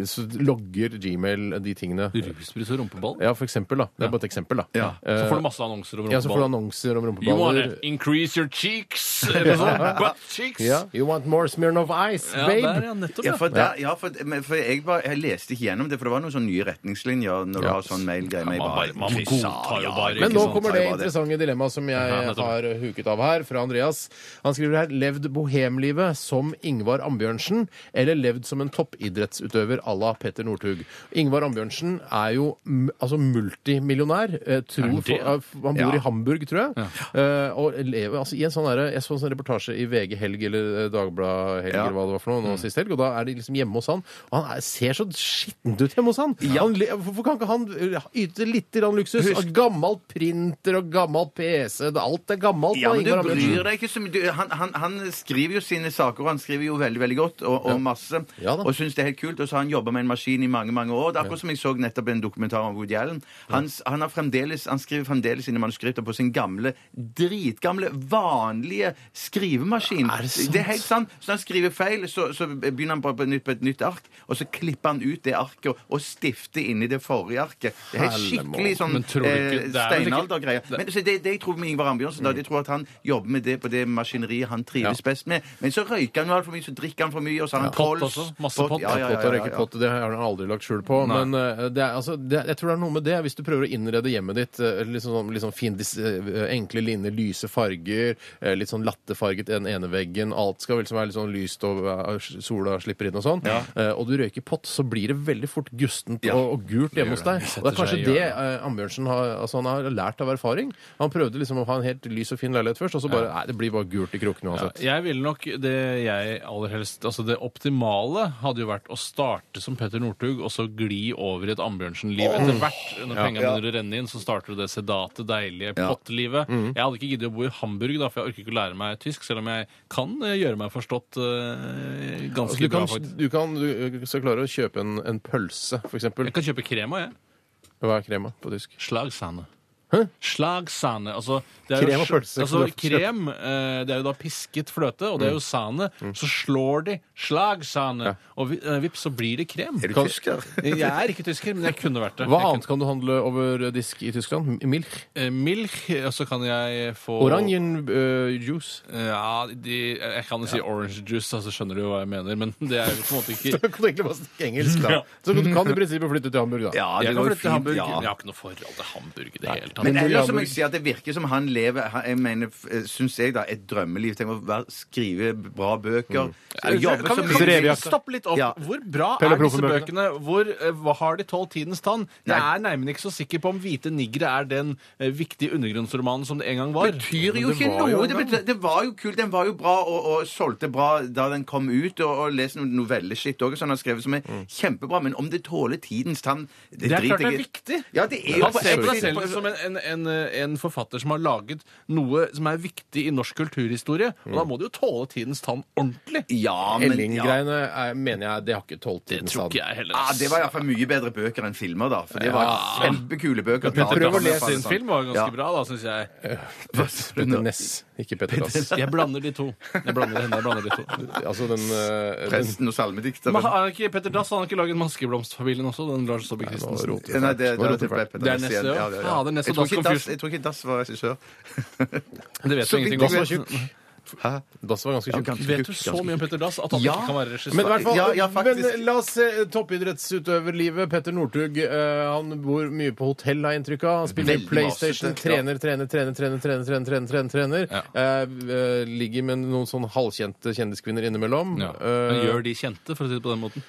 [SPEAKER 2] så logger Gmail eh, de tingene.
[SPEAKER 4] Rusbrus og rumpeball?
[SPEAKER 2] Ja, for eksempel, da. Det er bare et eksempel, da.
[SPEAKER 3] Ja.
[SPEAKER 4] Så får du masse annonser om
[SPEAKER 2] Ja, så får du
[SPEAKER 4] rumpeballer.
[SPEAKER 2] annonser om
[SPEAKER 4] You wanna
[SPEAKER 2] rumpeballer.
[SPEAKER 4] increase your cheeks? Eller noe sånt. Butt cheeks?
[SPEAKER 2] Ja, you want more Smirnov Ice,
[SPEAKER 4] Ja,
[SPEAKER 2] babe?
[SPEAKER 4] der, ja, nettopp.
[SPEAKER 3] Ja,
[SPEAKER 4] Ja.
[SPEAKER 3] for, der, ja, for, men for jeg, bare, jeg leste ikke gjennom det, for det var noen sånne nye retningslinjer når du har sånn mailgreie. med
[SPEAKER 4] man bare- man
[SPEAKER 3] Chris,
[SPEAKER 4] godtar jo
[SPEAKER 3] ja,
[SPEAKER 4] bare,
[SPEAKER 2] Men
[SPEAKER 4] ikke
[SPEAKER 2] nå
[SPEAKER 4] sant?
[SPEAKER 2] kommer det
[SPEAKER 3] Tar jo bare
[SPEAKER 2] interessante dilemmaet som jeg
[SPEAKER 4] Ja, nettopp.
[SPEAKER 2] har huket av her, fra Andreas. Han skriver her 'Levd bohemlivet som Ingvar Ambjørnsen', eller 'levd som en toppidrettsutøver à la Petter Northug'. Ingvar Ambjørnsen er jo m- altså multimillionær. eh,
[SPEAKER 4] han
[SPEAKER 2] Tror,
[SPEAKER 4] det?
[SPEAKER 2] for, han bor
[SPEAKER 3] Ja.
[SPEAKER 2] i Hamburg, tror jeg. Eh, og lever, altså, i en sånn derre- jeg så en sånn reportasje i VG Helg eller eh, Dagbladet Helg
[SPEAKER 3] Ja. Mm.
[SPEAKER 2] eller hva det var for noe, nå sist helg, og da er de liksom hjemme hos han. Og han er, ser så skittent ut hjemme hos han. han le- hvorfor kan ikke han eh, yte litt grann luksus? Og Gammelt printer og gammel PC. det- Alt er gammelt.
[SPEAKER 3] Ja,
[SPEAKER 2] da,
[SPEAKER 3] men du
[SPEAKER 2] Ingvar Ambjørnsen.
[SPEAKER 3] bryr deg ikke så mye. Du- Han, han, han skriver jo sine saker, og han skriver jo veldig veldig godt og, og masse.
[SPEAKER 2] Ja da.
[SPEAKER 3] og syns det er helt kult. Og så har han jobba med en maskin i mange mange år. Det er akkurat som jeg så nettopp en dokumentar om Woody Allen. Han, s- han, har fremdeles, han skriver fremdeles sine manuskripter på sin gamle, dritgamle, vanlige skrivemaskin.
[SPEAKER 2] Er det sant?
[SPEAKER 3] er helt sant. Så når han skriver feil, så, så begynner han på, på, nytt, på et nytt ark, og så klipper han ut det arket og, og stifter inni det forrige arket. Det er helt
[SPEAKER 2] Hellemor.
[SPEAKER 3] skikkelig sånn
[SPEAKER 4] Men tror du ikke-
[SPEAKER 3] eh,
[SPEAKER 4] det Mm. er vel ikke-
[SPEAKER 3] steinaldergreier. Men så det, det jeg tror med Ingvar Ambjørnsen, da, jeg tror at han jobber med det på det maskineriet han trives best med. Men så røyker han jo altfor mye, så drikker han for mye, og så har han
[SPEAKER 4] Pott
[SPEAKER 3] kols.
[SPEAKER 4] også. Masse pott.
[SPEAKER 2] Ja, pott og rekepott, det har han aldri lagt skjul på. Men eh, det er, altså, det, jeg tror det er noe med det. Hvis du prøver å innrede hjemmet ditt, eh, litt sånn, litt sånn fin, dis, eh, enkle linjer, lyse farger, eh, litt sånn lattefarget den ene veggen, alt skal liksom være litt sånn lyst og eh, sola slipper inn og sånn, eh, og du røyker pott, så blir det veldig fort gustent
[SPEAKER 3] Ja.
[SPEAKER 2] og, og gult hjemme hos deg. Og det
[SPEAKER 4] setter
[SPEAKER 2] er kanskje
[SPEAKER 4] seg i
[SPEAKER 2] det eh, Ambjørnsen har, altså, han har lært av erfaring. Han prøvde liksom å ha en helt lys og fin leilighet først, og så bare Nei, det blir bare gult i krokene
[SPEAKER 4] Ja,
[SPEAKER 2] uansett.
[SPEAKER 4] jeg ville nok det jeg aller helst Altså det optimale hadde jo vært å starte som Petter Northug og så gli over i et Ambjørnsen-liv etter hvert. Når pengene begynner å renne inn, så starter du det sedate, deilige pottlivet.
[SPEAKER 2] Mm.
[SPEAKER 4] Jeg hadde ikke giddet å bo i Hamburg, da, for jeg orker ikke å lære meg tysk, selv om jeg kan eh, gjøre meg forstått eh,
[SPEAKER 2] Altså,
[SPEAKER 4] ganske
[SPEAKER 2] du
[SPEAKER 4] bra.
[SPEAKER 2] kan,
[SPEAKER 4] faktisk.
[SPEAKER 2] du eh, kan du skal klare å kjøpe en, en pølse, for eksempel.
[SPEAKER 4] Jeg kan kjøpe krema, jeg.
[SPEAKER 2] Hva er krema på tysk?
[SPEAKER 4] Slagsane.
[SPEAKER 2] Hæ?
[SPEAKER 4] Slagsane. Altså, det er
[SPEAKER 2] Krem og
[SPEAKER 4] jo,
[SPEAKER 2] pølse,
[SPEAKER 4] altså,
[SPEAKER 2] kan du kjøpe.
[SPEAKER 4] krem eh, det er jo da pisket fløte, og det
[SPEAKER 3] Mm.
[SPEAKER 4] er jo sane. Så slår de slagsane, og vi- eh, vips, så blir det krem.
[SPEAKER 3] Er du
[SPEAKER 2] Kan-
[SPEAKER 3] tysker?
[SPEAKER 4] Jeg er ikke tysker, men jeg kunne vært det.
[SPEAKER 2] Hva
[SPEAKER 4] Jeg
[SPEAKER 2] annet kan du handle over disk i Tyskland? M- Milch?
[SPEAKER 4] kunne- Eh, Milk, og så kan jeg få
[SPEAKER 2] Orangen eh, juice?
[SPEAKER 4] Eh, Ja, de, jeg kan jo si orange juice, altså skjønner du hva jeg mener, men det er jo på en måte
[SPEAKER 2] Du
[SPEAKER 4] ikke
[SPEAKER 2] kan egentlig bare snakke engelsk, da.
[SPEAKER 4] Ja.
[SPEAKER 2] Så du kan i prinsippet flytte til Hamburg, da.
[SPEAKER 3] Ja, det går
[SPEAKER 4] Jeg kan
[SPEAKER 3] jo
[SPEAKER 4] flytte til
[SPEAKER 3] fint.
[SPEAKER 4] Hamburg.
[SPEAKER 3] Ja.
[SPEAKER 4] men Jeg har ikke noe forhold til Hamburg i det hele tatt.
[SPEAKER 3] Men
[SPEAKER 2] Men
[SPEAKER 3] ellers
[SPEAKER 2] Hamburg-
[SPEAKER 3] som jeg sier at det virker som han lever han- jeg mener, eh, synes jeg da, et drømmelivt. Tenk å være, skrive bra bøker. eh,
[SPEAKER 4] Er det-
[SPEAKER 3] jobbe
[SPEAKER 4] Mm. kan
[SPEAKER 3] som
[SPEAKER 4] vi, kan vi
[SPEAKER 2] Revejakta.
[SPEAKER 4] stoppe litt opp?
[SPEAKER 3] Ja.
[SPEAKER 4] Hvor bra
[SPEAKER 2] Pelle
[SPEAKER 4] er disse
[SPEAKER 2] Proffen-bøkene.
[SPEAKER 4] bøkene? Hvor, eh, hva har de tålt tidens tann? Jeg
[SPEAKER 3] Nei.
[SPEAKER 4] er nærmere ikke så sikker på om Hvite niggere er den eh, viktige undergrunnsromanen som det en gang var.
[SPEAKER 3] Det betyr jo
[SPEAKER 2] Men det
[SPEAKER 3] ikke
[SPEAKER 2] var jo
[SPEAKER 3] noe.
[SPEAKER 2] en
[SPEAKER 3] Det,
[SPEAKER 2] gang.
[SPEAKER 3] betyr, det var jo kult. Den var jo bra og, og solgte bra da den kom ut. Og, og les noe novelleskitt òg, som han har skrevet, som er
[SPEAKER 4] Mm.
[SPEAKER 3] kjempebra. Men om det tåler tidens tann Det,
[SPEAKER 4] Det er
[SPEAKER 3] driter
[SPEAKER 4] klart det
[SPEAKER 3] jeg
[SPEAKER 4] er
[SPEAKER 3] i.
[SPEAKER 4] viktig.
[SPEAKER 3] Ja, det er jo
[SPEAKER 4] Han
[SPEAKER 3] på-
[SPEAKER 4] ser på
[SPEAKER 3] på-
[SPEAKER 4] seg selv som en, en, en, eh, en forfatter som har laget noe som er viktig i norsk kulturhistorie. Og
[SPEAKER 3] Mm.
[SPEAKER 4] da må det jo tåle tidens tann ordentlig.
[SPEAKER 3] Ja, men ja.
[SPEAKER 2] Elling-greiene er- mener jeg det har ikke tålt
[SPEAKER 4] Det
[SPEAKER 2] tidens
[SPEAKER 4] tror
[SPEAKER 2] stand.
[SPEAKER 4] ikke jeg heller.
[SPEAKER 3] Ja,
[SPEAKER 4] ass.
[SPEAKER 3] det var iallfall mye bedre bøker enn filmer, da. For det var
[SPEAKER 4] Ja.
[SPEAKER 3] kjempekule bøker.
[SPEAKER 4] Petter
[SPEAKER 2] Prøv å
[SPEAKER 4] Prøv
[SPEAKER 2] lese
[SPEAKER 4] sin film var ganske bra, da, syns jeg.
[SPEAKER 2] Petter Ness, ikke Petter Dass.
[SPEAKER 4] Jeg blander de to. Jeg blander henne, jeg blander de to.
[SPEAKER 2] Altså den,
[SPEAKER 3] sånn.
[SPEAKER 2] eh, den
[SPEAKER 3] Presten og
[SPEAKER 4] Men
[SPEAKER 3] salmedikteren.
[SPEAKER 4] har ikke Petter Dass han har ikke laget Maskeblomstfamilien også? Den Lars Saabye Christensen.
[SPEAKER 2] roter
[SPEAKER 3] Nei, det, det,
[SPEAKER 2] Nå roter
[SPEAKER 3] det, ble Petter
[SPEAKER 4] Det er
[SPEAKER 3] Ness
[SPEAKER 4] Ness,
[SPEAKER 3] igjen.
[SPEAKER 4] ja. Fader, Ness
[SPEAKER 3] jeg,
[SPEAKER 4] og
[SPEAKER 3] tror
[SPEAKER 4] Dass
[SPEAKER 3] ikke
[SPEAKER 4] kom
[SPEAKER 3] Dass,
[SPEAKER 4] først.
[SPEAKER 3] jeg tror ikke Dass var regissør.
[SPEAKER 4] Det vet
[SPEAKER 3] Så
[SPEAKER 4] vi ingenting
[SPEAKER 3] vidt
[SPEAKER 4] om.
[SPEAKER 2] Dass var tjukk. Dass var ganske
[SPEAKER 3] Ja,
[SPEAKER 2] tjukk.
[SPEAKER 3] ganske
[SPEAKER 4] Vet du
[SPEAKER 3] tjukk,
[SPEAKER 4] så
[SPEAKER 3] ganske
[SPEAKER 4] mye om Petter Dass at han
[SPEAKER 3] Ja.
[SPEAKER 4] ikke kan være regissør?
[SPEAKER 2] Men, i hvert fall,
[SPEAKER 3] Ja, ja,
[SPEAKER 2] men
[SPEAKER 3] faktisk.
[SPEAKER 2] eh, la oss se eh, toppidrettsutøverlivet. Petter Northug eh, han bor mye på hotell, har jeg inntrykk av. Han spiller
[SPEAKER 3] Veldig
[SPEAKER 2] PlayStation,
[SPEAKER 3] masete, ja.
[SPEAKER 2] trener, trener, trener, trener, trener, trener, trener, trener, trener. Eh, eh, ligger med noen sånn halvkjente kjendiskvinner innimellom.
[SPEAKER 4] ja.
[SPEAKER 2] Eh,
[SPEAKER 4] Men gjør de kjente, for å si det på den måten?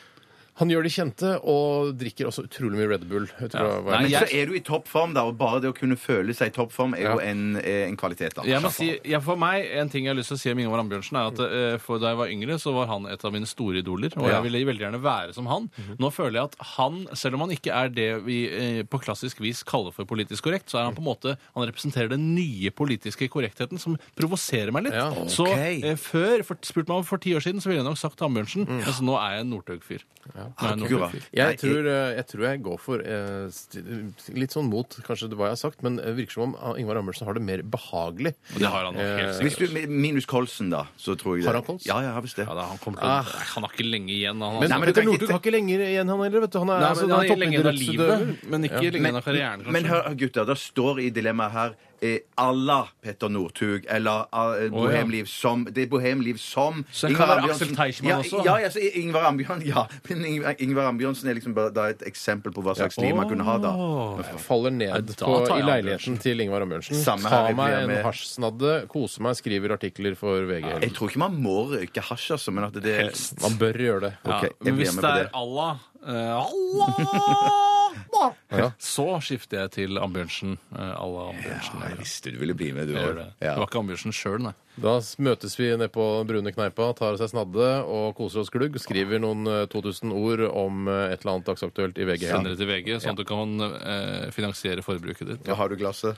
[SPEAKER 2] han gjør de kjente, og drikker også utrolig mye Red Bull. Jeg tror
[SPEAKER 4] Ja.
[SPEAKER 2] det var-
[SPEAKER 4] Nei,
[SPEAKER 3] Men
[SPEAKER 4] jeg-
[SPEAKER 3] så er du i toppform, da, og bare det å kunne føle seg i toppform er
[SPEAKER 2] Ja.
[SPEAKER 3] jo en, eh, en kvalitet. da.
[SPEAKER 4] Jeg må si, ja, for meg, En ting jeg har lyst til å si om Ingemar Ambjørnsen, er at
[SPEAKER 2] Mm.
[SPEAKER 4] eh, for da jeg var yngre, så var han et av mine store idoler. Og jeg ville veldig gjerne være som han.
[SPEAKER 2] Mhm.
[SPEAKER 4] Nå føler jeg at han, selv om han ikke er det vi eh, på klassisk vis kaller for politisk korrekt, så er han på en måte Han representerer den nye politiske korrektheten som provoserer meg litt.
[SPEAKER 2] Ja,
[SPEAKER 4] Så eh, før, for, spurt meg om for ti år siden, så ville jeg nok sagt til Ambjørnsen, mens nå er jeg en Northug-fyr.
[SPEAKER 2] Mm. Ja.
[SPEAKER 4] Nei, nå-
[SPEAKER 3] Akkurat.
[SPEAKER 2] Jeg tror, eh, jeg tror jeg går for eh, st- litt sånn mot kanskje det hva jeg har sagt, men det virker som om eh, Ingvar Amundsen har det mer behagelig.
[SPEAKER 4] Og det har han
[SPEAKER 2] Eh,
[SPEAKER 4] nok helt
[SPEAKER 3] Hvis
[SPEAKER 4] sikkert.
[SPEAKER 3] du, minus Kolsen, da, så tror jeg det.
[SPEAKER 2] Har han kols?
[SPEAKER 3] Ja, ja, har visst det. Ah,
[SPEAKER 4] Ja, da, han, kommer til, å- Nei, han har ikke lenge igjen. Han,
[SPEAKER 2] Men,
[SPEAKER 3] Nei, men du
[SPEAKER 2] Petter
[SPEAKER 3] kan ikke-
[SPEAKER 2] Northug har ikke lenger igjen, han heller. vet du. Han er,
[SPEAKER 4] Nei,
[SPEAKER 2] altså, han
[SPEAKER 4] men han
[SPEAKER 2] er
[SPEAKER 4] er lenge igjen av
[SPEAKER 2] toppidrettsutøver.
[SPEAKER 4] livet, men ikke lenge igjen av karrieren, kanskje.
[SPEAKER 3] Men hør, gutter, det står i dilemmaet her eh, à la Petter Northug eller eh, Bohemliv som Det er Bohemliv som
[SPEAKER 4] Så det kan være Axel Teichmann
[SPEAKER 3] ja,
[SPEAKER 4] også?
[SPEAKER 3] Ja, ja, så Ingvar Ambjørn, ja. Men Ingvar, Ingvar Ambjørnsen er liksom bare da et eksempel på hva slags liv man kunne ha da.
[SPEAKER 2] Faller ned
[SPEAKER 4] da
[SPEAKER 2] på,
[SPEAKER 4] tar
[SPEAKER 2] i
[SPEAKER 4] jeg
[SPEAKER 2] leiligheten til Ingvar Amundsen. Ta
[SPEAKER 3] Samme her, jeg
[SPEAKER 2] meg
[SPEAKER 3] blir
[SPEAKER 2] en
[SPEAKER 3] med.
[SPEAKER 2] hasjsnadde, kose meg, skriver artikler for VG.
[SPEAKER 3] Jeg tror ikke man må røyke hasj, altså, men at det Helst.
[SPEAKER 2] Man bør gjøre det.
[SPEAKER 4] Ja,
[SPEAKER 3] Ok, jeg
[SPEAKER 4] men
[SPEAKER 3] blir
[SPEAKER 4] hvis
[SPEAKER 3] med
[SPEAKER 4] det
[SPEAKER 3] på
[SPEAKER 4] er
[SPEAKER 3] det.
[SPEAKER 4] Allah eh, Allah!
[SPEAKER 2] Ja.
[SPEAKER 4] Så skifter jeg til Ambjørnsen. eh, Allah Ambjørnsen.
[SPEAKER 3] Jeg visste du ville bli med, du
[SPEAKER 4] Jeg gjør
[SPEAKER 3] òg.
[SPEAKER 4] det. det var ikke Ambjørnsen sjøl, nei.
[SPEAKER 2] Da s- møtes vi nede på den brune kneipa, tar seg snadde og koser oss glugg. Skriver noen eh, 2000 ord om eh, et eller annet dagsaktuelt i VG.
[SPEAKER 4] Sender det til VG, sånn at du kan eh, finansiere forbruket ditt.
[SPEAKER 3] Ja, har du glasset?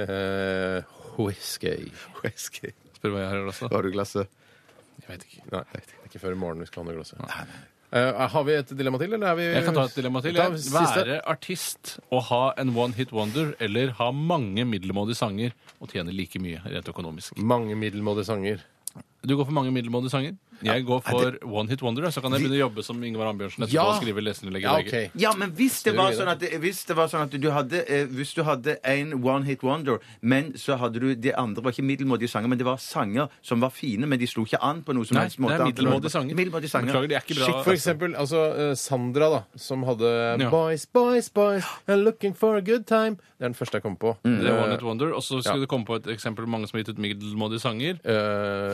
[SPEAKER 2] Eh, whisky.
[SPEAKER 3] Whisky.
[SPEAKER 4] Spør hva jeg har i glasset.
[SPEAKER 3] Har du glasset?
[SPEAKER 2] Jeg vet ikke. Nei, det er ikke før i morgen vi skal ha noe glass. Eh, har vi et dilemma til, eller er vi
[SPEAKER 4] Jeg kan ta et dilemma til.
[SPEAKER 2] Da,
[SPEAKER 4] Jeg.
[SPEAKER 2] siste.
[SPEAKER 4] Være artist og ha en one hit wonder, eller ha mange middelmådige sanger og tjene like mye rent økonomisk.
[SPEAKER 2] Mange middelmådige sanger.
[SPEAKER 4] Du går for mange middelmådige sanger. Jeg går for one hit wonder, så kan jeg begynne å jobbe som Ingvar Ambjørnsen etterpå
[SPEAKER 2] Ja.
[SPEAKER 4] og skrive leserinnlegg i
[SPEAKER 2] Ja,
[SPEAKER 4] VG.
[SPEAKER 2] ok.
[SPEAKER 3] Ja, men hvis det
[SPEAKER 2] Skriver
[SPEAKER 3] var
[SPEAKER 2] du
[SPEAKER 3] sånn at, hvis det var sånn at du hadde eh, Hvis du hadde en one hit wonder, men så hadde du De andre var ikke middelmådige sanger, men det var sanger som var fine, men de slo ikke an på noe som
[SPEAKER 4] Nei,
[SPEAKER 3] helst
[SPEAKER 4] det
[SPEAKER 3] måte.
[SPEAKER 4] er middelmådige sanger.
[SPEAKER 3] Middelmådige sanger.
[SPEAKER 4] Beklager, det er ikke bra.
[SPEAKER 2] Sjekk for eksempel altså, eh, Sandra, da, som hadde
[SPEAKER 4] Ja.
[SPEAKER 2] Boys, boys, boys, I'm looking for a good time. Det er den første jeg kom på.
[SPEAKER 4] Det er One
[SPEAKER 2] Eh,
[SPEAKER 4] Hit Wonder. Og så skulle det komme på et eksempel på mange som har gitt ut middelmådige sanger.
[SPEAKER 2] eh,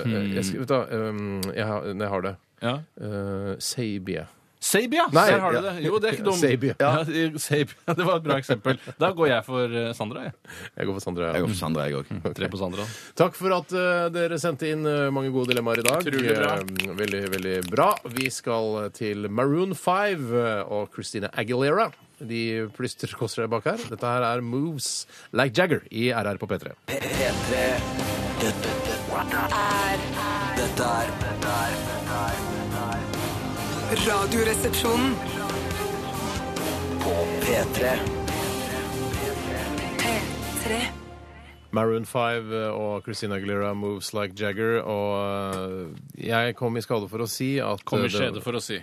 [SPEAKER 4] Hmm.
[SPEAKER 2] jeg, skal- vet du, hva, eh, jeg, har, nei, jeg har det.
[SPEAKER 4] Ja.
[SPEAKER 2] Eh, Sabia.
[SPEAKER 4] Sabia!
[SPEAKER 2] Nei,
[SPEAKER 4] der har
[SPEAKER 2] ja.
[SPEAKER 4] du det. Jo, det er ikke dumt.
[SPEAKER 2] Sabia.
[SPEAKER 4] Ja. det- Sabia. Det var et bra eksempel. Da går jeg for eh, Sandra, jeg.
[SPEAKER 2] Jeg går for Sandra.
[SPEAKER 3] Jeg går for Sandra, jeg òg.
[SPEAKER 4] Tre på Sandra.
[SPEAKER 2] Takk for at eh, dere sendte inn eh, mange gode dilemmaer i dag.
[SPEAKER 4] Utrolig bra.
[SPEAKER 2] Eh, veldig, veldig bra. Vi skal eh, til Maroon 5 eh, og Christina Aguilera. De plystrer kåser bak her. Dette her er Moves Like Jagger i RR på P3.
[SPEAKER 7] P- P3 Dette er Dette er Dette er
[SPEAKER 8] Radioresepsjonen.
[SPEAKER 7] På P3
[SPEAKER 8] P3.
[SPEAKER 2] Maroon 5 og Christina Aguilera moves like Jagger. Og eh, jeg kom i skade for å si at
[SPEAKER 4] Kom i
[SPEAKER 2] eh,
[SPEAKER 4] skjede for å si.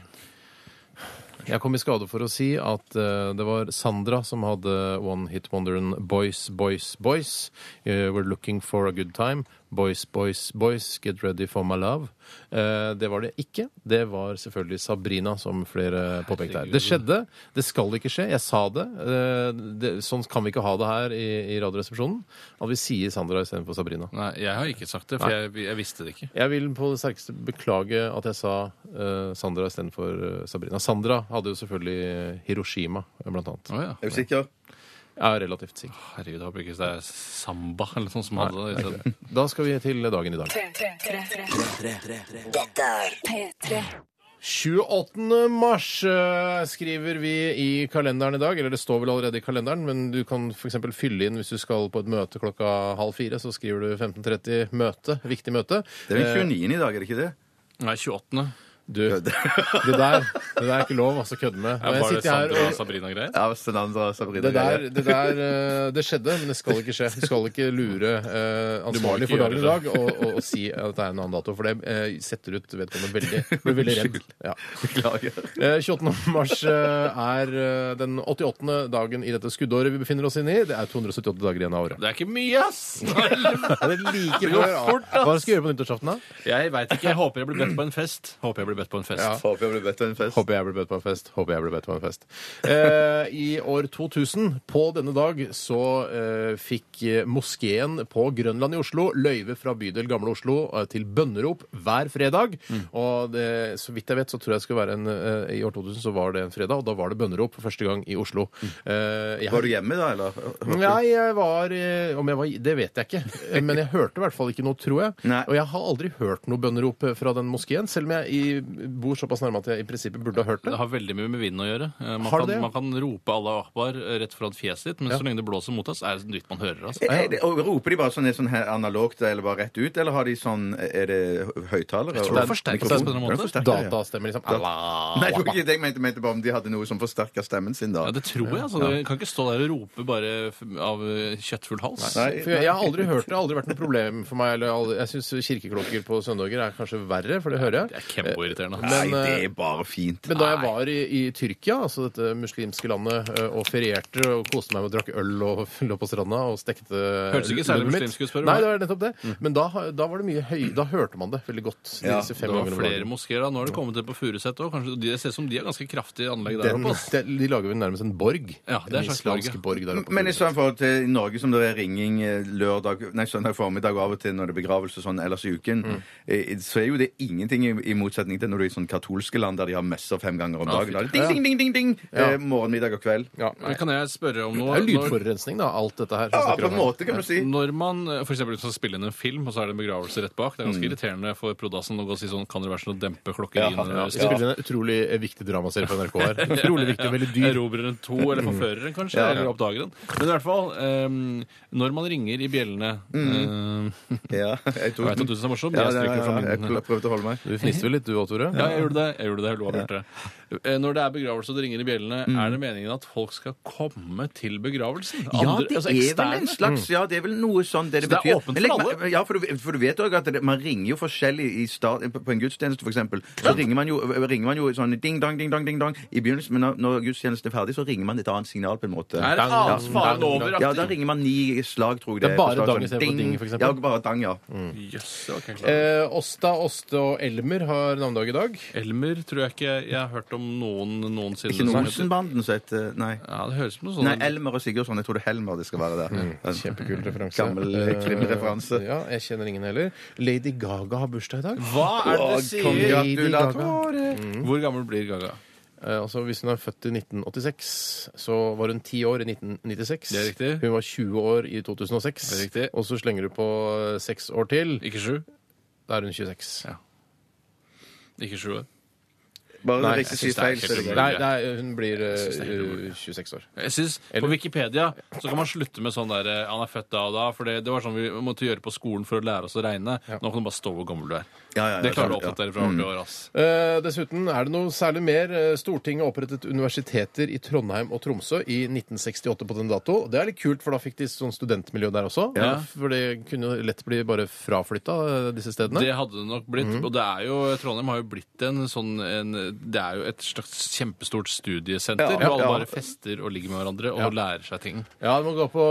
[SPEAKER 2] Jeg kom i skade for å si at eh, det var Sandra som hadde One Hit Wonderen Boys, Boys, Boys. eh, we're looking for a good time. Boys, boys, boys, get ready for my love. Eh, det var det ikke. Det var selvfølgelig Sabrina, som flere påpekte her. Det skjedde. Det skal ikke skje. Jeg sa det. Eh, det sånn kan vi ikke ha det her i, i Radioresepsjonen. At vi sier Sandra istedenfor Sabrina.
[SPEAKER 4] Nei, jeg har ikke sagt det, for jeg, jeg visste det ikke.
[SPEAKER 2] Jeg vil på det sterkeste beklage at jeg sa eh, Sandra istedenfor eh, Sabrina. Sandra hadde jo selvfølgelig Hiroshima, eh, blant annet.
[SPEAKER 4] Å, ja.
[SPEAKER 3] Er du sikker?
[SPEAKER 2] Jeg er relativt sikker.
[SPEAKER 4] Herregud, jeg håper ikke det er Samba eller noe som hadde det. i stedet.
[SPEAKER 2] Da skal vi til dagen i dag.
[SPEAKER 7] Dette er
[SPEAKER 8] P3.
[SPEAKER 2] 28. mars eh, skriver vi i kalenderen i dag. Eller det står vel allerede i kalenderen, men du kan f.eks. fylle inn hvis du skal på et møte klokka halv fire. Så skriver du 15.30 møte. Viktig møte. Eh,
[SPEAKER 3] Det er jo 29. i dag, er det ikke det?
[SPEAKER 4] Nei, 28.
[SPEAKER 2] Du, det der, det der er ikke lov, altså. Kødde med. Og
[SPEAKER 4] Ja,
[SPEAKER 2] jeg
[SPEAKER 4] var det
[SPEAKER 2] sitter her
[SPEAKER 4] Sandra
[SPEAKER 2] og-
[SPEAKER 4] og Sabrina-greier?
[SPEAKER 3] Ja, Sandra, Sabrina,
[SPEAKER 2] Det der, det der eh, Det skjedde, men det skal ikke skje. Du skal ikke lure eh, ansvarlig
[SPEAKER 4] ikke
[SPEAKER 2] for dagen i
[SPEAKER 4] gjøre
[SPEAKER 2] dag og, og, og si at det er en annen dato, for det eh, setter ut vedkommende veldig, blir veldig redd. Ja.
[SPEAKER 3] Beklager.
[SPEAKER 2] Eh, 28. mars eh, er eh, den 88. dagen i dette skuddåret vi befinner oss inne i. Det er 278 dager igjen av året.
[SPEAKER 4] Det er ikke mye, ass!
[SPEAKER 2] Det er like
[SPEAKER 4] går
[SPEAKER 2] før, ja.
[SPEAKER 4] fort, ass.
[SPEAKER 2] Hva skal vi gjøre på nyttårsaften, da?
[SPEAKER 4] Jeg veit ikke. Jeg håper jeg blir bedt på en fest. Håper jeg blir bedt på en fest.
[SPEAKER 2] Ja.
[SPEAKER 3] Håper jeg blir bedt til en fest.
[SPEAKER 2] Håper jeg blir bedt på en fest. Håper jeg blir bedt på en fest. Eh, I år 2000, på denne dag, så eh, fikk eh, moskeen på Grønland i Oslo løyve fra bydel Gamle Oslo eh, til bønnerop hver fredag.
[SPEAKER 3] Mm.
[SPEAKER 2] Og det, så vidt jeg vet, så tror jeg det skulle være en eh, I år 2000 så var det en fredag, og da var det bønnerop for første gang i Oslo. Eh, jeg,
[SPEAKER 3] Mm. Var du hjemme da, eller?
[SPEAKER 2] Nei, jeg var, eh, om jeg var Det vet jeg ikke. Eh, Men jeg hørte i hvert fall ikke noe, tror jeg.
[SPEAKER 3] Nei.
[SPEAKER 2] Og jeg har aldri hørt noe bønnerop fra den moskeen, selv om jeg i bor såpass nærme at jeg i prinsippet burde ha hørt det.
[SPEAKER 4] Det har veldig mye med vinden å gjøre. Eh, Man,
[SPEAKER 2] Har det
[SPEAKER 4] kan,
[SPEAKER 2] det?
[SPEAKER 4] man kan rope Allah akbar eh, rett foran fjeset sitt, men så lenge det blåser mot oss, er det nytt man hører. altså.
[SPEAKER 3] Er det- Og Roper de bare sånn, er sånn her analogt eller bare rett ut, eller har de sånn Er det høyttalere?
[SPEAKER 4] Jeg tror det forsterkes på en eller annen måte.
[SPEAKER 2] Datastemmer liksom Allah.
[SPEAKER 3] Nei, det var ikke det jeg mente, Jeg mente bare om de hadde noe som forsterka stemmen sin, da.
[SPEAKER 4] Ja, Det tror jeg. altså. Du kan ikke stå der og rope bare f- av eh, kjøttfull hals.
[SPEAKER 3] Nei.
[SPEAKER 2] For jeg, jeg har aldri hørt det. Det har aldri vært noe problem for meg. Eller aldri, jeg syns kirkeklokker på søndager er kanskje verre, for det hører
[SPEAKER 4] Det
[SPEAKER 2] jeg.
[SPEAKER 4] er kjempeirriterende.
[SPEAKER 2] Men,
[SPEAKER 3] Nei, det
[SPEAKER 2] eh,
[SPEAKER 3] er bare fint.
[SPEAKER 2] Men da jeg var i, i Tyrkia, altså dette muslimske landet, ø, og ferierte og koste meg med å drakk øl og lå på stranda og stekte
[SPEAKER 4] Høres ikke særlig
[SPEAKER 2] lømmet mitt.
[SPEAKER 4] muslimsk ut, spør du
[SPEAKER 2] Nei,
[SPEAKER 4] meg. Mm.
[SPEAKER 2] det var nettopp det. Men da, da var det mye høy... Da hørte man det veldig godt. de
[SPEAKER 3] Ja,
[SPEAKER 2] disse fem
[SPEAKER 4] Det var
[SPEAKER 2] gangene om
[SPEAKER 4] flere
[SPEAKER 2] dagen.
[SPEAKER 4] moskeer da. Nå har det kommet til på Furuset òg. Det ser ut som de har ganske kraftige anlegg der
[SPEAKER 2] Den,
[SPEAKER 4] oppe. altså. ass.
[SPEAKER 2] de, de lager vel nærmest en borg.
[SPEAKER 4] Ja, det er en
[SPEAKER 2] en
[SPEAKER 4] slags borg, ja.
[SPEAKER 2] islamsk borg der oppe.
[SPEAKER 3] Men i stedet for til Norge som det er ringing eh, lørdag, nei, søndag formiddag og av og til når det er begravelse og sånn ellers i uken,
[SPEAKER 4] Mm.
[SPEAKER 3] eh, så er jo det ingenting i, i motsetning til når du er i sånn katolske land der de har messer fem ganger om dagen. Da er det Ding, ding, ding, ding, ding! Eh, morgen, middag og kveld.
[SPEAKER 2] ja,
[SPEAKER 4] Men
[SPEAKER 2] nei.
[SPEAKER 4] Kan jeg spørre om
[SPEAKER 2] Det
[SPEAKER 4] noe?
[SPEAKER 2] er jo
[SPEAKER 4] Når-
[SPEAKER 2] lydforurensning, da, alt dette her. som
[SPEAKER 3] Ja,
[SPEAKER 2] snakker
[SPEAKER 3] på
[SPEAKER 2] om
[SPEAKER 3] en
[SPEAKER 2] her.
[SPEAKER 3] måte, kan du si.
[SPEAKER 4] Når man eh, for eksempel skal spille inn en film, og så er det en begravelse rett bak, det er ganske
[SPEAKER 2] Mm.
[SPEAKER 4] irriterende for Prodassen å gå og si sånn Kan det være sånn å dempe klokkeriene?
[SPEAKER 3] Ja, ja,
[SPEAKER 2] Vi spiller en utrolig viktig dramaserie på NRK her. Utrolig viktig, veldig dyr.
[SPEAKER 4] Erobreren to, eller forføreren kanskje, eller oppdageren. Men i hvert fall, eh, når man ringer i bjellene
[SPEAKER 3] Mm.
[SPEAKER 4] eh,
[SPEAKER 3] Ja, jeg
[SPEAKER 4] Jeg
[SPEAKER 3] tok
[SPEAKER 4] vet at du
[SPEAKER 3] den.
[SPEAKER 4] syns det er morsomt, men
[SPEAKER 3] Ja,
[SPEAKER 4] jeg
[SPEAKER 3] ja,
[SPEAKER 4] stryker
[SPEAKER 3] ja,
[SPEAKER 4] fra
[SPEAKER 3] jeg
[SPEAKER 4] munnen.
[SPEAKER 3] pl- prøvde å holde meg.
[SPEAKER 2] Du fniste vel litt du òg, Tore?
[SPEAKER 4] Ja, jeg gjorde det. jeg gjorde det, jeg lo av Bjarte. Eh, Når det er begravelse og det ringer i bjellene,
[SPEAKER 3] Mm.
[SPEAKER 4] er det meningen at folk skal komme til begravelsen?
[SPEAKER 3] Ja,
[SPEAKER 4] Andre-
[SPEAKER 3] det
[SPEAKER 4] altså
[SPEAKER 3] er vel
[SPEAKER 4] eksterne?
[SPEAKER 3] en slags Ja, det er vel noe sånn det, det
[SPEAKER 4] Så det er
[SPEAKER 3] betyr.
[SPEAKER 4] åpent
[SPEAKER 3] Men legg
[SPEAKER 4] for
[SPEAKER 3] mer- Ja, for du, for du vet jo at det, man ringer jo forskjellig i start, på på en gudstjeneste, for eksempel. Så ringer man jo, ringer man jo sånn ding-dang, ding-dang, ding-dang i begynnelsen, men når, når gudstjenesten er ferdig, så ringer man et annet signal, på en måte.
[SPEAKER 4] Er det
[SPEAKER 2] Dang,
[SPEAKER 4] annet
[SPEAKER 2] dang,
[SPEAKER 4] faren
[SPEAKER 2] dang,
[SPEAKER 4] over?
[SPEAKER 3] Ja, da ringer man ni slag, tror jeg
[SPEAKER 2] Det er bare
[SPEAKER 3] på slag,
[SPEAKER 2] dang istedenfor ding, for eksempel.
[SPEAKER 3] sånn Ja, bare dang, ja.
[SPEAKER 4] Jøss, det var ikke klart.
[SPEAKER 2] Eh, Åsta, Åste og Elmer har navnedag i dag.
[SPEAKER 4] Elmer tror jeg ikke jeg har hørt om noen noensinne.
[SPEAKER 3] Ikke
[SPEAKER 4] som
[SPEAKER 3] noe
[SPEAKER 4] heter-
[SPEAKER 3] Olsenbanden som heter Nei.
[SPEAKER 4] Ja, det høres ut som noe sånn-
[SPEAKER 3] Nei,
[SPEAKER 4] sånt.
[SPEAKER 3] Elmer og Sigurdsson. Jeg tror det er Helmer det skal være der.
[SPEAKER 2] Kjempekul referanse.
[SPEAKER 3] Gammel
[SPEAKER 2] Eh,
[SPEAKER 3] krimreferanse.
[SPEAKER 2] Ja, jeg kjenner ingen heller. Lady Gaga har bursdag i dag.
[SPEAKER 4] Hva er det du
[SPEAKER 3] Å, Mm.
[SPEAKER 4] sier?
[SPEAKER 3] Congratulatorer!
[SPEAKER 4] Hvor gammel blir Gaga?
[SPEAKER 2] Eh, altså, hvis hun er født i 1986, så var hun 10 år i 1996.
[SPEAKER 4] Det er riktig.
[SPEAKER 2] Hun var 20 år i 2006.
[SPEAKER 4] Det er riktig.
[SPEAKER 2] Og så slenger du på eh, seks år til.
[SPEAKER 4] Ikke sju?
[SPEAKER 2] Da er hun 26.
[SPEAKER 4] Ja. Ikke sju år.
[SPEAKER 3] Bare
[SPEAKER 2] Nei,
[SPEAKER 3] det riktig
[SPEAKER 2] jeg
[SPEAKER 3] sier
[SPEAKER 4] synes
[SPEAKER 3] feil,
[SPEAKER 4] det er
[SPEAKER 3] så er det
[SPEAKER 4] helt
[SPEAKER 3] greit.
[SPEAKER 2] Nei, nei, hun blir eh,
[SPEAKER 4] synes det er helt umulig.
[SPEAKER 2] 26 år.
[SPEAKER 4] Jeg synes, På
[SPEAKER 2] Eller-
[SPEAKER 4] Wikipedia så kan man slutte med sånn der eh, 'han er født da og da'. For det, det var sånn vi måtte gjøre på skolen for å lære oss å regne. Nå kan du bare stå hvor gammel du er.
[SPEAKER 3] Ja, ja, ja,
[SPEAKER 4] det klarer du å
[SPEAKER 3] sant, ja. Mm.
[SPEAKER 4] oppdatere fra år til år. ass.
[SPEAKER 2] Eh, dessuten er det noe særlig mer. Eh, Stortinget opprettet universiteter i Trondheim og Tromsø i 1968 på den dato. Det er litt kult, for da fikk de sånn studentmiljø der også.
[SPEAKER 4] Ja.
[SPEAKER 2] For det kunne lett bli bare fraflytta, eh, disse stedene.
[SPEAKER 4] Det hadde det nok blitt.
[SPEAKER 3] Mm.
[SPEAKER 4] Og det er jo, Trondheim har jo blitt en sånn en, Det er jo et slags kjempestort studiesenter.
[SPEAKER 3] Ja,
[SPEAKER 4] hvor alle
[SPEAKER 3] ja.
[SPEAKER 4] bare fester og ligger med hverandre og lærer seg ting.
[SPEAKER 2] Ja, du må gå på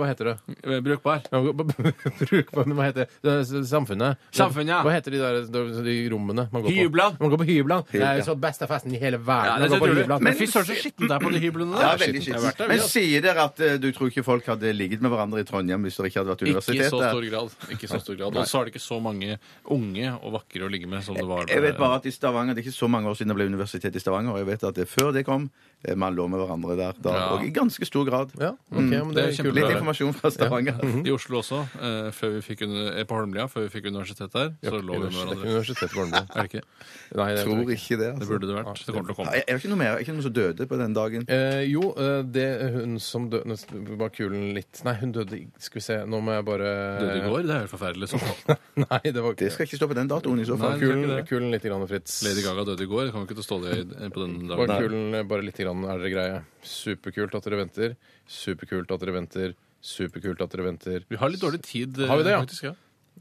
[SPEAKER 2] Hva heter det?
[SPEAKER 4] Eh, Brukbar.
[SPEAKER 2] Du må gå på, bruk på, hva heter det? det? er s- Samfunnet.
[SPEAKER 4] Samfunnet, ja.
[SPEAKER 2] Hva heter de der de, de rommene man går
[SPEAKER 4] Hyblene.
[SPEAKER 2] på? Man går på hyblene. Det er
[SPEAKER 3] ja.
[SPEAKER 2] jo så beste festen i hele
[SPEAKER 4] Ja,
[SPEAKER 2] verden. å
[SPEAKER 4] det er
[SPEAKER 2] gå på
[SPEAKER 4] utrolig.
[SPEAKER 2] hyblene.
[SPEAKER 4] Men fy søren så skittent det er på de hyblene der.
[SPEAKER 3] Ja, veldig
[SPEAKER 4] Jeg har
[SPEAKER 3] skittent.
[SPEAKER 4] vært der, vi,
[SPEAKER 3] Men
[SPEAKER 4] altså.
[SPEAKER 3] sier dere at eh, du tror ikke folk hadde ligget med hverandre i Trondheim hvis det ikke hadde vært
[SPEAKER 4] Ikke i så stor
[SPEAKER 3] universitetet?
[SPEAKER 4] grad. Ikke i så stor grad. Og så er det ikke så mange unge og vakre å ligge med som det var
[SPEAKER 3] Jeg vet bare at i Stavanger, Det er ikke så mange år siden det ble universitet i Stavanger. og jeg vet at det, Før det kom, eh, man lå med hverandre der da,
[SPEAKER 4] Ja.
[SPEAKER 3] og i ganske stor grad.
[SPEAKER 2] Ja, ok, men det
[SPEAKER 4] Mm, Det er
[SPEAKER 2] er kult.
[SPEAKER 4] kjempebra.
[SPEAKER 3] Litt informasjon fra Stavanger.
[SPEAKER 2] Mhm.
[SPEAKER 4] I Oslo også, eh, før vi fikk uni- eh, på Holmlia, før vi fikk universitet der, så lå vi med hverandre.
[SPEAKER 2] Universitetet på Holmlia.
[SPEAKER 4] Er det ikke?
[SPEAKER 2] Nei, det tror jeg
[SPEAKER 3] Tror
[SPEAKER 2] ikke.
[SPEAKER 3] ikke det.
[SPEAKER 4] Det
[SPEAKER 3] altså.
[SPEAKER 4] burde det vært. Det kommer til å
[SPEAKER 3] Ja,
[SPEAKER 4] komme.
[SPEAKER 3] Er er det ikke noe mer? Er det ikke noen som døde på den dagen?
[SPEAKER 2] Eh, jo, eh, det hun som døde Nå var kulen litt Nei, hun døde i- Skal vi se, nå må jeg bare
[SPEAKER 4] Døde i går? Det er helt forferdelig. Så.
[SPEAKER 2] Nei, det var
[SPEAKER 3] Det
[SPEAKER 2] ikke
[SPEAKER 3] skal ikke stå på den datoen i så fall.
[SPEAKER 4] Nei, det skal ikke
[SPEAKER 2] Kulen,
[SPEAKER 4] det.
[SPEAKER 2] kulen litt, grann, Fritz.
[SPEAKER 4] Lady Gaga døde i går. Det kan jo ikke stå det i- eh, på den
[SPEAKER 2] Var
[SPEAKER 4] dagen.
[SPEAKER 2] kulen eh, bare litt grann, er dere greie? Superkult at dere venter. Superkult at dere venter. Superkult at dere venter.
[SPEAKER 4] Vi har litt dårlig tid, eh,
[SPEAKER 2] Har vi det, ja?
[SPEAKER 4] faktisk. Ja.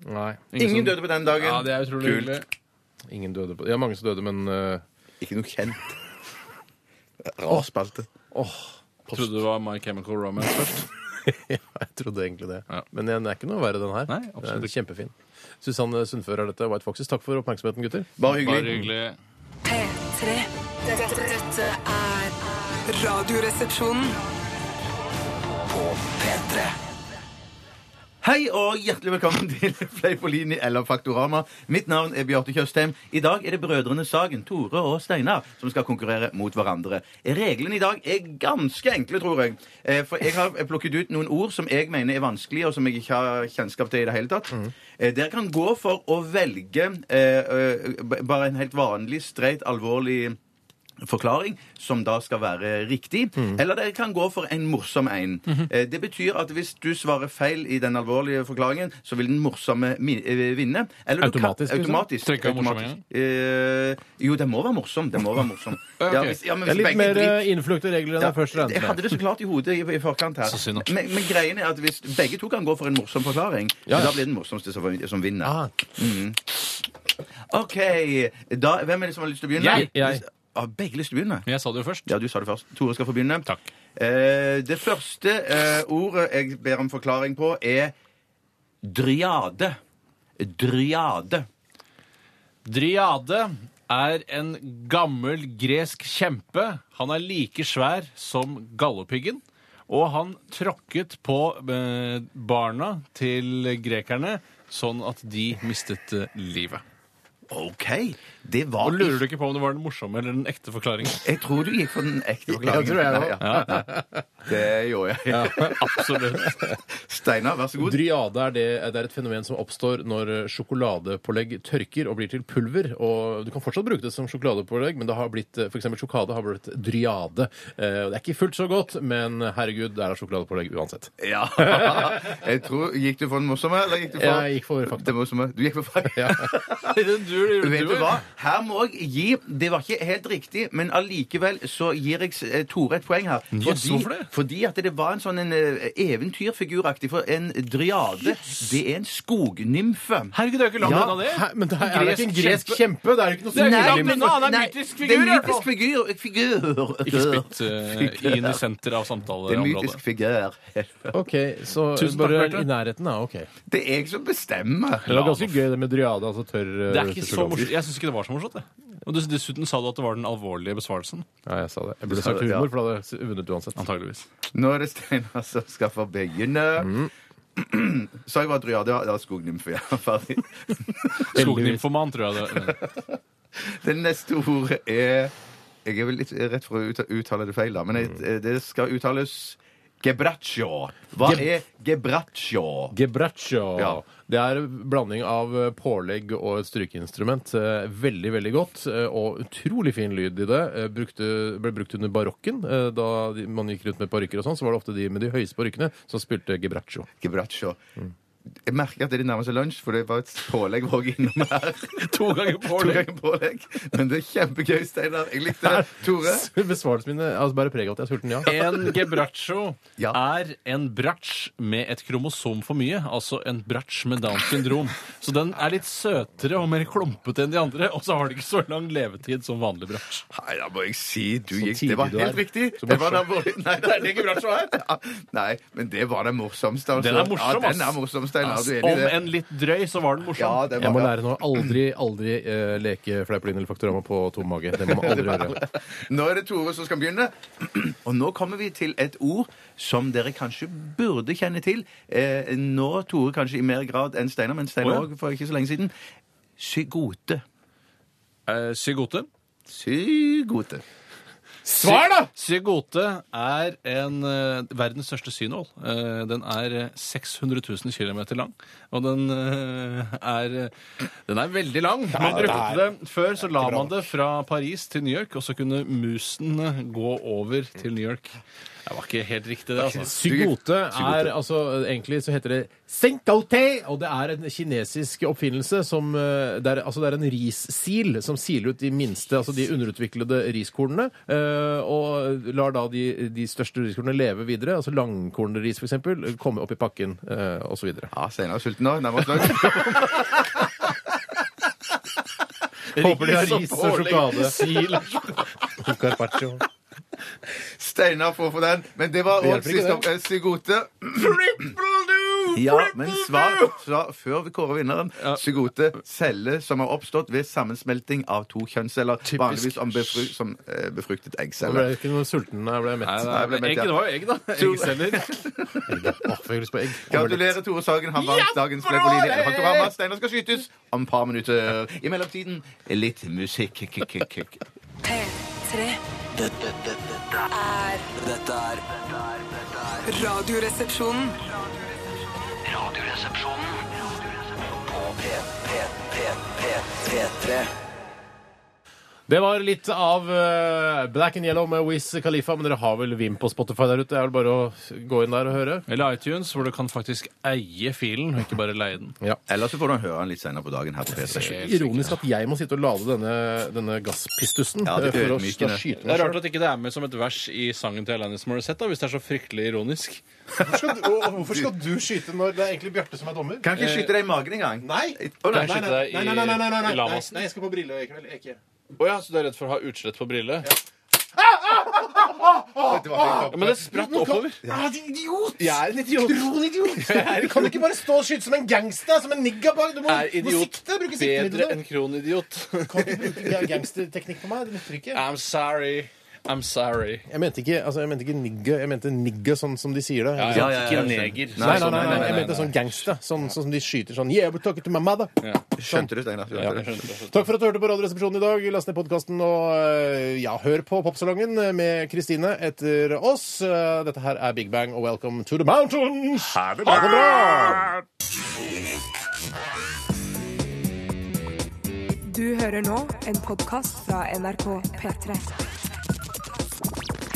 [SPEAKER 2] Nei,
[SPEAKER 3] Ingen
[SPEAKER 4] som-
[SPEAKER 3] døde på den dagen.
[SPEAKER 4] sånn. Ja, det er utrolig
[SPEAKER 3] Kult.
[SPEAKER 4] hyggelig.
[SPEAKER 2] ingen døde på Ja, mange som døde, men eh,
[SPEAKER 3] Ikke noe kjent. Rar spalte.
[SPEAKER 4] Trodde det var My Chemical Romance først.
[SPEAKER 2] Jeg trodde egentlig det.
[SPEAKER 4] Ja.
[SPEAKER 2] Men den er ikke noe verre, den her.
[SPEAKER 4] Nei,
[SPEAKER 2] den
[SPEAKER 4] absolutt
[SPEAKER 2] er kjempefin. Susanne Sundfør er dette. White Foxes, takk for oppmerksomheten, gutter.
[SPEAKER 3] Bare
[SPEAKER 4] Bare
[SPEAKER 3] hyggelig.
[SPEAKER 4] hyggelig.
[SPEAKER 8] P3. Dette, dette er Radioresepsjonen.
[SPEAKER 7] På P3
[SPEAKER 3] Hei og hjertelig velkommen til Fleipolini eller Faktorama. Mitt navn er Bjarte Tjøstheim. I dag er det brødrene Sagen, Tore og Steinar, som skal konkurrere mot hverandre. Reglene i dag er ganske enkle, tror jeg. Eh, For jeg har plukket ut noen ord som jeg mener er vanskelige, og som jeg ikke har kjennskap til i det hele tatt. Eh, Dere kan gå for å velge eh, eh, b- bare en helt vanlig, streit, alvorlig forklaring, som da skal være riktig.
[SPEAKER 2] Mhm.
[SPEAKER 3] Eller dere kan gå for en morsom en. Eh, Det betyr at hvis du svarer feil i den alvorlige forklaringen, så vil den morsomme mi- eh, vinne. Eller du
[SPEAKER 2] Automatisk,
[SPEAKER 3] Kan,
[SPEAKER 2] liksom?
[SPEAKER 3] automatisk.
[SPEAKER 4] Trenger ikke være morsom
[SPEAKER 3] automatisk. Eh, jo, den må være morsom. Den må være morsom. ja, hvis, ja, men
[SPEAKER 2] Det er
[SPEAKER 3] hvis
[SPEAKER 2] litt
[SPEAKER 3] begge
[SPEAKER 2] mer
[SPEAKER 3] driter-
[SPEAKER 2] eh, innfløkte regler enn jeg først
[SPEAKER 3] ja, jeg
[SPEAKER 2] regnet
[SPEAKER 3] hadde
[SPEAKER 2] med.
[SPEAKER 3] det så klart i hodet i, i forkant her.
[SPEAKER 4] Så synd, da.
[SPEAKER 3] Men, men greien er at hvis begge to kan gå for en morsom forklaring,
[SPEAKER 2] Ja.
[SPEAKER 3] da blir den morsomste som, som vinner.
[SPEAKER 2] Ah,
[SPEAKER 3] OK. Da, hvem er det som har lyst til å begynne?
[SPEAKER 4] Jeg. Jeg.
[SPEAKER 3] Har begge lyst til å begynne?
[SPEAKER 4] Men jeg sa det jo først.
[SPEAKER 3] Ja, du sa det først. Tore skal få begynne.
[SPEAKER 4] Takk.
[SPEAKER 3] Eh, det første eh, ordet jeg ber om forklaring på, er dryade. Dryade.
[SPEAKER 4] Dryade er en gammel gresk kjempe. Han er like svær som gallopiggen. Og han tråkket på eh, barna til grekerne sånn at de mistet eh, livet.
[SPEAKER 3] OK. Det var
[SPEAKER 4] Og Lurer du ikke på om det var den morsomme eller den ekte forklaringen?
[SPEAKER 3] Jeg tror du gikk for den ekte
[SPEAKER 2] Ja,
[SPEAKER 3] forklaringen.
[SPEAKER 2] tror jeg også.
[SPEAKER 3] ja. Det gjorde jeg.
[SPEAKER 4] Absolutt.
[SPEAKER 3] Steinar, vær så god.
[SPEAKER 2] Dryade er, det, det er et fenomen som oppstår når eh, sjokoladepålegg tørker og blir til pulver. og Du kan fortsatt bruke det som sjokoladepålegg, men det har blitt, eh, for eksempel sjokade har blitt dryade. Eh, og Det er ikke fullt så godt, men herregud, det er da sjokoladepålegg uansett.
[SPEAKER 3] Ja. Jeg tror, Gikk du for den morsomme, eller gikk du for
[SPEAKER 2] Jeg gikk for fakta.
[SPEAKER 3] Det morsomme. Du gikk for fakta. Vet du hva? Her må jeg gi Det var ikke helt riktig, men allikevel så gir jeg eh, Tore et poeng her.
[SPEAKER 4] Yes, hvorfor det?
[SPEAKER 3] fordi at det var en sånn en eh, eventyrfiguraktig For en dryade, det er en skognymfe.
[SPEAKER 4] Herregud, det er jo ikke langt
[SPEAKER 3] Ja,
[SPEAKER 4] unna det.
[SPEAKER 2] Hæ, men det er, er det ikke en gresk kjempe? Det er jo ikke noe
[SPEAKER 4] Det er ikke
[SPEAKER 2] særlig-
[SPEAKER 4] langt unna, han er en
[SPEAKER 3] nei,
[SPEAKER 4] mytisk
[SPEAKER 3] det er
[SPEAKER 4] figur, i
[SPEAKER 3] en
[SPEAKER 4] hvert fall.
[SPEAKER 3] mytisk figur. figur.
[SPEAKER 4] Ikke spytt eh, inn i
[SPEAKER 3] Det er en
[SPEAKER 4] senter av
[SPEAKER 3] mytisk
[SPEAKER 4] samtaleområdet.
[SPEAKER 3] figur.
[SPEAKER 2] Ok, så
[SPEAKER 4] Tusen takk,
[SPEAKER 2] bare
[SPEAKER 4] Bjarte.
[SPEAKER 2] i nærheten, da. Ok.
[SPEAKER 3] Det er jeg som bestemmer.
[SPEAKER 2] Det var ganske gøy det med dryade, altså tørr eh,
[SPEAKER 4] Det er ikke så
[SPEAKER 2] sjokolade.
[SPEAKER 4] morsomt. Jeg syns ikke det var så morsomt. Det. Og dess- dessuten sa du at det var den alvorlige besvarelsen.
[SPEAKER 2] Ja, jeg sa det. Jeg burde
[SPEAKER 3] sa
[SPEAKER 2] sagt
[SPEAKER 3] det, ja.
[SPEAKER 2] humor, for da hadde jeg vunnet uansett.
[SPEAKER 4] Antageligvis.
[SPEAKER 3] Nå er det Steinar som skal få begynne. Sa jeg bare dryade? Ja, det var skognymfe. Ja, ferdig.
[SPEAKER 4] Skognymfoman, tror jeg det
[SPEAKER 3] Det neste ordet er Jeg er vel litt rett for å ut- uttale det feil, da, men jeg, det skal uttales gebraccio. Hva
[SPEAKER 2] Geb-
[SPEAKER 3] er gebraccio?
[SPEAKER 2] Gebraccio.
[SPEAKER 3] Ja.
[SPEAKER 2] Det er en blanding av eh, pålegg og et strykeinstrument. Eh, Veldig, veldig godt, eh, og utrolig fin lyd i det. Eh, Brukte, ble brukt under barokken. eh, Da de- man gikk rundt med parykker og sånn, så var det ofte de med de høyeste parykkene som spilte gebraccio.
[SPEAKER 3] Gebraccio. Mm. Jeg merker at det er nærmer seg lunsj, for det var et pålegg vi også innom her.
[SPEAKER 4] To ganger
[SPEAKER 3] To ganger pålegg. Men det er kjempegøy, Steinar. Jeg likte det. Tore?
[SPEAKER 2] Besvarelsen min altså bærer preg av at jeg er sulten, ja.
[SPEAKER 4] En gebraccio
[SPEAKER 3] Ja.
[SPEAKER 4] er en bratsj med et kromosom for mye, altså en bratsj med Downs syndrom. Så den er litt søtere og mer klumpete enn de andre, og så har de ikke så lang levetid som vanlig bratsj.
[SPEAKER 3] Nei, da må jeg si du
[SPEAKER 2] Så
[SPEAKER 3] gikk Det var
[SPEAKER 2] tidlig du
[SPEAKER 3] helt
[SPEAKER 2] er.
[SPEAKER 3] riktig.
[SPEAKER 2] Så
[SPEAKER 3] Det var den
[SPEAKER 2] morsom.
[SPEAKER 3] alvorlige- Nei, det er det gebraccio er. Ja, Nei, men det var den morsomste. Altså.
[SPEAKER 4] Den er morsom,
[SPEAKER 3] ja,
[SPEAKER 4] ass.
[SPEAKER 3] den er morsom, Steinar. Er du enig i
[SPEAKER 4] Om
[SPEAKER 3] det?
[SPEAKER 4] en litt drøy, så var den
[SPEAKER 3] Ja,
[SPEAKER 4] morsom.
[SPEAKER 3] den
[SPEAKER 2] Jeg må
[SPEAKER 3] var-
[SPEAKER 2] lære nå aldri, aldri eh, leke Fleipolin eller Faktorama på tom mage. Det må man aldri gjøre.
[SPEAKER 3] Nå er det Tore som skal begynne. Og nå kommer vi til et ord som dere kanskje burde kjenne til. Eh, nå, Tore, kanskje i mer grad enn Steinar, men Steinar
[SPEAKER 4] Å,
[SPEAKER 3] òg for ikke så lenge siden. Psygote.
[SPEAKER 4] Eh, Zygote.
[SPEAKER 3] Psygote.
[SPEAKER 2] Svar, da!
[SPEAKER 4] Zygote er en, eh, verdens største synål. Eh, den er eh, 600 000 km lang. Og den eh, er eh, Den er veldig lang. Man brukte det Før så la man det fra Paris til New York, og så kunne musene gå over til New York. Det var ikke helt riktig, det. altså.
[SPEAKER 2] Zygote er altså Egentlig så heter det senkaute, og det er en kinesisk oppfinnelse som eh, det er, altså det er en rissil som siler ut de minste, altså de underutviklede riskornene, eh, og lar da de, de største riskornene leve videre, altså langkornris f.eks., komme opp i pakken eh, og så videre.
[SPEAKER 3] Ja, Steinar er sulten nå. Nærmest løs.
[SPEAKER 2] Håper de har
[SPEAKER 3] og
[SPEAKER 2] ris og sjokolade. Sil og sjokolade. Carpaccio.
[SPEAKER 3] Steinar får for den. Men det var
[SPEAKER 2] Det
[SPEAKER 3] årets
[SPEAKER 2] hjelper ikke
[SPEAKER 3] siste opp- eh, Psygote.
[SPEAKER 4] Triple
[SPEAKER 3] Ja, men svar, svar før vi kårer vinneren. Zygote celle som har oppstått ved sammensmelting av to kjønnsceller. Vanligvis om befru, som eh,
[SPEAKER 2] Jeg
[SPEAKER 3] befruktet
[SPEAKER 2] ble
[SPEAKER 3] eggceller.
[SPEAKER 2] ikke noe sulten da jeg ble mett.
[SPEAKER 3] Nei, jeg ble mett,
[SPEAKER 4] egg,
[SPEAKER 3] ja.
[SPEAKER 4] det var jo egg, da. Eggceller.
[SPEAKER 2] Åh, jeg fikk lyst på egg.
[SPEAKER 3] Gratulerer, Tore Sagen. Han vant dagens Fleipolini. Faktorama. Steinar skal skytes om et par minutter. I mellomtiden litt musikk. K -k -k -k.
[SPEAKER 8] P3
[SPEAKER 7] Dette, dette, dette er Dette er dette er
[SPEAKER 8] Radioresepsjonen.
[SPEAKER 7] Radioresepsjonen på P, P, P, P, P3.
[SPEAKER 2] Det var litt av eh, Black and Yellow med Wiz Khalifa, men dere har vel Vim på Spotify der ute? Det er vel bare å gå inn der og høre?
[SPEAKER 4] Eller iTunes, hvor du kan faktisk eie filen, og ikke bare leie den.
[SPEAKER 3] Ellers så får du høre han litt senere på dagen her på P3.
[SPEAKER 2] Ironisk at jeg må sitte og lade denne, denne gasspistusen
[SPEAKER 3] Ja, det
[SPEAKER 2] eh, for å
[SPEAKER 3] ydmykende.
[SPEAKER 2] skal skyte
[SPEAKER 4] Det
[SPEAKER 2] meg
[SPEAKER 4] er rart at ikke det er med som et vers i sangen til Alanis Morissette, da, hvis det er så fryktelig ironisk.
[SPEAKER 2] sjøl. Hvorfor skal du skyte når det er egentlig Bjarte som er dommer?
[SPEAKER 3] Kan ikke skyte deg i magen engang.
[SPEAKER 2] Nei!
[SPEAKER 3] Å, nei,
[SPEAKER 4] Kan jeg skyte deg i- i lamasen?
[SPEAKER 2] jeg skal på Brille i kveld. Ikke.
[SPEAKER 4] Å ja, så du er redd for å ha utslett på brille? Ja,
[SPEAKER 3] det var helt
[SPEAKER 4] men det spratt oppover.
[SPEAKER 2] Ah, din idiot! Jeg er en idiot. Du kan ikke bare stå og skyte som en gangster, som en niggerbar. Du må,
[SPEAKER 4] Er
[SPEAKER 2] du må
[SPEAKER 4] idiot
[SPEAKER 2] sikte, bruke
[SPEAKER 4] bedre
[SPEAKER 2] siktemiddel.
[SPEAKER 4] enn kronidiot?
[SPEAKER 2] Du kan ikke bruke gangsterteknikk på meg. Det nytter ikke.
[SPEAKER 4] I'm sorry. I'm sorry.
[SPEAKER 2] Jeg mente ikke, altså, jeg mente ikke nigge, jeg mente nigge sånn som de sier det.
[SPEAKER 4] Ja,
[SPEAKER 2] ikke sant?
[SPEAKER 3] ja,
[SPEAKER 4] Ikke
[SPEAKER 3] ja, jeg
[SPEAKER 4] neger.
[SPEAKER 2] Nei, nei,
[SPEAKER 3] sånn,
[SPEAKER 2] nei, nei,
[SPEAKER 3] nei, nei,
[SPEAKER 2] jeg
[SPEAKER 3] nei,
[SPEAKER 2] mente sånn gangster. Sånn, sånn som de skyter sånn Yeah, we're talking to my mother.
[SPEAKER 3] Skjønte du, Steinar? Skjønte
[SPEAKER 4] Ja, jeg
[SPEAKER 3] du?
[SPEAKER 4] skjønte, jeg skjønte.
[SPEAKER 2] Takk for at du hørte på Radioresepsjonen i dag. Last ned podkasten og eh, ja, hør på Popsalongen med Kristine etter oss. Eh, Dette her er Big Bang og Welcome to the Mountains. Ha det bra!
[SPEAKER 1] Du hører nå en podkast fra NRK P3.